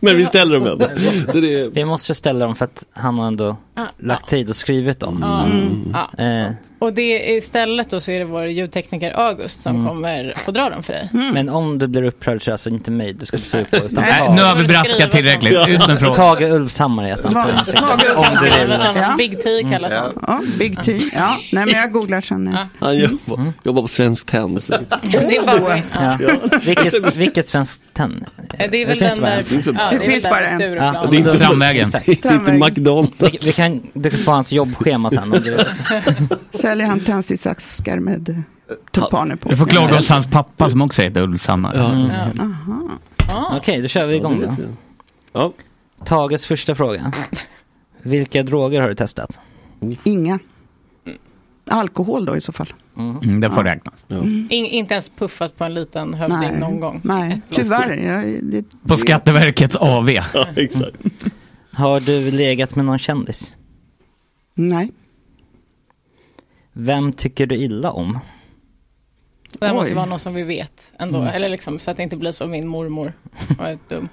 Men vi ställer dem ändå. Så det är...
Vi måste ställa dem för att han har ändå
Ja.
lagt tid och skrivit dem.
Ja.
Mm.
Mm. Ja.
Eh,
Och det, istället då så är det vår ljudtekniker August som
Mm.
kommer få dra dem för dig.
Men om du blir upprörd så är det alltså inte mig du ska se upp på utan
Nej, nu har vi braskat tillräckligt. Ut med frågan.
Tage Ulvshammar heter han på
Vad-
Instagram.
Tage
Om du vill.
Skrivet honom,
Ja.
Big T kallas han.
Ja, Big T. Ja, nej, men jag googlar sen.
Ja.
Han
Mm.
jobbar, jobbar på Svensk Tenn. så-
Det är, bara, ja.
Ja. Vilket, vilket svenskt tenn?
Eh, det är väl
finns
den
bara
där...
en.
Alltså, finns väl bara
Ja,
en.
det är väl
finns
den
bara
där
en.
Ja,
Stureplan.
men
inte
då-
Framvägen.
exakt.
Det är inte
Tandvärk.
McDonalds.
Vi, vi kan, du kan få hans jobbschema sen. Om du vill.
Säljer han tändsticksaskar med eh, tulpaner på?
Du får klaga hos hans pappa som också heter Mm. Ulvshammar.
Okej, då kör vi igång då.
Ja.
Tages första fråga. Vilka droger har du testat?
Inga. Alkohol då i så fall.
Mm, det får räknas.
In, inte ens puffat på en liten hövding någon gång.
Nej, tyvärr. Jag, det,
På Skatteverkets AV.
ja, exakt.
Har du legat med någon kändis?
nej.
Vem tycker du illa om?
Det här måste
Oj.
vara någon som vi vet ändå. Eller liksom, så att det inte blir som min mormor. Var dum.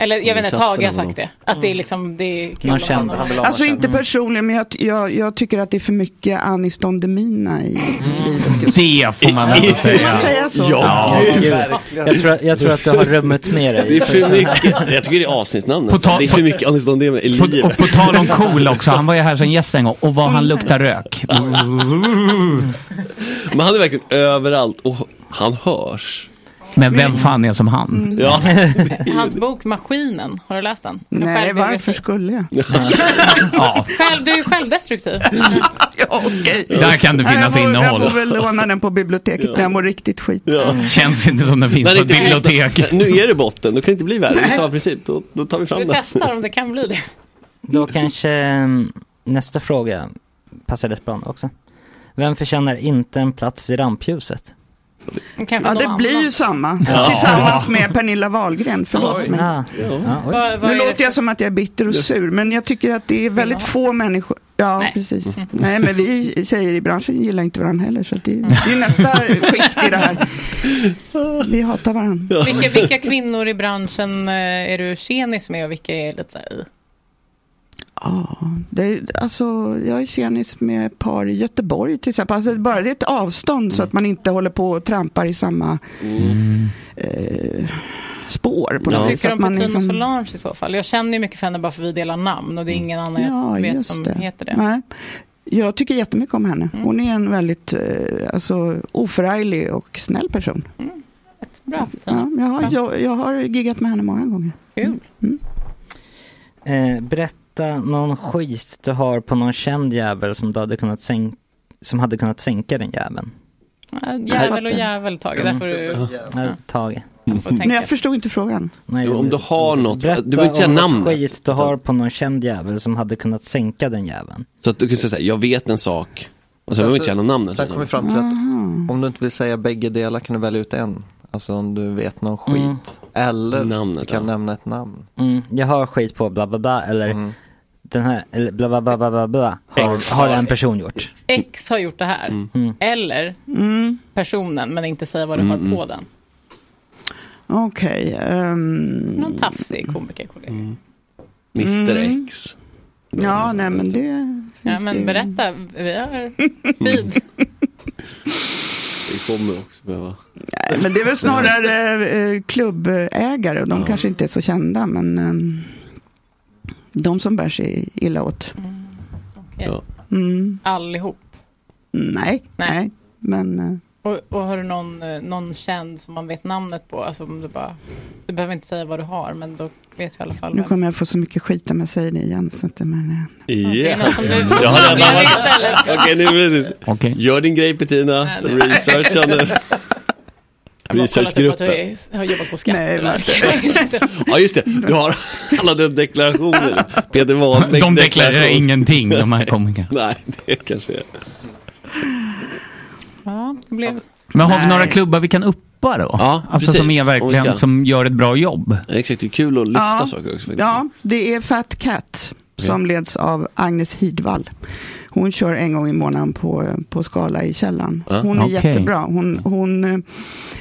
Eller jag vet inte,
satte
Tage har
den
sagt
nog.
det. Att det är liksom, det är kul
Någon
om
känd-
honom.
Han vill ha
Alltså
någon
inte personligen, men jag, jag, jag tycker att det är för mycket Aniston Demina i livet just nu.
Det får man ändå
Får man
säga.
säga så?
Ja.
känd.
Gud.
Verkligen.
Jag tror, jag tror att du har rummet med dig.
Det är för mycket. Jag tycker det är avsnittsnamnet.
På tal-
det är för mycket Aniston Demina i
På, och
livet.
på tal om cool också, han var ju här som gäst en gång och vad
Mm.
han luktar rök.
Men han är verkligen överallt och han hörs.
Men
Mm.
vem fan är som han?
Ja.
Hans bok Maskinen, har du läst den? En
Nej,
självbiografi.
varför skulle jag?
Ja,
Själv, du är ju självdestruktiv.
Ja, okej.
där kan det
Nej, jag
finnas
får- Jag
innehåll.
får väl låna den på biblioteket när jag mår riktigt skit.
Mm. Känns inte som den finns
När
på
det
ett
inte finns
bibliotek.
något- Nu är det botten, då kan det inte bli värre. Det är samma princip, då, då tar vi fram
Vi
den.
testar om det kan bli det.
Då kanske mm, nästa fråga passar rätt bra också. Vem förtjänar inte en plats i rampljuset?
Kanske
Ja,
någon
det blir ju
annan.
samma. Tillsammans med Pernilla Wahlgren, förlåt mig.
Ah, ja, oj.
Vad, vad
Nu
är det
låter jag som att jag är bitter och sur, men jag tycker att det är väldigt få människor. Ja,
Nej. Mm.
precis. Nej, men vi tjejer i branschen gillar inte varandra heller, så att det, det är nästa skikt i det här. Vi hatar varandra.
Vilka, vilka kvinnor i branschen eh, är du tjenis med och vilka är lite så här i?
Ja, det är, alltså, jag är tjenis med ett par i Göteborg till exempel. Alltså, bara det är ett avstånd så att man inte håller på och trampar i samma eh, spår. På något vis.
Tycker
Så
du
att
om Petrina
liksom-
Solange i så fall? Jag känner ju mycket för henne bara för vi delar namn och det är ingen annan jag vet
just
som
det.
heter det. Mm.
Nej. Jag tycker jättemycket om henne. Hon är en väldigt eh, alltså, oförarglig och snäll person.
Mm. Bra, Petrina.
Ja, jag, har, jag, jag har giggat med henne många gånger. Mm.
Kul.
Eh, berätta någon skit du har på någon känd jävel som, du hade kunnat sänk- som hade kunnat sänka den jäveln.
Ja, Jävel och
fattar.
jävel, Tage. Där får du
Ja. Tage.
får
Men jag
tänka.
förstod inte frågan.
Nej,
Om du har något,
berätta
du behöver inte säga
om något
namnet.
skit du har på någon känd jävel som hade kunnat sänka den jäveln.
Så att du kan säga såhär, jag vet en sak. Och sen
Sen
behöver
så-
vi inte säga något namn.
Sen kom vi
Mm.
Mm. Mm.
fram till att om du inte vill säga bägge delar kan du välja ut en. Alltså om du vet någon skit. Eller du kan nämna ett namn.
Mm, jag har skit på bla bla bla eller den här, eller bla bla bla bla bla, bla har, har en person gjort.
X har gjort det här.
Mm.
Eller
Mm.
personen, men inte säga vad du
Mm,
har på
mm.
den.
Okej. ehm,
Någon tafsig komikerkollega.
Mm.
Mr
Mm.
X.
Ja, nej men det
Ja,
finns Mm. det ju.
men berätta. Vi har tid.
Vi kommer också behöva.
Nej, Men det är
Mm.
väl snarare eh, klubbägare och de kanske inte är så kända men ehm, de som bär sig illa åt.
Ja.
Mm.
Allihop.
Nej, nej. men eh,
Och, och har du någon, eh, någon känd som man vet namnet på? Alltså om du bara... Du behöver inte säga vad du har, men då vet vi i alla fall.
nu
vem.
kommer jag få så mycket skit om jag säger det igen. Så att det, men, eh,
Det är något som du...
Jag har redan
googlar istället.
Okej, nu precis. Gör din grej Petina.
Nej, nej.
Researcha nu.
Kolla typ att du
Researchgruppen.
är- har jobbat på Skatteverket.
Ja, just det. Du har alla dess deklarationer. Peter Wahlbecks
De deklarerar
deklaration.
ingenting, de här komikerna.
Nej, det kanske är.
Ja, det blev...
Men har vi några klubbar vi kan uppa då?
Ja,
alltså som
precis.
är
Om vi
verkligen,
ska.
som gör ett bra jobb.
Exakt, det är kul att
lyfta Ja.
saker också.
ja, det är Fat Cat som leds av Agnes Hidvall. Hon kör en gång i månaden på, på Skala i källaren.
Ja,
Hon är
okej.
jättebra. Hon, hon, eh,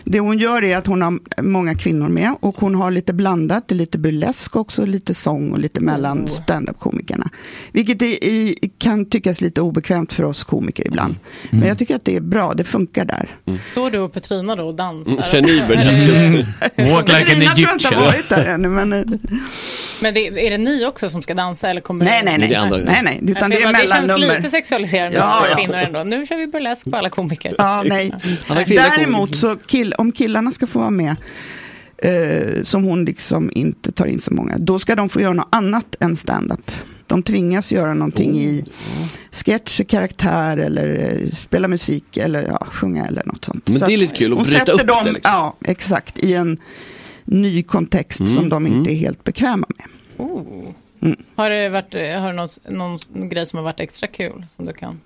det hon gör är att hon har många kvinnor med och hon har lite blandat, det är lite burlesk också, lite sång och lite mellan
Oh.
standup-komikerna. Vilket är, i, kan tyckas lite obekvämt för oss komiker ibland. Men jag tycker att det är bra, det funkar där.
Står du och Petrina då och dansar?
Mm.
Mm.
Mm.
Walk like an Egyptian. tror jag inte har varit där ännu, men... eh,
Men det, är det ni också som ska dansa eller kommer
Nej, nej, nej. Det är andra. Nej, nej, utan det är
Det
mellannummer.
känns lite sexualiserande
Ja,
för
ja.
kvinnor ändå. Nu kör vi burlesk på alla komiker.
Ja, nej. Däremot så, kill, om killarna ska få vara med, eh, som hon liksom inte tar in så många, då ska de få göra något annat än stand-up. De tvingas göra någonting i sketch, karaktär eller eh, spela musik eller ja, sjunga eller något sånt.
Men det är
att
lite kul att
hon
bryta
sätter
upp
dem,
det liksom.
Ja, exakt. I en ny kontext
Mm,
som de inte är helt bekväma med.
Oh.
Mm.
Har det varit har det någon, någon grej som har varit extra kul som du kan?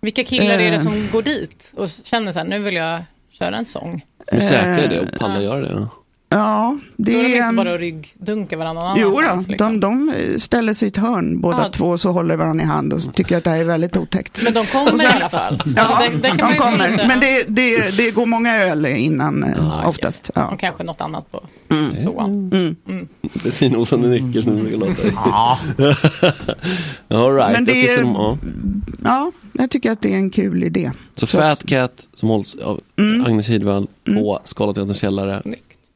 Vilka killar är det
Eh.
som går dit och känner så här, nu vill jag köra en sång?
Hur säkra är det
Eh,
och pallar göra det?
Ja,
Det är
det
inte
är...
bara att ryggdunka varandra någon
Ehm, Jo då,
annanstans, liksom.
de, de ställer sig i ett hörn båda
Ja.
två så håller varandra i hand och tycker att det här är väldigt otäckt.
Men de kommer i alla fall.
Mm. Ja,
Alltså, det- det kan man
de
ju gå
kommer.
lite-
Men det, det, det går många öl innan eh, oftast. Ja.
Och kanske något annat på
Mm.
toan.
Mm.
Mm.
Det är finosande nyckel som det låter.
Ja.
All right.
Men det
Okej, så,
är-
de, ja.
ja, jag tycker att det är en kul idé.
så Fat Cat som hålls av
Mm.
Agnes Hidvall på Scalateaterns källare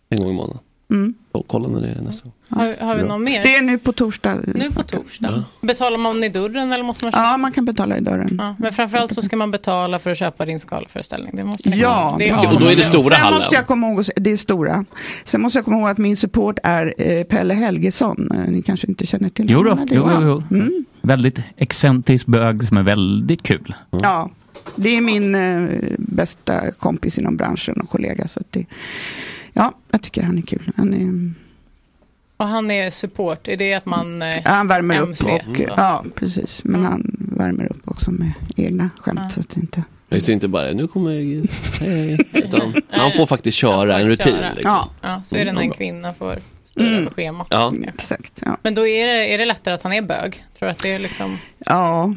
en gång i månaden.
Mm.
Och kolla när det är nästa gång.
Har, har vi
Bra.
någon mer?
Det är nu på torsdag.
Nu på torsdag. Betalar man i dörren eller måste man köpa?
Ja, man kan betala i dörren.
Ja, men framförallt så ska man betala för att köpa din skalföreställning. Det måste
Ja,
det
bra.
avgörande.
Sen måste jag komma ihåg, att- det är stora. Sen måste jag komma ihåg att min support är eh, Pelle Helgesson. Eh, Ni kanske inte känner till
Jo då,
honom? eller?
jo,
Ja.
jo, jo. Väldigt excentrisk bög som är väldigt kul.
Mm.
Ja, det är min eh, bästa kompis inom branschen och kollega. Så att det, ja, jag tycker han är kul. Han, är,
Och han är support. Är det att man... eh,
Mm. ja, han värmer upp
MC?
och, ja, precis. Men han värmer upp också med egna skämt. Så att det inte,
Jag ser inte bara, nu kommer hej, hej. Utan han får faktiskt köra en rutin.
köra.
Liksom.
Ja.
Ja, så är det
Mm,
när en
bra.
kvinna får styra
Mm.
över schemat.
Ja.
Exakt, ja.
Men då är det, är det lättare att han är bög? Tror du att det är liksom...
ja,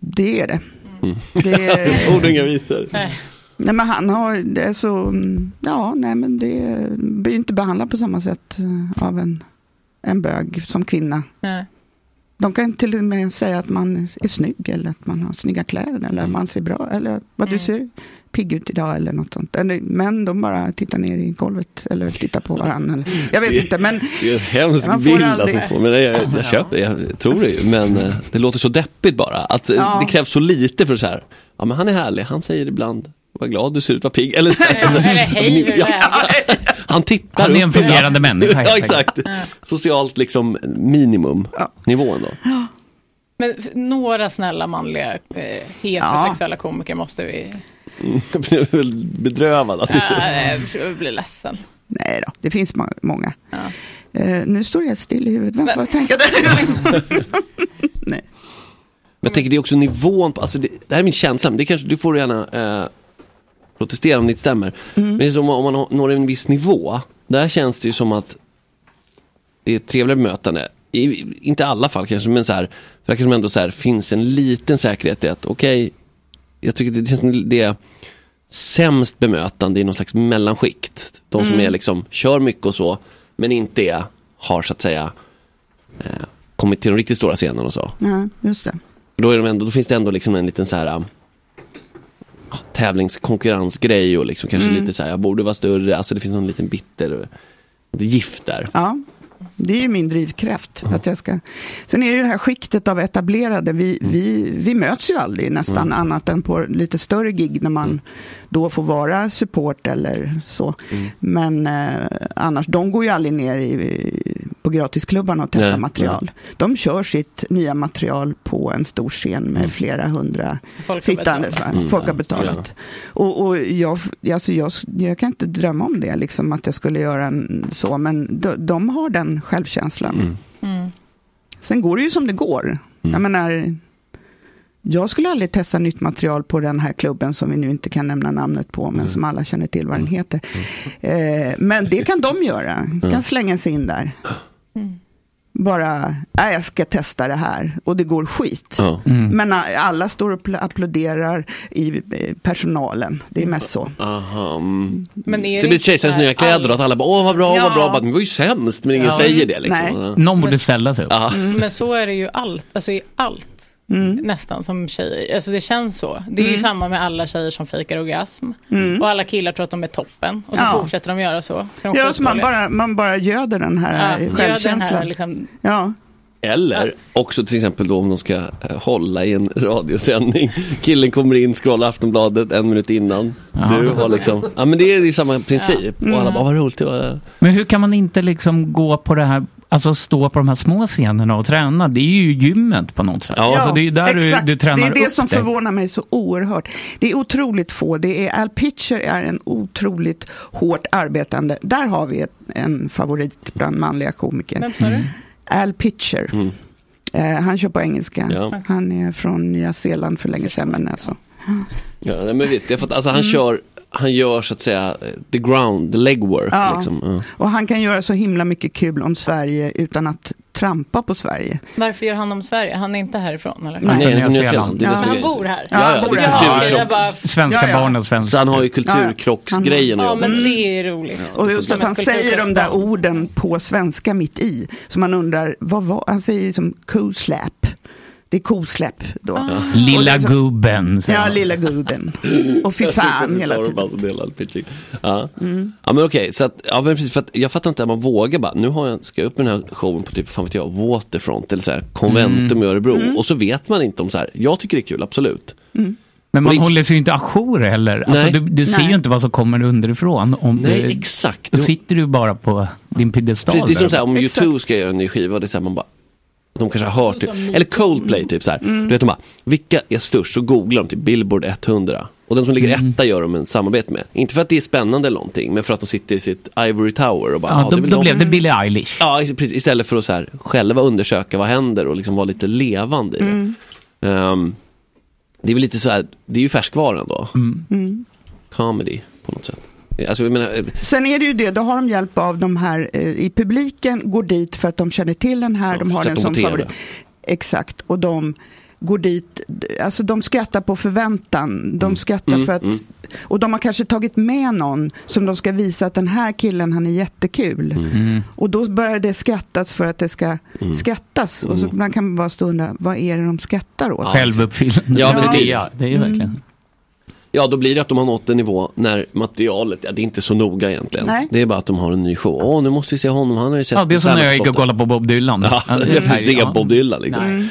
det är det.
Mm.
Det-
Ord och inga visor.
Nej.
Nej, men han har, det är så, mm, ja, nej men det blir inte behandlad på samma sätt eh, av en, en bög som kvinna.
Nej.
De kan till och med säga att man är snygg eller att man har snygga kläder eller att man ser bra eller vad du ser pigg ut idag eller något sånt. Eller Män de bara tittar ner i golvet eller tittar på varandra. eller- Jag vet
Det-
inte men
Det är en hemsk
Man får
bild att
aldrig-
man får. Men jag, jag, jag köper det, jag tror det ju. Men eh, det låter så deppigt bara. Att eh,
Ja.
det krävs så lite för så här. Ja men han är härlig, han säger ibland vad glad du ser ut, vad pigg. Eller,
eller hej, hur är
Ja,
läget?
Han tittar
Han är en
upp ibland.
fungerande människa, helt
Ja
enkelt.
exakt. Socialt liksom minimum nivån då.
Men f- några snälla manliga eh, heterosexuella komiker måste vi...
Mm, Jag blev väl bedrövad att det
Äh, jag blir ledsen.
nej då, det finns ma- många. Eh, nu står jag still i huvudet, vem får tänka det?
Men jag tänker det är också nivån på, alltså det, det här är min känsla, men det kanske, du får gärna eh, protestera om det inte stämmer. Men det är som om man har- når en viss nivå Där känns det ju som att det är ett trevligare bemötande. I, inte alla fall kanske, men så här, verkar som ändå så här, finns en liten säkerhet i att okej, jag tycker det känns som det är sämst bemötande i någon slags mellanskikt. De som
Mm.
är liksom, kör mycket och så, men inte är, har så att säga eh, kommit till de riktigt stora scenerna och så.
Ja, just det.
Då, är de ändå, då finns det ändå liksom en liten så här ah, tävlingskonkurrensgrej och liksom kanske
Mm.
lite så här, jag borde vara större, alltså det finns någon liten bitter det är gift där.
Ja, det är ju min drivkraft. Att jag ska... Sen är det ju det här skiktet av etablerade. Vi, vi, vi möts ju aldrig nästan
Mm.
annat än på lite större gig när man då får vara support eller så.
Mm.
Men eh, annars, de går ju aldrig ner i, på gratisklubbarna och testar
Nej,
material. De kör sitt nya material på en stor scen med flera hundra
Folk har
sittande.
betalat.
fans. Folk har
Mm.
betalat.
Ja.
Och, och jag, alltså jag, jag kan inte drömma om det, liksom, att jag skulle göra en, så, men de, de har den självkänslan.
Mm.
Sen går det ju som det går.
Mm.
Jag menar, jag skulle aldrig testa nytt material på den här klubben som vi nu inte kan nämna namnet på,
Mm.
men som alla känner till vad den heter. Eh, men det kan de göra,
Mm.
kan slänga sig in där.
Mm.
Bara, "Nej, jag ska testa det här och det går skit.
Ja.
Mm.
Men eh, alla står och pl- applåderar i eh, personalen. Det är mest så.
Aha. mm.
Men är
så det
det
blir kejsarens
så här
nya kläder och att alla bara, åh vad bra,
Ja.
vad bra, bara, men det var ju sämst, men ingen
Ja.
säger det liksom.
Nej.
Ja.
Någon borde ställa sig upp.
Ja.
Mm, Men så är det ju allt, alltså i allt nästan som tjejer. Alltså det känns så. Det är ju
Mm.
samma med alla tjejer som fejkar orgasm.
Mm.
Och alla killar tror att de är toppen. Och så
Ja.
fortsätter de göra så. så de
Ja, så man,
skitdåliga.
bara, man bara göder den här eh,
ja, gör den
självkänslan.
här liksom,
Ja.
Eller också till exempel då om de ska eh, hålla i en radiosändning. Killen kommer in, scrollar Aftonbladet en minut innan. Du har liksom, ja men det är ju samma princip. Och alla
Mm.
bara, vad roligt det var.
Men hur kan man inte liksom gå på det här, alltså stå på de här små scenerna och träna? Det är ju gymmet på något sätt. alltså, det är ju där
exakt.
du, du tränar
Det är det
upp
som
dig.
förvånar mig så oerhört. Det är otroligt få. Det är, Al Pitcher är en otroligt hårt arbetande. Där har vi ett, en favorit bland manliga komiker.
Vem sa du? Mm.
Al Pitcher.
Mm.
Eh, han kör på engelska.
Ja.
Han är från Nya Zeeland för länge sedan. Men alltså.
Ja, nej, men visst, det är för att, alltså, han,
Mm.
kör, han gör så att säga eh, the ground, the legwork.
Ja.
Liksom. Ja.
Och han kan göra så himla mycket kul om Sverige utan att trampa på Sverige.
varför gör han om Sverige? Han är inte härifrån eller?
Nej,
Nya Zeeland. Det är det
Men
som
han
är-
bor här.
Ja, ja, det är
Ja,
kulturkrock.
jag bara,
Svenska barn och svenska.
Så han har ju kulturkrocksgrejen att
ja,
jobba
men
med.
det är roligt.
Och just att han säger de där orden på svenska mitt i. Så man undrar, vad var, han säger ju som kosläpp. Det är kosläpp då. Och det
Lilla
är så-
gubben. säger
Ja,
han.
lilla gubben. Och fy fan hela Mm. tiden.
tiden. Ja.
Mm.
ja men okej, så att, ja, men precis, för att jag fattar inte att man vågar bara, nu har jag, ska jag upp med den här showen på typ, fan vet jag, Waterfront eller så här, Conventum i Örebro. Och så vet man inte om så här, jag tycker det är kul, absolut.
Men man
Och det-
håller sig ju inte ajour heller. Alltså,
Nej.
du du ser
Nej.
ju inte vad som kommer underifrån. Om
Nej,
du,
exakt.
Då sitter du bara på din piedestal.
Precis, det är
där.
som så här, om U2 ska göra en ny skiva, det är så här, man bara de kanske har hört, typ, eller Coldplay typ så här. Du vet de bara, vilka är störst? Så googlar de till Billboard 100. Och den som ligger
Mm.
etta gör de en samarbete med. Inte för att det är spännande eller någonting, men för att de sitter i sitt Ivory Tower och bara,
Ja,
"Ah,
då,
är väl
då
de."
blev det Billie Eilish.
Ja, is- precis. Istället för att så här, själva undersöka vad händer och liksom vara lite levande i det.
Mm.
Ehm, det är väl lite så här, det är ju färskvaran då.
Mm.
Comedy på något sätt. Alltså, jag menar, eh,
Sen är det ju det, då har de hjälp av de här eh, i publiken, går dit för att de känner till den här, de har den
sett dem
som
på TV.
favorit. Exakt, och de går dit, d- alltså de skrattar på förväntan, de skrattar
Mm,
för att,
mm.
och de har kanske tagit med någon som de ska visa att den här killen, han är jättekul. Och då börjar det skrattas för att det ska
Mm.
skrattas, och så man kan man bara stå och undra, vad är det de skrattar åt?
Självuppfyllande
Ja, men det blir-
ja, det är ju
Mm.
verkligen.
ja, då blir det att de har nått en nivå när materialet, ja, det är inte så noga egentligen.
Nej.
Det är bara att de har en ny show. Åh, nu måste vi se honom, han har ju sett
Ja, det är som när jag gick och
Träningsfotot.
kollade på Bob Dylan.
Ja,
det är-
jag precis, diggar
ja.
Bob Dylan liksom.
Mm.
Nej.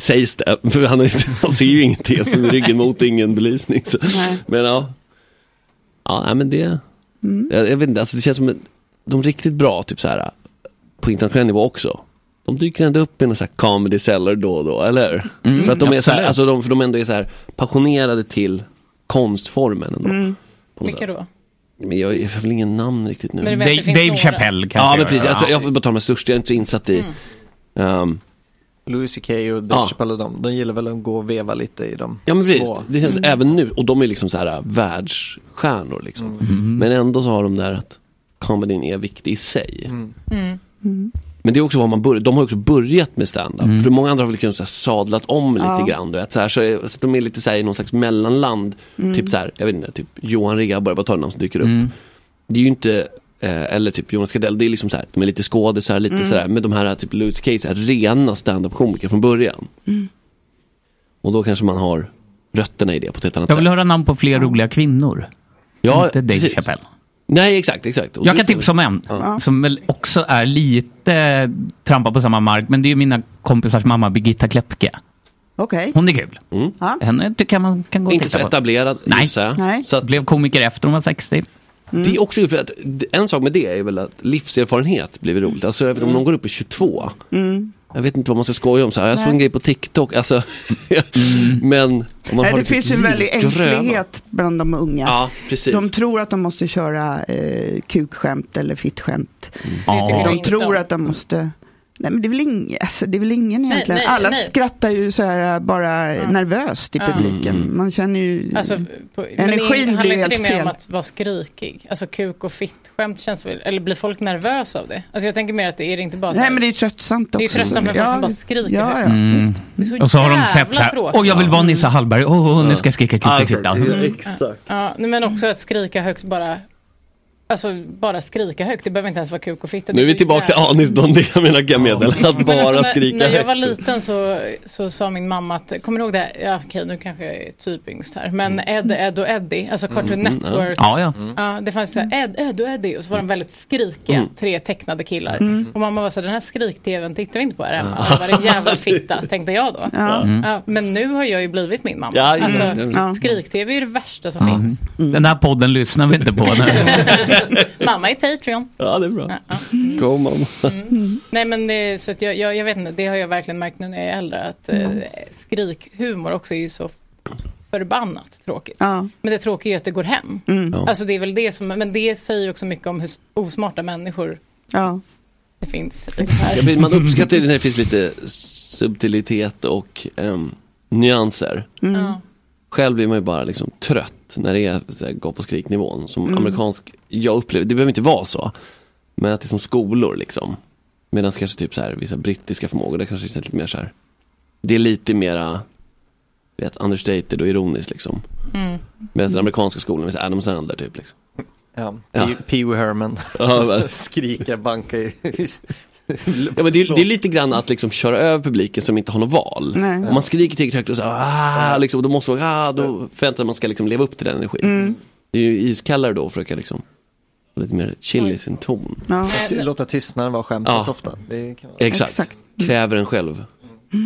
Sägs det, för han, är, han ser ju ingenting, alltså med ryggen mot ingen belysning. Så.
Nej.
Men ja, ja nej, men det,
Mm.
jag, jag vet inte, alltså det känns som att de riktigt bra, typ så här på internationell nivå också. De dyker ändå upp i någon så här comedy seller då och då, eller hur?
Mm,
För att de är så här,
absolut.
alltså de, för de ändå är så här passionerade till konstformen ändå. På något
Mm. Vilka
sätt.
då?
Men jag, jag har väl ingen namn riktigt nu.
Men du vet, det Dave- finns Dave några. Mm. Chappelle
Ja,
kanske.
men precis. Alltså, Jag,
Ja.
jag får bara ta de här största, jag är inte så insatt i. ehm,
Louis CK och Dave Chappelle och dem, de gillar väl att gå och veva lite i de
Ja men precis,
små. Mm.
det
Mm.
känns äh,
Mm.
även nu, och de är liksom så här världsstjärnor liksom. Men ändå så har de där att comedyn är viktig i sig.
Mm. Mm.
Men det är också vad man börjar, de har också börjat med stand-up. För många andra har liksom så här sadlat om lite
Ja.
grann. Du vet, så, här, så, är- så att de är lite så här, i någon slags mellanland.
Mm.
Typ så här, jag vet inte, typ Johan Rigga, bara bara ta namn som dyker upp. Det är ju inte, eh, eller typ Jonas Gardell, det är liksom så här, de är lite skådisar, lite
Mm.
så här. Men de här typ Louis Case är rena stand-up-komiker från början.
Mm.
Och då kanske man har rötterna i det på ett helt annat
Jag vill
sätt.
höra namn på fler roliga kvinnor. inte Dave Chappelle.
Nej, exakt, exakt. Och
Jag
du-
kan tipsa om en
Ja.
som väl också är lite trampar på samma mark. Men det är ju mina kompisars mamma Birgitta Kläppke.
Okej.
Hon är kul.
Ja.
Henne tycker jag man kan gå och
Mm. Inte
titta
så
på.
etablerad, Nej.
Nej.
Så att,
Blev komiker efter hon var 60.
Det är också för att, en sak med det är väl att livserfarenhet blir roligt. Alltså jag vet, om någon går upp i 22,
Mm.
jag vet inte vad man ska skoja om. Så här, jag såg
Nej.
en grej på TikTok, alltså. Men om man
Nej,
har
det
lite
finns ju en väldig
livgröna-
ängslighet bland de unga.
Ja, precis.
De tror att de måste köra eh, kukskämt eller fittskämt.
Mm.
Det tycker jag
De
inte
tror
om.
att de måste... Nej men det är väl, ing... alltså, det är väl ingen
Nej,
egentligen.
nej,
Alla
nej.
skrattar ju så här eh, bara
Ja.
nervöst i
Ja.
publiken.
Mm.
Man känner ju...
Alltså, på,
Mm. Energin
men det
blir
handlar inte
helt
det mer om
fel.
att vara skrikig? Alltså kuk och fitt-skämt känns väl, eller blir folk nervösa av det? Alltså jag tänker mer att det är inte bara så
Nej
här,
men det är ju tröttsamt också.
det är ju tröttsamt med folk som bara skriker
Ja, ja.
högt.
Mm.
Det är så
Och så har de
jävla
sett så här,
tråkigt.
åh jag vill vara Nisse Hallberg, åh åh, nu ska jag skrika
Ja,
kuta
exakt.
kuta.
Ja,
Mm.
exakt.
Ja, nej, men också att skrika högt bara, alltså bara skrika högt, det behöver inte ens vara kuk och fitta. det
Nu är vi
så
tillbaka till
jävla-
anisdon, det jag menar kan jag meddela. Att
Men
bara
alltså, när-
skrika
När jag var
högt.
liten så, så sa min mamma att, kommer du ihåg det här? Ja, okej, nu kanske jag är typ yngst här. Men Ed, Ed och Eddie, alltså Cartoon
Mm, mm, ja.
Network.
Ja, ja.
ja. Det fanns så här, Ed, Ed och Eddie och så var de väldigt skrikiga,
Mm.
tre tecknade killar.
Mm.
Och mamma var så här, den här skrik-tvn tittar vi inte på här hemma. Det var en jävla fitta, tänkte jag då.
Ja. Mm.
Ja, men nu har jag ju blivit min mamma.
Ja, ja,
alltså,
ja.
skrik-tv är ju det värsta som
Ja. Mm.
finns.
Den här podden lyssnar vi inte på. Nej.
Mamma är Patreon. Mm.
Ja, det är bra. Go mamma.
Nej men det, så att jag, jag, jag vet inte, det har jag verkligen märkt nu när jag är äldre att eh, skrikhumor också är ju så förbannat tråkigt. Men det tråkiga är ju att det går hem.
Mm. Ja.
Alltså det är väl det som, men det säger ju också mycket om hur s- osmarta människor det finns i det
Jag blir-
här.
Man uppskattar ju när det finns lite subtilitet och ehm, nyanser.
Mm. Ja.
Själv blir man ju bara liksom trött när det är så här gap och skriknivån. Som
Mm.
amerikansk, jag upplever, det behöver inte vara så. Men att det är som skolor liksom. Medan kanske typ så här, vissa brittiska förmågor, där kanske det är lite mer så här. Det är lite mera, vet, understated och ironiskt liksom.
Mm.
Medan den amerikanska skolan är så här Adam Sandler typ liksom.
Ja,
Ja.
Pee- Pee Wee Herman.
Ja, men-
Skrika, banka i...
Ja, men det, är, det är lite grann att liksom köra över publiken som inte har något val.
Nej.
Om man skriker tillräckligt högt och så här, ah, liksom, då måste man, ah, då förväntar man ska liksom leva upp till den energin.
Mm.
Det är ju iskallare då att försöka liksom vara lite mer chill i sin ton.
Ja.
Ty- Låta tystnaden vara skämtet
Ja.
ofta. Det kan vara. Mm.
Exakt. Kräver en själv.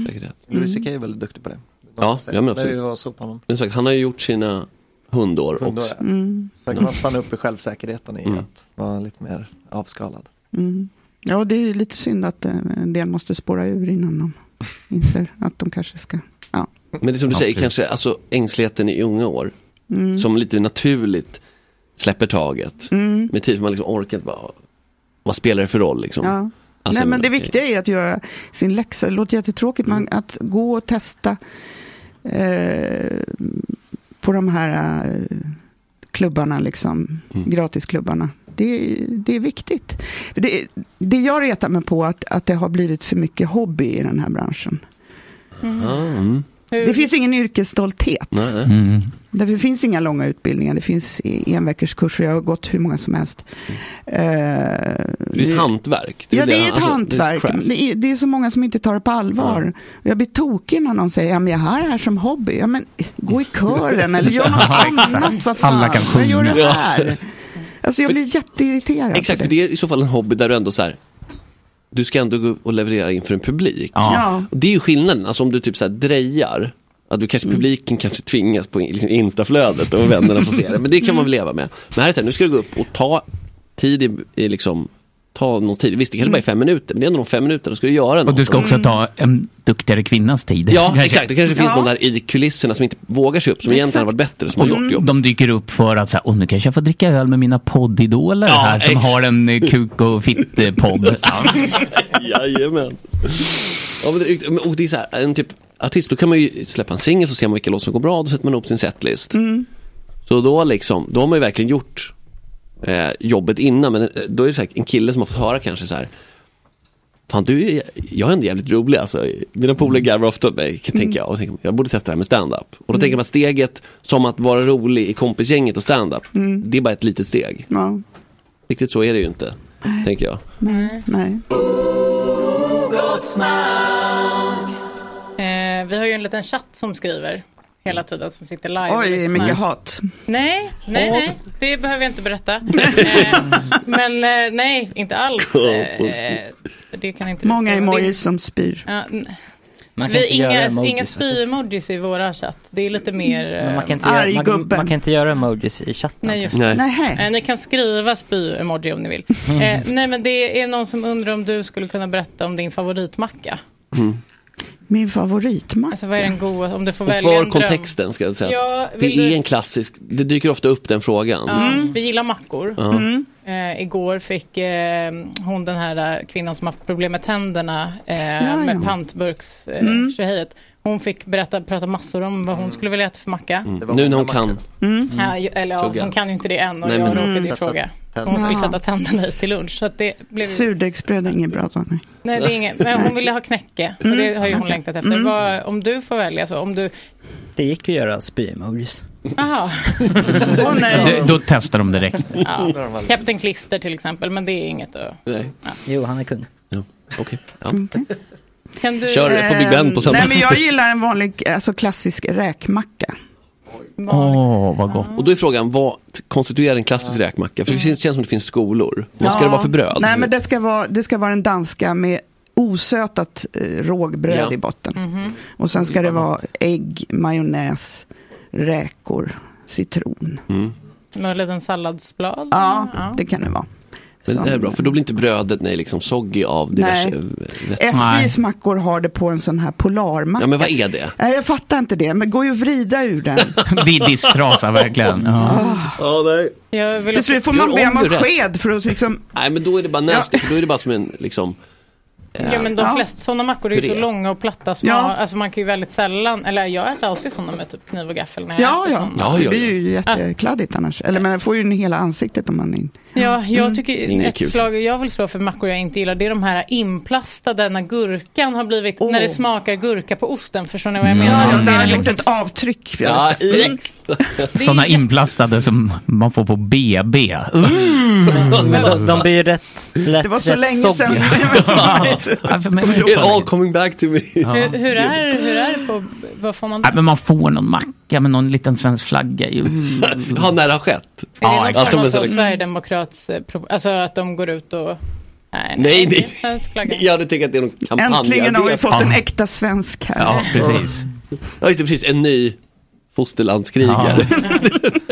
Säkert rätt.
Louis CK är väldigt duktig på det.
Ja, ja men
Det
absolut.
var så på honom.
Men som sagt, han har ju gjort sina hundår,
Hundår,
också.
ja. Sen kan man stanna upp i självsäkerheten i
Mm.
att vara lite mer avskalad.
Mm. Ja, och det är lite synd att eh, en del måste spåra ur innan de inser att de kanske ska... Ja.
Men det är som du
Ja,
säger,
precis.
kanske alltså, ängsligheten i unga år.
Mm.
Som lite naturligt släpper taget.
Mm.
Med tid för man liksom orkar inte bara, vad spelar det för roll liksom?
Ja.
Alltså,
Nej, men det
okej. Mm.
viktiga är att göra sin läxa. Det låter jättetråkigt, men att gå och testa eh, på de här eh, klubbarna, liksom,
Mm.
gratisklubbarna. Det, det är viktigt. För Det, det jag retar mig på är att, att det har blivit för mycket hobby i den här branschen.
Ah, mm.
Det finns ingen yrkesstolthet.
Nej, nej.
Mm. Därför finns inga långa utbildningar. Det finns enveckorskurser. Jag har gått hur många som helst. Eh,
Det är ett hantverk.
Ja,
väl
det är ett
alltså,
hantverk.
Det är ett craft.
Det är, det är så många som inte tar det på allvar. Jag blir tokig när någon säger, ja men jag har det här som hobby. Ja men gå i kören eller gör något
Ja, exakt.
annat. Vad fan,
Alla kan
vad gör du
sjunga.
här? Alltså jag
För-
blir jätteirriterad. på
Exakt, för det är i så fall en hobby där du ändå så här du ska ändå gå och leverera inför en publik.
Ja. Ja.
Och Det är ju skillnaden, alltså om du typ så här drejar, att du kanske,
Mm.
publiken kanske tvingas på in- liksom instaflödet och vännerna får se det, men det kan man
Mm.
väl leva med. Men här är det så här, nu ska du gå upp och ta tid i, i liksom, ta någons tid. Visst, det kanske bara
Mm.
är fem minuter, men det är ändå de fem minuterna, ska du göra något.
Och du ska också ta en duktigare kvinnas tid.
Ja, exakt. Det kanske finns
Ja.
någon där i kulisserna som inte vågar sig upp, som egentligen hade varit bättre, som har
Och
Mm.
gjort
de, de dyker upp för att säga, åh nu kanske jag får dricka öl med mina poddidoler
Ja,
här som
ex-
har en eh, kuk och fitt-podd. Ja.
Jajamän. Ja, men det, och det är så här, en typ artist, då kan man ju släppa en singel så ser man
Mm.
vilka låtar som går bra, då sätter man ihop sin setlist. Så då liksom, då har man ju verkligen gjort eh, jobbet innan. Men eh, då är det så här, en kille som har fått höra kanske så här. Fan du, är- jag är ändå jävligt rolig alltså. Mina polare garvar ofta åt mig, kan- tänker jag. Och tänker, jag borde testa det här med stand-up. Och då
Mm.
tänker man att steget som att vara rolig i kompisgänget och stand-up, det är bara ett litet steg.
Mm. Ja.
Riktigt så är det ju inte,
Nej.
tänker jag. Mm.
Nej. Nej.
Eh, vi har ju en liten chatt som skriver hela tiden som sitter live och
Oj,
lyssnar.
mycket hat.
Nej, nej, nej. Det behöver jag inte berätta. eh, men eh, nej, inte alls. Eh, eh, för det kan inte du
Många
säga. Det-
emojis som spyr.
Ja, n-
Man kan
vi,
inte göra
inga
emojis,
inga spy-emojis i våra chatt. Det är lite mer...
Men man, kan inte
eh,
göra, man, man kan inte göra emojis i chatten.
Nej, just det. Eh, ni kan skriva spy-emoji om ni vill.
Mm.
Eh, nej, men det är någon som undrar om du skulle kunna berätta om din favoritmacka.
Mm.
Min favoritmacka.
Alltså vad är den goda, om du får
Och
välja en
för
dröm.
kontexten ska jag säga.
Ja,
det
vill
är
du-
en klassisk, det dyker ofta upp den frågan. Mm.
Ja,
Mm.
Vi gillar mackor.
Ja. Mm.
Eh, igår fick eh, hon den här eh, kvinnan som haft problem med tänderna eh,
Ja,
med
ja.
pantburks eh,
Mm.
tjejet. Hon fick berätta, prata massor om vad hon skulle vilja äta för macka.
Mm. Nu när hon kan.
Mm.
Ja, ju- eller ja,
Tugga.
hon kan ju inte det än och
Nej,
jag
men-
råkade ju
Sätta
fråga.
tänderna.
Hon skulle
Ja.
sätta tänderna i till lunch. Så att det blev...
Surdegsbröd är inget bra. Daniel.
Nej, det är inget. Men hon ville ha knäcke. Och det har ju hon
Okej.
längtat efter.
Mm.
Vad, om du får välja så, om du...
Det gick att göra spy-emojis.
Jaha.
Det- Då testar de direkt.
Ja. Kapten Klister till exempel, men det är inget att...
Nej.
Jo, han är kung.
Ja. Okej.
Kan du...
Kör det på Big Ben på söndag.
Eh, Nej, men jag gillar en vanlig, alltså klassisk räkmacka.
Åh, vad gott. Och då är frågan, vad konstituerar en klassisk räkmacka? För det finns, känns som att det finns skolor. Vad ska det vara för bröd?
Mm. Nej, men det ska vara, det ska vara den danska med osötat eh, rågbröd
Ja.
i botten. Och sen ska det vara ägg, majonnäs, räkor, citron.
Mm.
Med en liten salladsblad?
Ja, det kan det vara.
Men det här är
Som-
bra, för då blir inte brödet nej, liksom soggy av diverse
Mm. Nej.
eh, rätter.
SJs mackor har det på en sån här polarmacka.
Ja, men vad är det?
Nej, jag fattar inte det, men går ju att vrida ur den.
Det är disktrasa verkligen. Ja.
Ja, nej.
Till slut får man be om en sked för att liksom...
Nej, men då är det bara nasty, för då är det bara som en liksom... eh,
Ja, men de flesta sådana mackor är ju så
Puré.
långa och platta. Små.
Ja.
Alltså man kan ju väldigt sällan, eller jag äter alltid sådana med typ kniv och gaffel. När jag
Ja,
äter
ja.
såna.
Det blir ju jättekladdigt annars. Eller men jag får ju en hela ansiktet om man... in-
Ja,
Mm.
jag tycker
Inget
ett
kul.
slag jag vill slå för mackor jag inte gillar, det är de här inplastade när gurkan har blivit, när det smakar gurka på osten. Förstår ni vad jag
Mm.
menar?
Ja, ja,
Det är
det har
liksom-
Ett avtryck. för jag
Ja,
visste.
i- Sådana inplastade som man får på BB. Mm.
Men de, de blir ju rätt lätt
Det var så
rätt
länge
soggy.
sedan. Ja, för mig är det-
It all coming back to me.
hur, hur är hur är Mm. det på, vad får man
Nej, men man får någon macka med någon liten svensk flagga i.
Ja, när det Mm. har skett.
Är det något
exakt. Mm.
som
Som
alltså,
en-
Sverigedemokrats, eh, pro- alltså att de går ut och... Nej,
Nej,
det är
det-
en svensk flagga.
Jag hade tänkt att det är någon kampanj.
Äntligen har vi fått en äkta svensk här.
Ja, just det, precis. En ny fosterlandskrigare.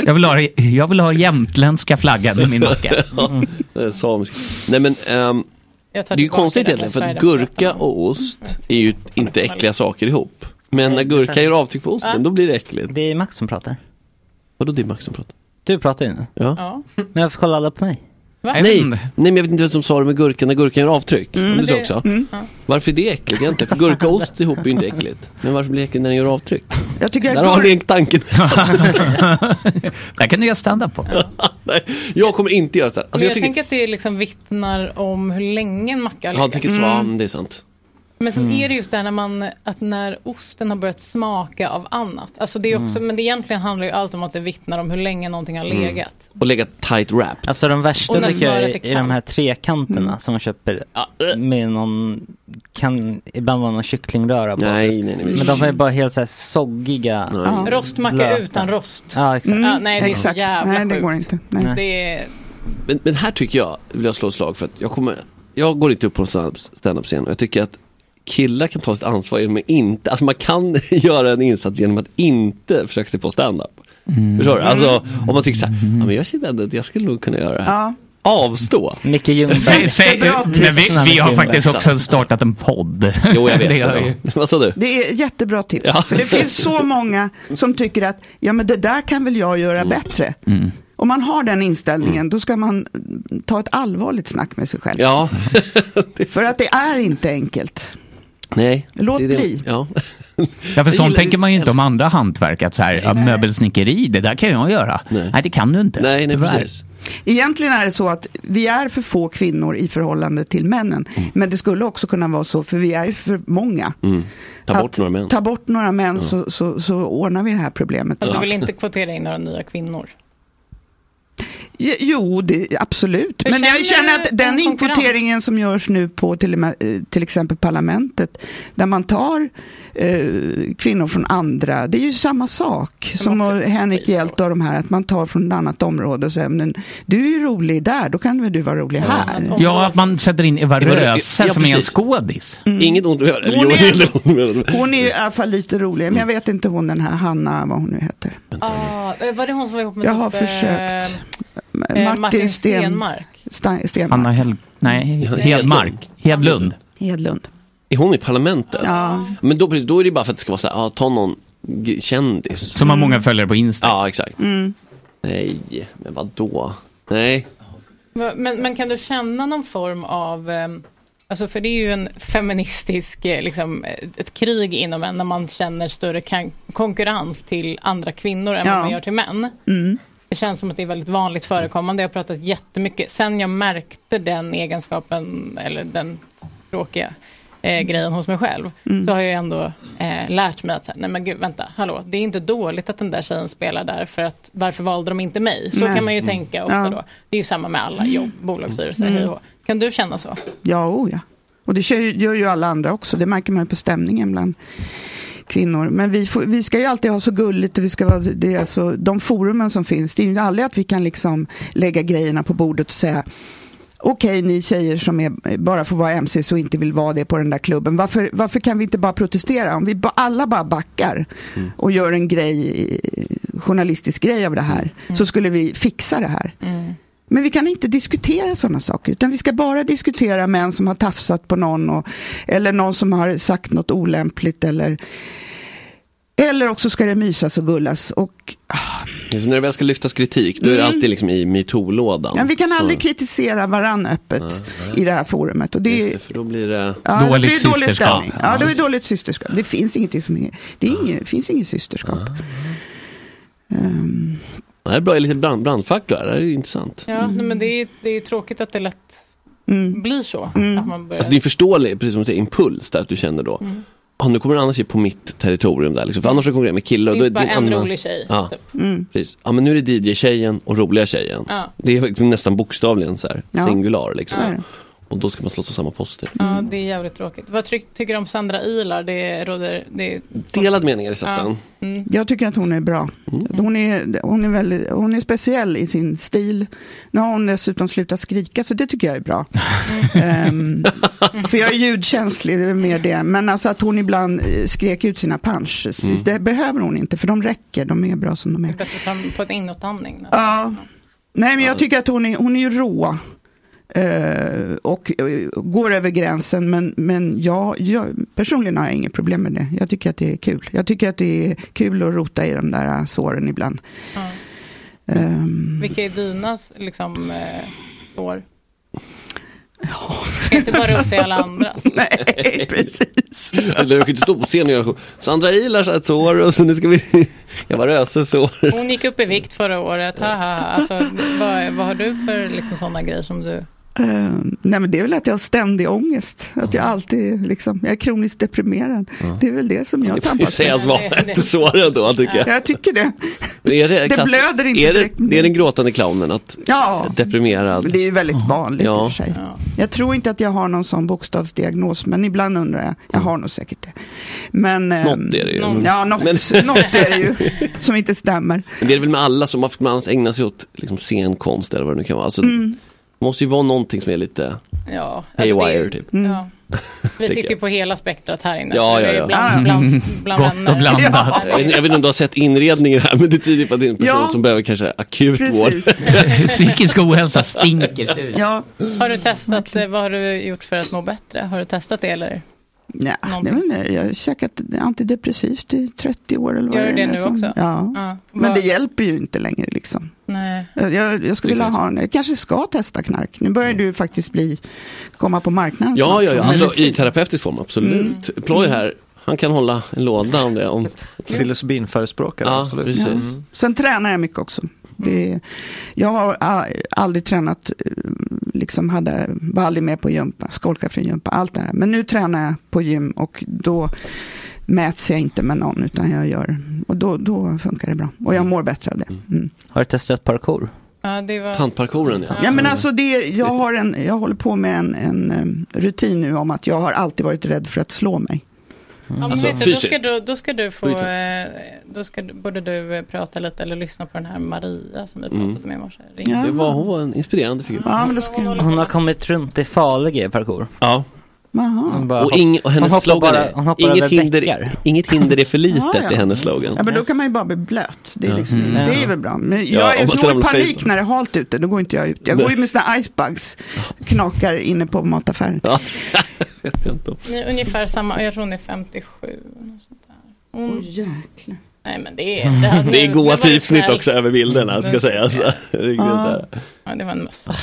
Jag vill, ha, jag vill ha jämtländska flaggan i min macka.
Mm.
Ja, det är samisk. Nej men, ehm,
Jag
det
tar
är ju
tillbaka
konstigt
den
egentligen för att
Sverigedemokraterna.
gurka och ost
Mm.
är ju inte äckliga saker ihop. Men när gurka gör avtryck på osten, då blir det äckligt.
Det är Max som pratar.
Vadå det är Max som pratar?
Du pratar ju nu.
Ja.
Men varför kollar alla på mig?
Va?
Nej, nej men jag vet inte vem som sa det med gurkan när gurkan gör avtryck.
Mm.
Men
Men
det
det-
också.
mm.
Varför är det äckligt egentligen? För gurka och ost ihop är ju inte äckligt. Men varför blir det äckligt när den gör avtryck?
Jag tycker
Där har ni en tanke.
Där kan du göra stand-up på.
Nej, jag kommer inte göra så här.
Men
Alltså,
jag,
jag tycker...
tänker att det liksom vittnar om hur länge en macka har
Ja, jag tänker
legat.
svam, det är sant.
Men sen är det just det här när man, att när osten har börjat smaka av annat. Alltså det är också,
Mm.
Men det egentligen handlar ju allt om att det vittnar om hur länge någonting har
Mm.
legat.
Och lägga tight wrap.
Alltså de
Och
värsta
när
tycker jag
smöret
är,
är
är de här trekanterna
Mm.
som man köper med någon, kan ibland vara någon kycklingröra på.
Nej, nej, nej, men-
men de är bara helt så här soggiga.
Ja. Mm. Rostmacka
lötar.
utan rost.
Ja, exakt.
Mm, Ja, nej, det är så
Exakt.
jävla
Nej, det
sjukt.
går inte. Nej.
Det är,
Men, men här tycker jag, vill jag slå ett slag för att jag kommer, jag går inte upp på en standup-scen och jag tycker att killar kan ta sitt ansvar genom att inte, alltså man kan göra en insats genom att inte försöka sig på standup.
Mm.
Förstår du? Alltså om man tycker så här, ja men jag känner ändå att jag skulle nog kunna göra det här.
Ja.
Avstå.
Mycket Ljungberg.
Säg, säg, eh, men vi, vi har faktiskt också startat en podd.
Jo, jag vet.
Det har vi.
Vad sa du?
Det är jättebra tips.
Ja.
För det finns så många som tycker att ja, men det där kan väl jag göra bättre.
Mm.
Om man har den inställningen, då ska man mm, ta ett allvarligt snack med sig själv.
Ja.
För att det är inte enkelt.
Nej.
Låt
Det är det-
bli.
Ja.
Ja, för sånt
gillar-
tänker man ju inte om andra hantverk. Att så här, ja, möbelsnickeri, det där kan jag göra. Nej, det kan du inte. Nej, nej
precis.
Egentligen är det så att vi är för få kvinnor i förhållande till männen. Men det skulle också kunna vara så, för vi är ju för många.
Mm. Ta bort
Att
några män.
Ta bort några män
Ja.
så, så, så ordnar vi det här problemet
Fast du
snart.
vill inte kvotera in några nya kvinnor.
Jo, det, absolut.
Hur
Men jag
känner
känner
du
att den
om konkurrens?
inkvoteringen som görs nu på till, och med, eh, till exempel parlamentet, där man tar eh, kvinnor från andra, det är ju samma sak som och Henrik Hjelt och de här, att man tar från ett annat område och säger, men du är ju rolig där, då kan väl du vara rolig här.
Ja, att man sätter in Eva
Eva Rö-
Röse
ja,
som är en
precis.
skådis.
Mm. Inget ont att göra.
Hon jo, är- det är
är...
Hon är ju i alla fall lite rolig, men jag vet inte hon den här Hanna, vad hon nu heter.
Ah, eh, var det hon som var ihop med
Jag har
typ, eh,
försökt.
eh, Martin,
Sten-
Stenmark?
Sten- Stenmark.
Anna Hel... Nej, Hedmark. Hedlund.
Hedlund.
Är hon i parlamentet?
Ja.
Men då, precis, då är det bara för att det ska vara så här, ja, ta någon g- kändis.
Som har många följare på Insta.
Ja, exakt.
Mm.
Nej, men vadå? Nej.
Va- Men, men kan du känna någon form av, ehm, alltså för det är ju en feministisk, eh, liksom, eh, ett krig inom en när man känner större kan- konkurrens till andra kvinnor än
Ja.
vad man gör till män.
Mm.
Det känns som att det är väldigt vanligt förekommande. Jag har pratat jättemycket, sen jag märkte den egenskapen, eller den tråkiga eh, grejen hos mig själv,
Mm.
så har jag ändå eh, lärt mig att, så här, nej men gud, vänta, hallå, det är inte dåligt att den där tjejen spelar där, för att varför valde de inte mig? Så
Nej.
kan man ju
Mm.
tänka ofta
Ja.
då. Det är ju samma med alla jobb, bolagsstyrelser,
Mm.
hej och hå. Kan du känna så?
Ja, oh ja. Och det kör ju- gör ju alla andra också. Det märker man ju på stämningen bland kvinnor. Men vi, får, vi ska ju alltid ha så gulligt och vi ska vara, det är så, de forumen som finns, det är ju aldrig att vi kan liksom lägga grejerna på bordet och säga Okej, ni tjejer som är, bara får vara MCs och inte vill vara det på den där klubben. Varför, varför kan vi inte bara protestera? Om vi ba, alla bara backar och gör en grej, eh, journalistisk grej av det här, så skulle vi fixa det här. Men vi kan inte diskutera sådana saker, utan vi ska bara diskutera män som har tafsat på någon, och, eller någon som har sagt något olämpligt, eller, eller också ska det mysas och gullas. Och,
Så när det väl ska lyftas kritik, då är det
Mm.
alltid liksom i metoo-lådan.
ja, vi kan
Så-
aldrig kritisera varann öppet
Nej,
i det här forumet. Och det,
Just
är-
det, för då blir det...
ja, det blir dålig stämning. Ja, det är dåligt systerskap. Det finns ingenting som är, det är ingen, finns inget systerskap. Ehm,
Det här är bra, lite brand, brandfackla, det här är intressant.
Ja,
Mm.
nej, men det är, det är tråkigt att det lätt blir så. Att
Mm.
man börjar...
Alltså det är en förståelig, precis som du säger, impuls där att du känner då.
Mm.
Ah, nu kommer en annan tjej på mitt territorium där liksom. För annars har jag konkurrerat med killar. och
Finns
då
bara
är en
en
annan-
rolig tjej,
Ja,
typ.
Mm.
precis. Ja, men nu är det DJ-tjejen och roliga tjejen.
Ja.
Det är faktiskt nästan bokstavligen så här,
Ja.
singular liksom.
Så är det.
Och då ska man slåss av samma poster.
Ja, det är jävligt tråkigt. Vad ty- tycker du om Sandra Ilar? Det råder... Det...
Delad mening i
Ja. Mm.
Jag tycker att hon är bra. Hon, är, hon, är väldigt, hon är speciell i sin stil. Nu har hon dessutom slutat skrika, så det tycker jag är bra. Ehm, för jag är ljudkänslig, det är mer det. Men alltså att hon ibland eh, skrek ut sina punches,
Mm.
det behöver hon inte, för de räcker, de är bra som de är.
Bättre att ta på en inåtandning. då.
Ja. Nej, men jag tycker att hon är, hon är ju rå. eh, och eh, går över gränsen, men, men jag, jag, personligen har jag inget problem med det. Jag tycker att det är kul. Jag tycker att det är kul att rota i de där eh, såren ibland.
Ja.
Ehm,
Vilka är dina liksom, eh, sår? Ska inte bara upp till alla andras.
Nej, precis.
Eller jag kan inte stå på scen och göra Sandra Ilars ett sår och så nu ska vi... Jag var Röse sår.
Hon gick upp i vikt förra året. Haha. Alltså, vad, vad har du för liksom, sådana grejer som du...
ehm, nej, men det är väl att jag har ständig ångest. Att jag alltid liksom, jag är kroniskt deprimerad.
Ja.
Det är väl det som jag
Det får ju
tampas
sägas vara ett sår ändå, tycker jag.
Jag tycker det.
Men Är det,
Det blöder inte
är det,
direkt.
det är den gråtande clownen, att
Ja.
deprimerad.
Men det är ju väldigt vanligt i
Ja.
och för sig. Jag tror inte att jag har någon sån bokstavsdiagnos, men ibland undrar jag. Jag har nog säkert det. Men, ehm,
Något är det ju. Någon.
Ja, något,
Men-
något är det ju som inte stämmer.
Men det är det väl med alla som, varför ska man annars ägna sig åt liksom, scenkonst eller vad det nu kan vara. Alltså,
Mm.
Det måste ju vara någonting som är lite
Ja, alltså det är-
haywire typ.
Mm.
Ja. Vi
Tycker
sitter ju på hela spektrat här inne.
Ja,
så det
ja,
är
ja.
Ah,
Bland, bland,
Mm.
bland vänner.
Ja. Jag, vet- jag vet inte om du har sett inredningen här, men det tyder på att det är en person
Ja.
som behöver kanske akut
Precis.
vård.
Psykisk ohälsa stinker studion.
Ja.
Har du testat, eh, vad har du gjort för att må bättre? Har du testat det eller?
Ja, det är väl, jag har käkat antidepressivt i 30 år eller vad
Gör du
det
det
är
nu
som-
också?
Ja.
Ja.
Men
Vad-
det hjälper ju inte längre liksom.
Nej.
Jag, jag jag skulle
Det
vilja
är klart.
ha en, jag kanske ska testa knark. Nu börjar du faktiskt bli, komma på marknaden
Mm. Ja,
snart.
ja, Alltså, ja.
Men-
Mm.
Alltså, I terapeutisk form, absolut. Ploy här Han kan hålla en låda om det. Om...
Psilocybinförespråkare,
ja,
absolut.
Precis.
Mm.
Sen tränar jag mycket också.
Mm.
Det, jag har a- aldrig tränat, eh, liksom hade, var aldrig med på gympa, skolka från gympa, allt det här. Men nu tränar jag på gym och då mäts jag inte med någon utan jag gör, och då, då funkar det bra. Och jag mår bättre av det. Mm.
Har du testat parkour?
Ja, det var...
Tantparkouren
ja. men alltså det, jag, har en, jag håller på med en, en eh, rutin nu om att jag har alltid varit rädd för att slå mig.
Mm.
Ja, men
Alltså,
vet Mm. du, då, ska
fysiskt.
du, då ska du få,
Skiten.
eh, då ska, du- borde du eh, prata lite eller lyssna på den här Maria som vi pratade
Mm.
med i morse. Ring.
Det var, hon var en inspirerande figur.
Hon har kommit runt i farliga i parkour.
Ja.
Jaha.
Hon bara
Och, ing, och hennes
hon hoppar
slogan
bara-
är,
hon hoppar
inget,
över
hinder,
bäckar."
inget hinder är för litet,
Ja, ja.
är hennes slogan.
Ja, men då kan man ju bara bli blöt. Det är,
Ja.
liksom,
Mm.
det
Ja.
är väl bra. Men
Ja,
jag
om
är
man
så
ramlar
i panik
fel.
när det är halt ute, då går inte jag ut. Jag
Nej.
går ju med sina icebugs, knakar inne på mataffären.
Ni är ungefär samma, jag tror hon är 57. och sånt där. Hon- Nej men det är... här- nu-
Det är
nu
goa
var
typsnitt
snällt.
också över bilderna,
Mm.
ska sägas. Riktigt så här.
Mm. Ja, det var en mössa.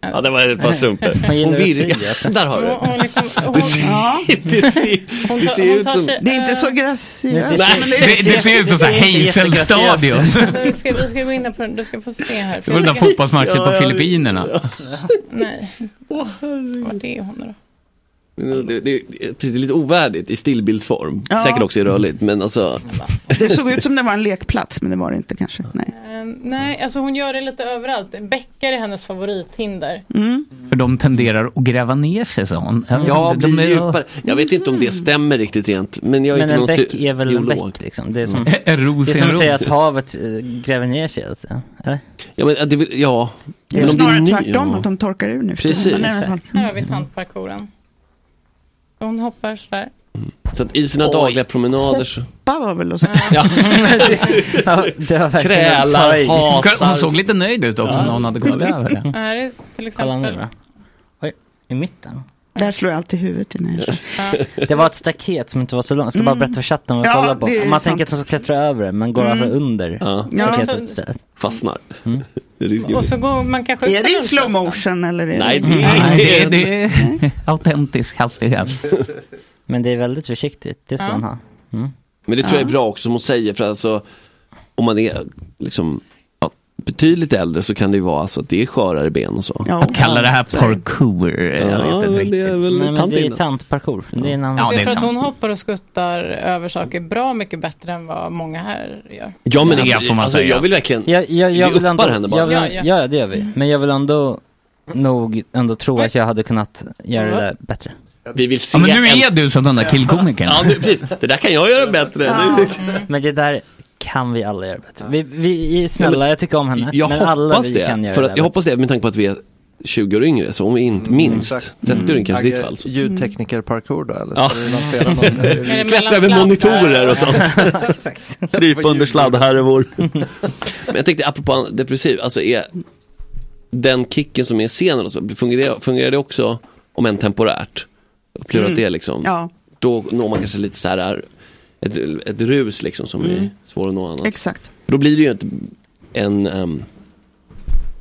Ja, det var ett par sumpor.
Man gillar att sy,
virkar. Där har du
Hon, hon
det.
liksom, hon,
Det ser- det ser-
Hon
det
tar-
ser
hon
ut
tar
som...
sig-
Det är inte så graciöst.
eh, Nej,
men
det- det ser ut som så här Hazelstadion.
Vi ska, vi ska gå in på den, du ska få se här.
Det var den där fotbollsmatchen på
Ja, ja,
Filippinerna.
Nej. Vart är hon då?
Det, det, det, precis, det är lite ovärdigt i stillbildsform.
Ja.
Säkert också i rörligt, men alltså...
Mm.
Det såg ut som det var en lekplats, men det var det inte kanske. Nej.
Eh, nej, alltså hon gör det lite överallt. Bäckar är hennes favorithinder.
För de tenderar att gräva ner sig, sa hon. Jag vet
Ja,
inte,
bli djupare. Jag vet inte om det stämmer riktigt rent, men jag är
Men
inte
en
någon
bäck
ty-
är väl en
biolog.
bäck liksom. Det är som,
Mm. En ros
det
är
är
en
som att
ros.
säga att havet eh, gräver ner sig. alltså. Eller?
Ja, men äh, det, är väl- ja.
Det är
Men om
snarare
ny-
tvärtom,
ja.
att de torkar ur nu. för
Precis.
tiden. Men i alla fall.
Här har vi tantparkouren. Hon hoppar sådär.
Så att i sina dagliga promenader så...
Hoppa var väl att säga.
Krälar, hasar.
Hon såg lite nöjd ut också, om någon hade kollat över det.
Här är till
Kolla nu
exempel.
då. Oj, i mitten.
Där slår jag alltid huvudet innan jag kör.
Det var ett staket som inte var så långt, jag ska bara berätta för chatten vad jag
Mm. Ja,
kollar på.
det är
Man
sant.
tänker att de ska klättra över det, men går
Mm.
alltså under Mm.
Ja,
staketet
så-
istället.
Fastnar.
Och så går man kanske
Är det i
utomhus
slow
nästan.
motion eller? Är
Nej,
det...
det-
Nej, det, det är autentisk hastighet.
Men det är väldigt försiktigt, det ska
Ja.
man ha. Mm.
Men det tror jag
Ja.
är bra också som hon säger för alltså om man är liksom ja, betydligt äldre så kan det ju vara så att det är skörare ben och så.
Ja. Att
kalla det här
Så är det.
parkour, jag
Ja,
vet inte
men det är väl
Nej, men det är
tantin.
tantparkour. Det är en annan
Ja,
sak.
det är
För att hon hoppar och skuttar över saker bra mycket bättre än vad många här gör.
Ja men
Det
alltså,
får man
alltså
säga.
jag vill verkligen,
Jag, jag, jag
vi
vill
uppar
ändå,
henne bara.
Jag vill,
Ja,
ja,
ja.
det gör vi. Men jag vill ändå nog ändå tro att jag hade kunnat göra det där bättre.
Vi vill se
Ja, men nu
en...
är du som den där killkomikern.
Ja, nu, precis. Det där kan jag göra bättre.
Men det där kan vi alla göra bättre. Vi, vi är snälla,
Ja, men
jag tycker om henne.
Jag
men alla
hoppas
vi kan
det,
göra
för
det
att, jag hoppas det med tanke på att vi är 20 år yngre, så om vi inte, minst 30 år
Mm.
yngre kanske i ditt fall. Så.
Ljudtekniker-parkour då eller?
Ja.
Ska vi lansera någon?
Klättra över monitorer och sånt. Krypa under sladdhärvor. Men jag tänkte apropå depressiv, alltså är den kicken som är i scenen och så, fungerar, fungerar det också om än temporärt? Upplever du att
Mm.
det är liksom,
Ja.
då når man kanske lite så här ett, ett rus liksom som
Mm.
är svår att nå annars.
Exakt.
Då blir det ju ett, en ehm,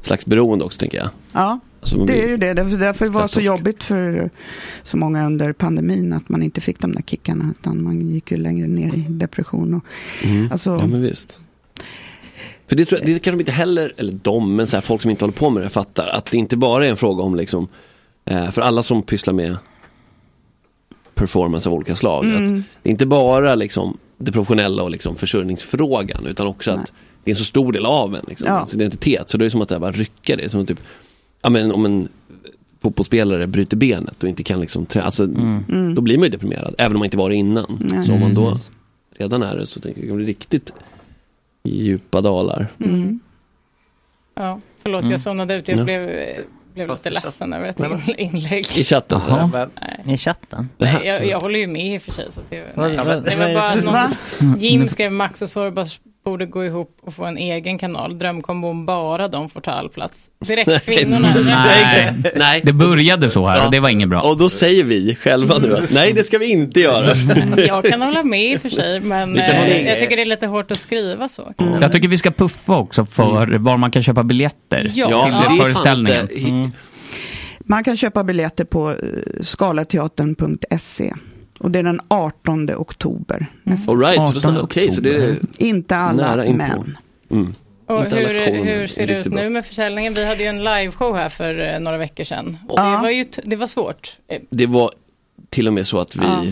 slags beroende också tänker jag.
Ja,
Alltså, man
det är
blir-
ju det. Därför, därför var det så jobbigt för så många under pandemin att man inte fick de där kickarna. Utan man gick ju längre ner i depression. Och,
Mm.
alltså,
Ja men visst. För det, tror jag, det kan de inte heller, eller de, men så här, folk som inte håller på med det fattar att det inte bara är en fråga om liksom, eh, för alla som pysslar med performance av olika slag,
Mm.
att det är inte bara liksom det professionella och liksom försörjningsfrågan utan också att det är en så stor del av en, liksom,
Ja.
ens identitet. Så det är som att det här bara rycker det, är som typ, ja men om en fotbollsspelare bryter benet och inte kan liksom träna, alltså,
Mm.
då blir man ju deprimerad, även om man inte var det innan.
Nej.
Så om man då
Precis.
redan är det så tänker jag att det kan bli riktigt djupa dalar.
Mm.
Ja, förlåt,
Mm.
jag somnade ut. Jag
Ja.
blev, eh, blev lite ledsen över ett inl- inlägg.
I chatten.
Jaha.
Ja.
I chatten?
Nej, jag, jag håller ju med i och för sig. Så att det,
Vad-
nej,
vad-
det
vad
var
är
bara
det? Va?
någon,
Mm.
Jim skrev Max och Sorbas borde gå ihop och få en egen kanal. Drömkombon bara de får ta all plats. Direkt kvinnorna.
Nej.
Nej.
Det började så här och det var inget bra.
Och då säger vi själva nu att nej det ska vi inte göra.
Jag kan hålla med i och för sig, men
Vi kan hålla
eh,
med.
jag tycker det är lite hårt att skriva så.
Mm.
Jag tycker vi ska puffa också för var man kan köpa biljetter
Ja. Ja,
till
för det är fan
föreställningen.
Man kan köpa biljetter på eh, skalateatern.se. Och det är den 18 oktober. nästa-
All right, så då snackar- okej, så det är
Inte alla
nära inpå.
män.
Mm.
Och
Inte alla
hur,
kommer,
hur ser det ut
riktigt bra.
nu med försäljningen? Vi hade ju en liveshow här för eh, några veckor sedan. Och det, var ju t- det var svårt. Eh,
Det var till och med så att vi
Ja.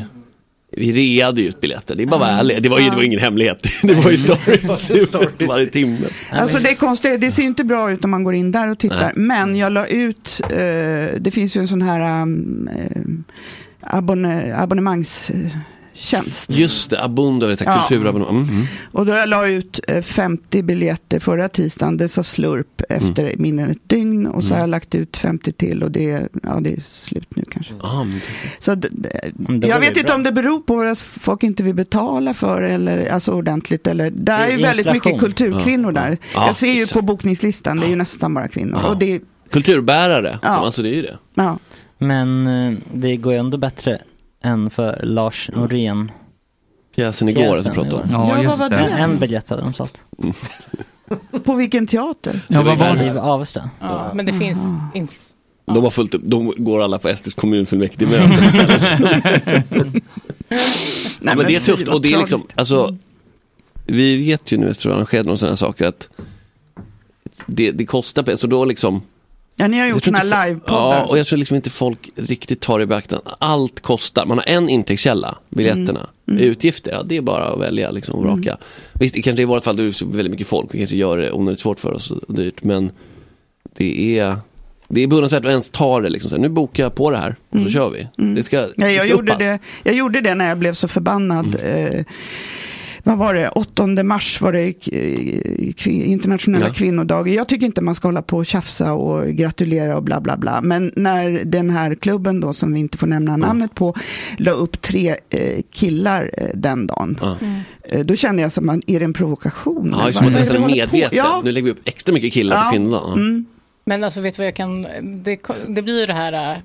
Vi reade ut biljetter, det är bara att vara
Ja.
ärlig. Det var ju det var ingen hemlighet. Det var ju stories varje timme.
Alltså det är konstigt, det ser ju inte bra ut om man går in där och tittar.
Nej.
Men jag la ut, eh, det finns ju en sån här um, eh, abonne, abonnemangstjänst.
Just det, Abundo, det är
Ja.
kulturabonnemang. Mm. Mm.
Och då jag la ut eh, 50 biljetter förra tisdagen, det sa slurp efter
Mm.
mindre än ett dygn. Och så har jag lagt ut 50 till och det, är- ja, det är slut nu kanske.
Ah, men-
Så d- d-
men då var
jag
det
vet inte
bra.
om det beror på vad folk inte vill betala för eller alltså ordentligt. Eller, det är ju
Inflation.
väldigt mycket kulturkvinnor
Ja, ja.
där.
Ja,
jag ser ju
exakt.
på bokningslistan, det är ju nästan bara kvinnor.
Ja.
Och det,
Kulturbärare,
Ja.
alltså det är ju det.
ja.
Men eh, det går ju ändå bättre än för Lars Norén.
Pjäsen igår
Pjäsen
att vi pratade om.
igår.
Ja, Ja, just vad var det. det?
En biljett hade de sålt.
På vilken teater?
Ja,
vad var det?
Liv Avesta.
Ja, men det finns inte.
De har fullt upp, de går alla på Estes kommunfullmäktigemöte istället. ja,
men
men det är
fy,
tufft
vad
och det är liksom,
tragiskt. Mm.
alltså, vi vet ju nu efter att ha arrangerat några sådana här saker att det, det kostar pengar, så då liksom
Ja, ni har
Jag
gjort
tror
sådana
inte
här
fo-
livepoddar.
Ja, och jag tror liksom inte folk riktigt tar i beaktande. Allt kostar. Man har en intäktskälla, biljetterna.
Mm. Mm.
Utgifter, ja, det är bara att välja liksom, och
Mm.
vraka. Visst, det kanske i vårt fall då är det så väldigt mycket folk. Vi kanske gör det onödigt svårt för oss och dyrt. Men det är, det är beundransvärt att ens ta det. Liksom, så här, nu bokar jag på det här och så kör vi. Det ska,
Ja,
det
Mm. jag,
ska
gjorde
uppas. Mm.
det, jag gjorde det när jag blev så förbannad. Eh, vad var det? 8 mars var det eh, kvin- internationella
Ja.
kvinnodagen. Jag tycker inte man ska hålla på och tjafsa och gratulera och bla bla bla. Men när den här klubben då, som vi inte får nämna namnet på, la upp tre eh, killar eh, den dagen.
Mm.
Eh, då kände jag som, att, är det en provokation?
Ja,
eller
just det,
vad är
nästan
vi
är
håller på?
medvetet.
Ja.
Nu lägger vi upp extra mycket killar
Ja.
på kvinnorna.
Mm.
Men alltså vet du vad jag kan, det, det blir ju det här eh,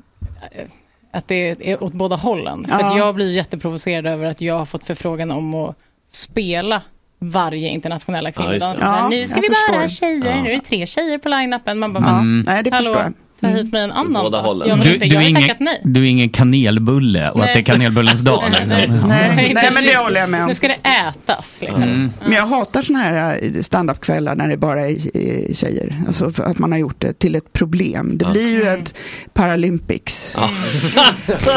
att det är åt båda hållen. För
Ja.
att jag blir ju jätteprovocerad över att jag har fått förfrågan om att spela varje internationella
Ja, just
kvinnodag.
det.
Så här,
Ja,
nu ska
jag
vi
förstår. Mm.
bara tjejer,
Ja.
nu är det tre tjejer på line-upen. Man bara,
Ja,
men,
nej, det
hallå,
förstår jag.
ta hit mig en annan
båda
då.
hållen.
Jag, vill
Du-
inte,
du
jag
är
har
ingen-
tackat nej.
Du är ingen kanelbulle och
Nej.
att det är kanelbullens dag.
Nej, nej,
liksom.
Nej,
inte
nej, men det
riktigt.
håller jag med om.
Nu ska det ätas liksom.
Mm.
Men jag hatar såna här eh, standupkvällar när det bara är eh, tjejer. Alltså för att man har gjort det till ett problem. Det
Ja.
blir ju
Mm.
ett Paralympics.
Ja.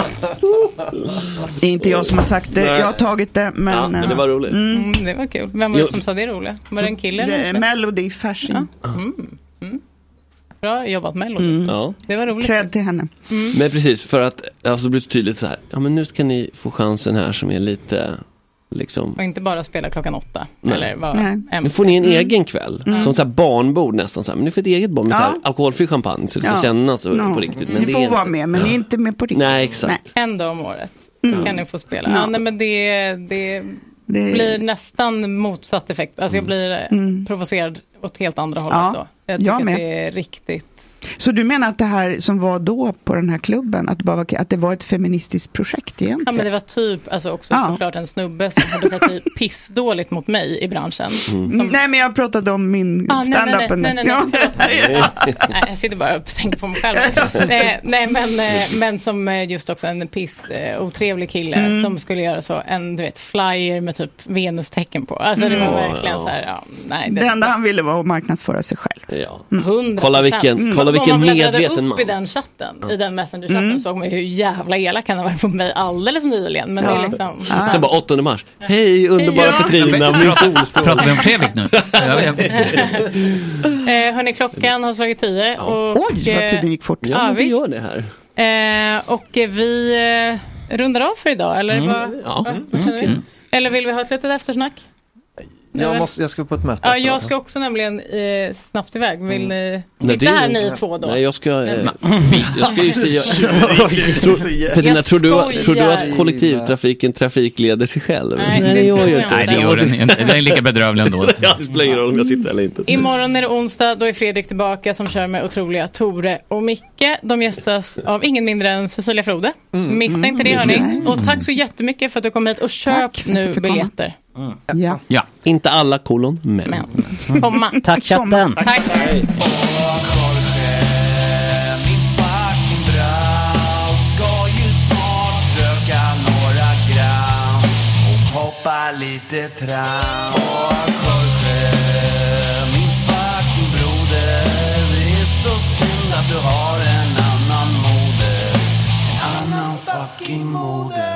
Det är inte jag som har sagt det,
Nej.
jag har tagit det. Men,
Ja, men det
eh,
var roligt.
Mm, det var kul. Vem var det
Jo.
som sa det roliga? Var det en kille?
Det
eller
är
inte?
Melody Fasching.
Mm. Mm. Bra jobbat Melody.
Mm.
Ja.
Det var roligt.
Cred till henne.
Mm.
Men precis, för att alltså, det blir så tydligt så här. Ja, men nu ska ni få chansen här som är lite liksom.
Och inte bara spela klockan åtta.
Nej.
Eller vad
Nu får ni en egen kväll,
Mm.
som så här barnbord nästan. Så här. Men ni får ett eget barn med
Ja.
så här, alkoholfri champagne så det ska
Ja.
kännas
Ja.
på riktigt. Men
Ni
det
får
är
vara med, men ni är inte med på riktigt.
Nej, exakt.
En dag om året
Mm.
kan ni få spela.
Ja.
Ja. nej, men det, det, blir nästan motsatt effekt. Alltså
Mm.
jag blir eh, provocerad åt helt andra hållet
Mm. Ja.
då. Jag tycker
Jag
att
med.
det är riktigt.
Så du menar att det här som var då på den här klubben, att, det bara, var- att det var ett feministiskt projekt egentligen?
Ja, men det var typ, alltså också
Ja.
såklart en snubbe som hade sett sig pissdåligt mot mig i branschen.
Mm, Nej, men jag pratade om min
Ah, nej, nej,
standup.
nej, nej, nej,
Ja.
nej, nej, jag sitter bara och tänker på mig själv. nej, nej men, eh, men som eh, just också en piss, eh, otrevlig kille
Mm.
som skulle göra så, en du vet, flyer med typ venustecken på. Alltså det var
Mm.
verkligen så här, ja, nej.
Det enda Mm. han ville var att marknadsföra sig själv.
Ja.
Hundra
Kolla vilken- kolla vilken medveten
man.
man.
upp i den chatten, i den messengerchatten,
Mm.
såg man hur jävla elak han har varit på mig alldeles nyligen. Men det är liksom...
Sen bara 8 mars. Hej underbara
Ja.
Petrina, min solstråle.
Pratar vi om Fredrik nu?
Eh, hörni, klockan har slagit tio. Och, eh,
Oj, vad tiden gick fort.
Ja, Ja, men det visst. gör det
här.
Eh, och eh, vi eh, rundar av för idag, eller
Mm,
vad,
ja.
vad, vad känner vi? Eller vill vi ha ett litet eftersnack?
Jag, måste, jag ska på ett möte.
Ja, jag
efteråt.
ska också nämligen eh, snabbt iväg. Vill ni
Nej,
sitta
det-
här ni två då?
Nej, jag ska... Eh, jag ska just
Tjurig
Tror- Petrina,
Jag
tror du,
skojar.
tror du att kollektivtrafiken trafikleder sig själv?
Nej, det tror jag inte.
Nej, det gör den inte. Den är lika bedrövlig ändå.
Ja, det spelar ingen roll om jag sitter eller inte.
Imorgon är det onsdag, då är Fredrik tillbaka som kör med otroliga Tore och Micke. De gästas av ingen mindre än Cecilia Frode.
Mm.
Missa inte det
Mm.
hörni. Och tack så jättemycket för att du kom hit och köp
för att du
nu
fick komma.
biljetter.
Ja.
ja.
Inte alla kolon, men. Mm.
Komma.
Tack chatten.
Tack.
Min fucking dröm ska ju snart röka några
hoppa lite tram. Och Jorge, min fucking broder. Det är så synd att du har en annan moder. En annan fucking moder.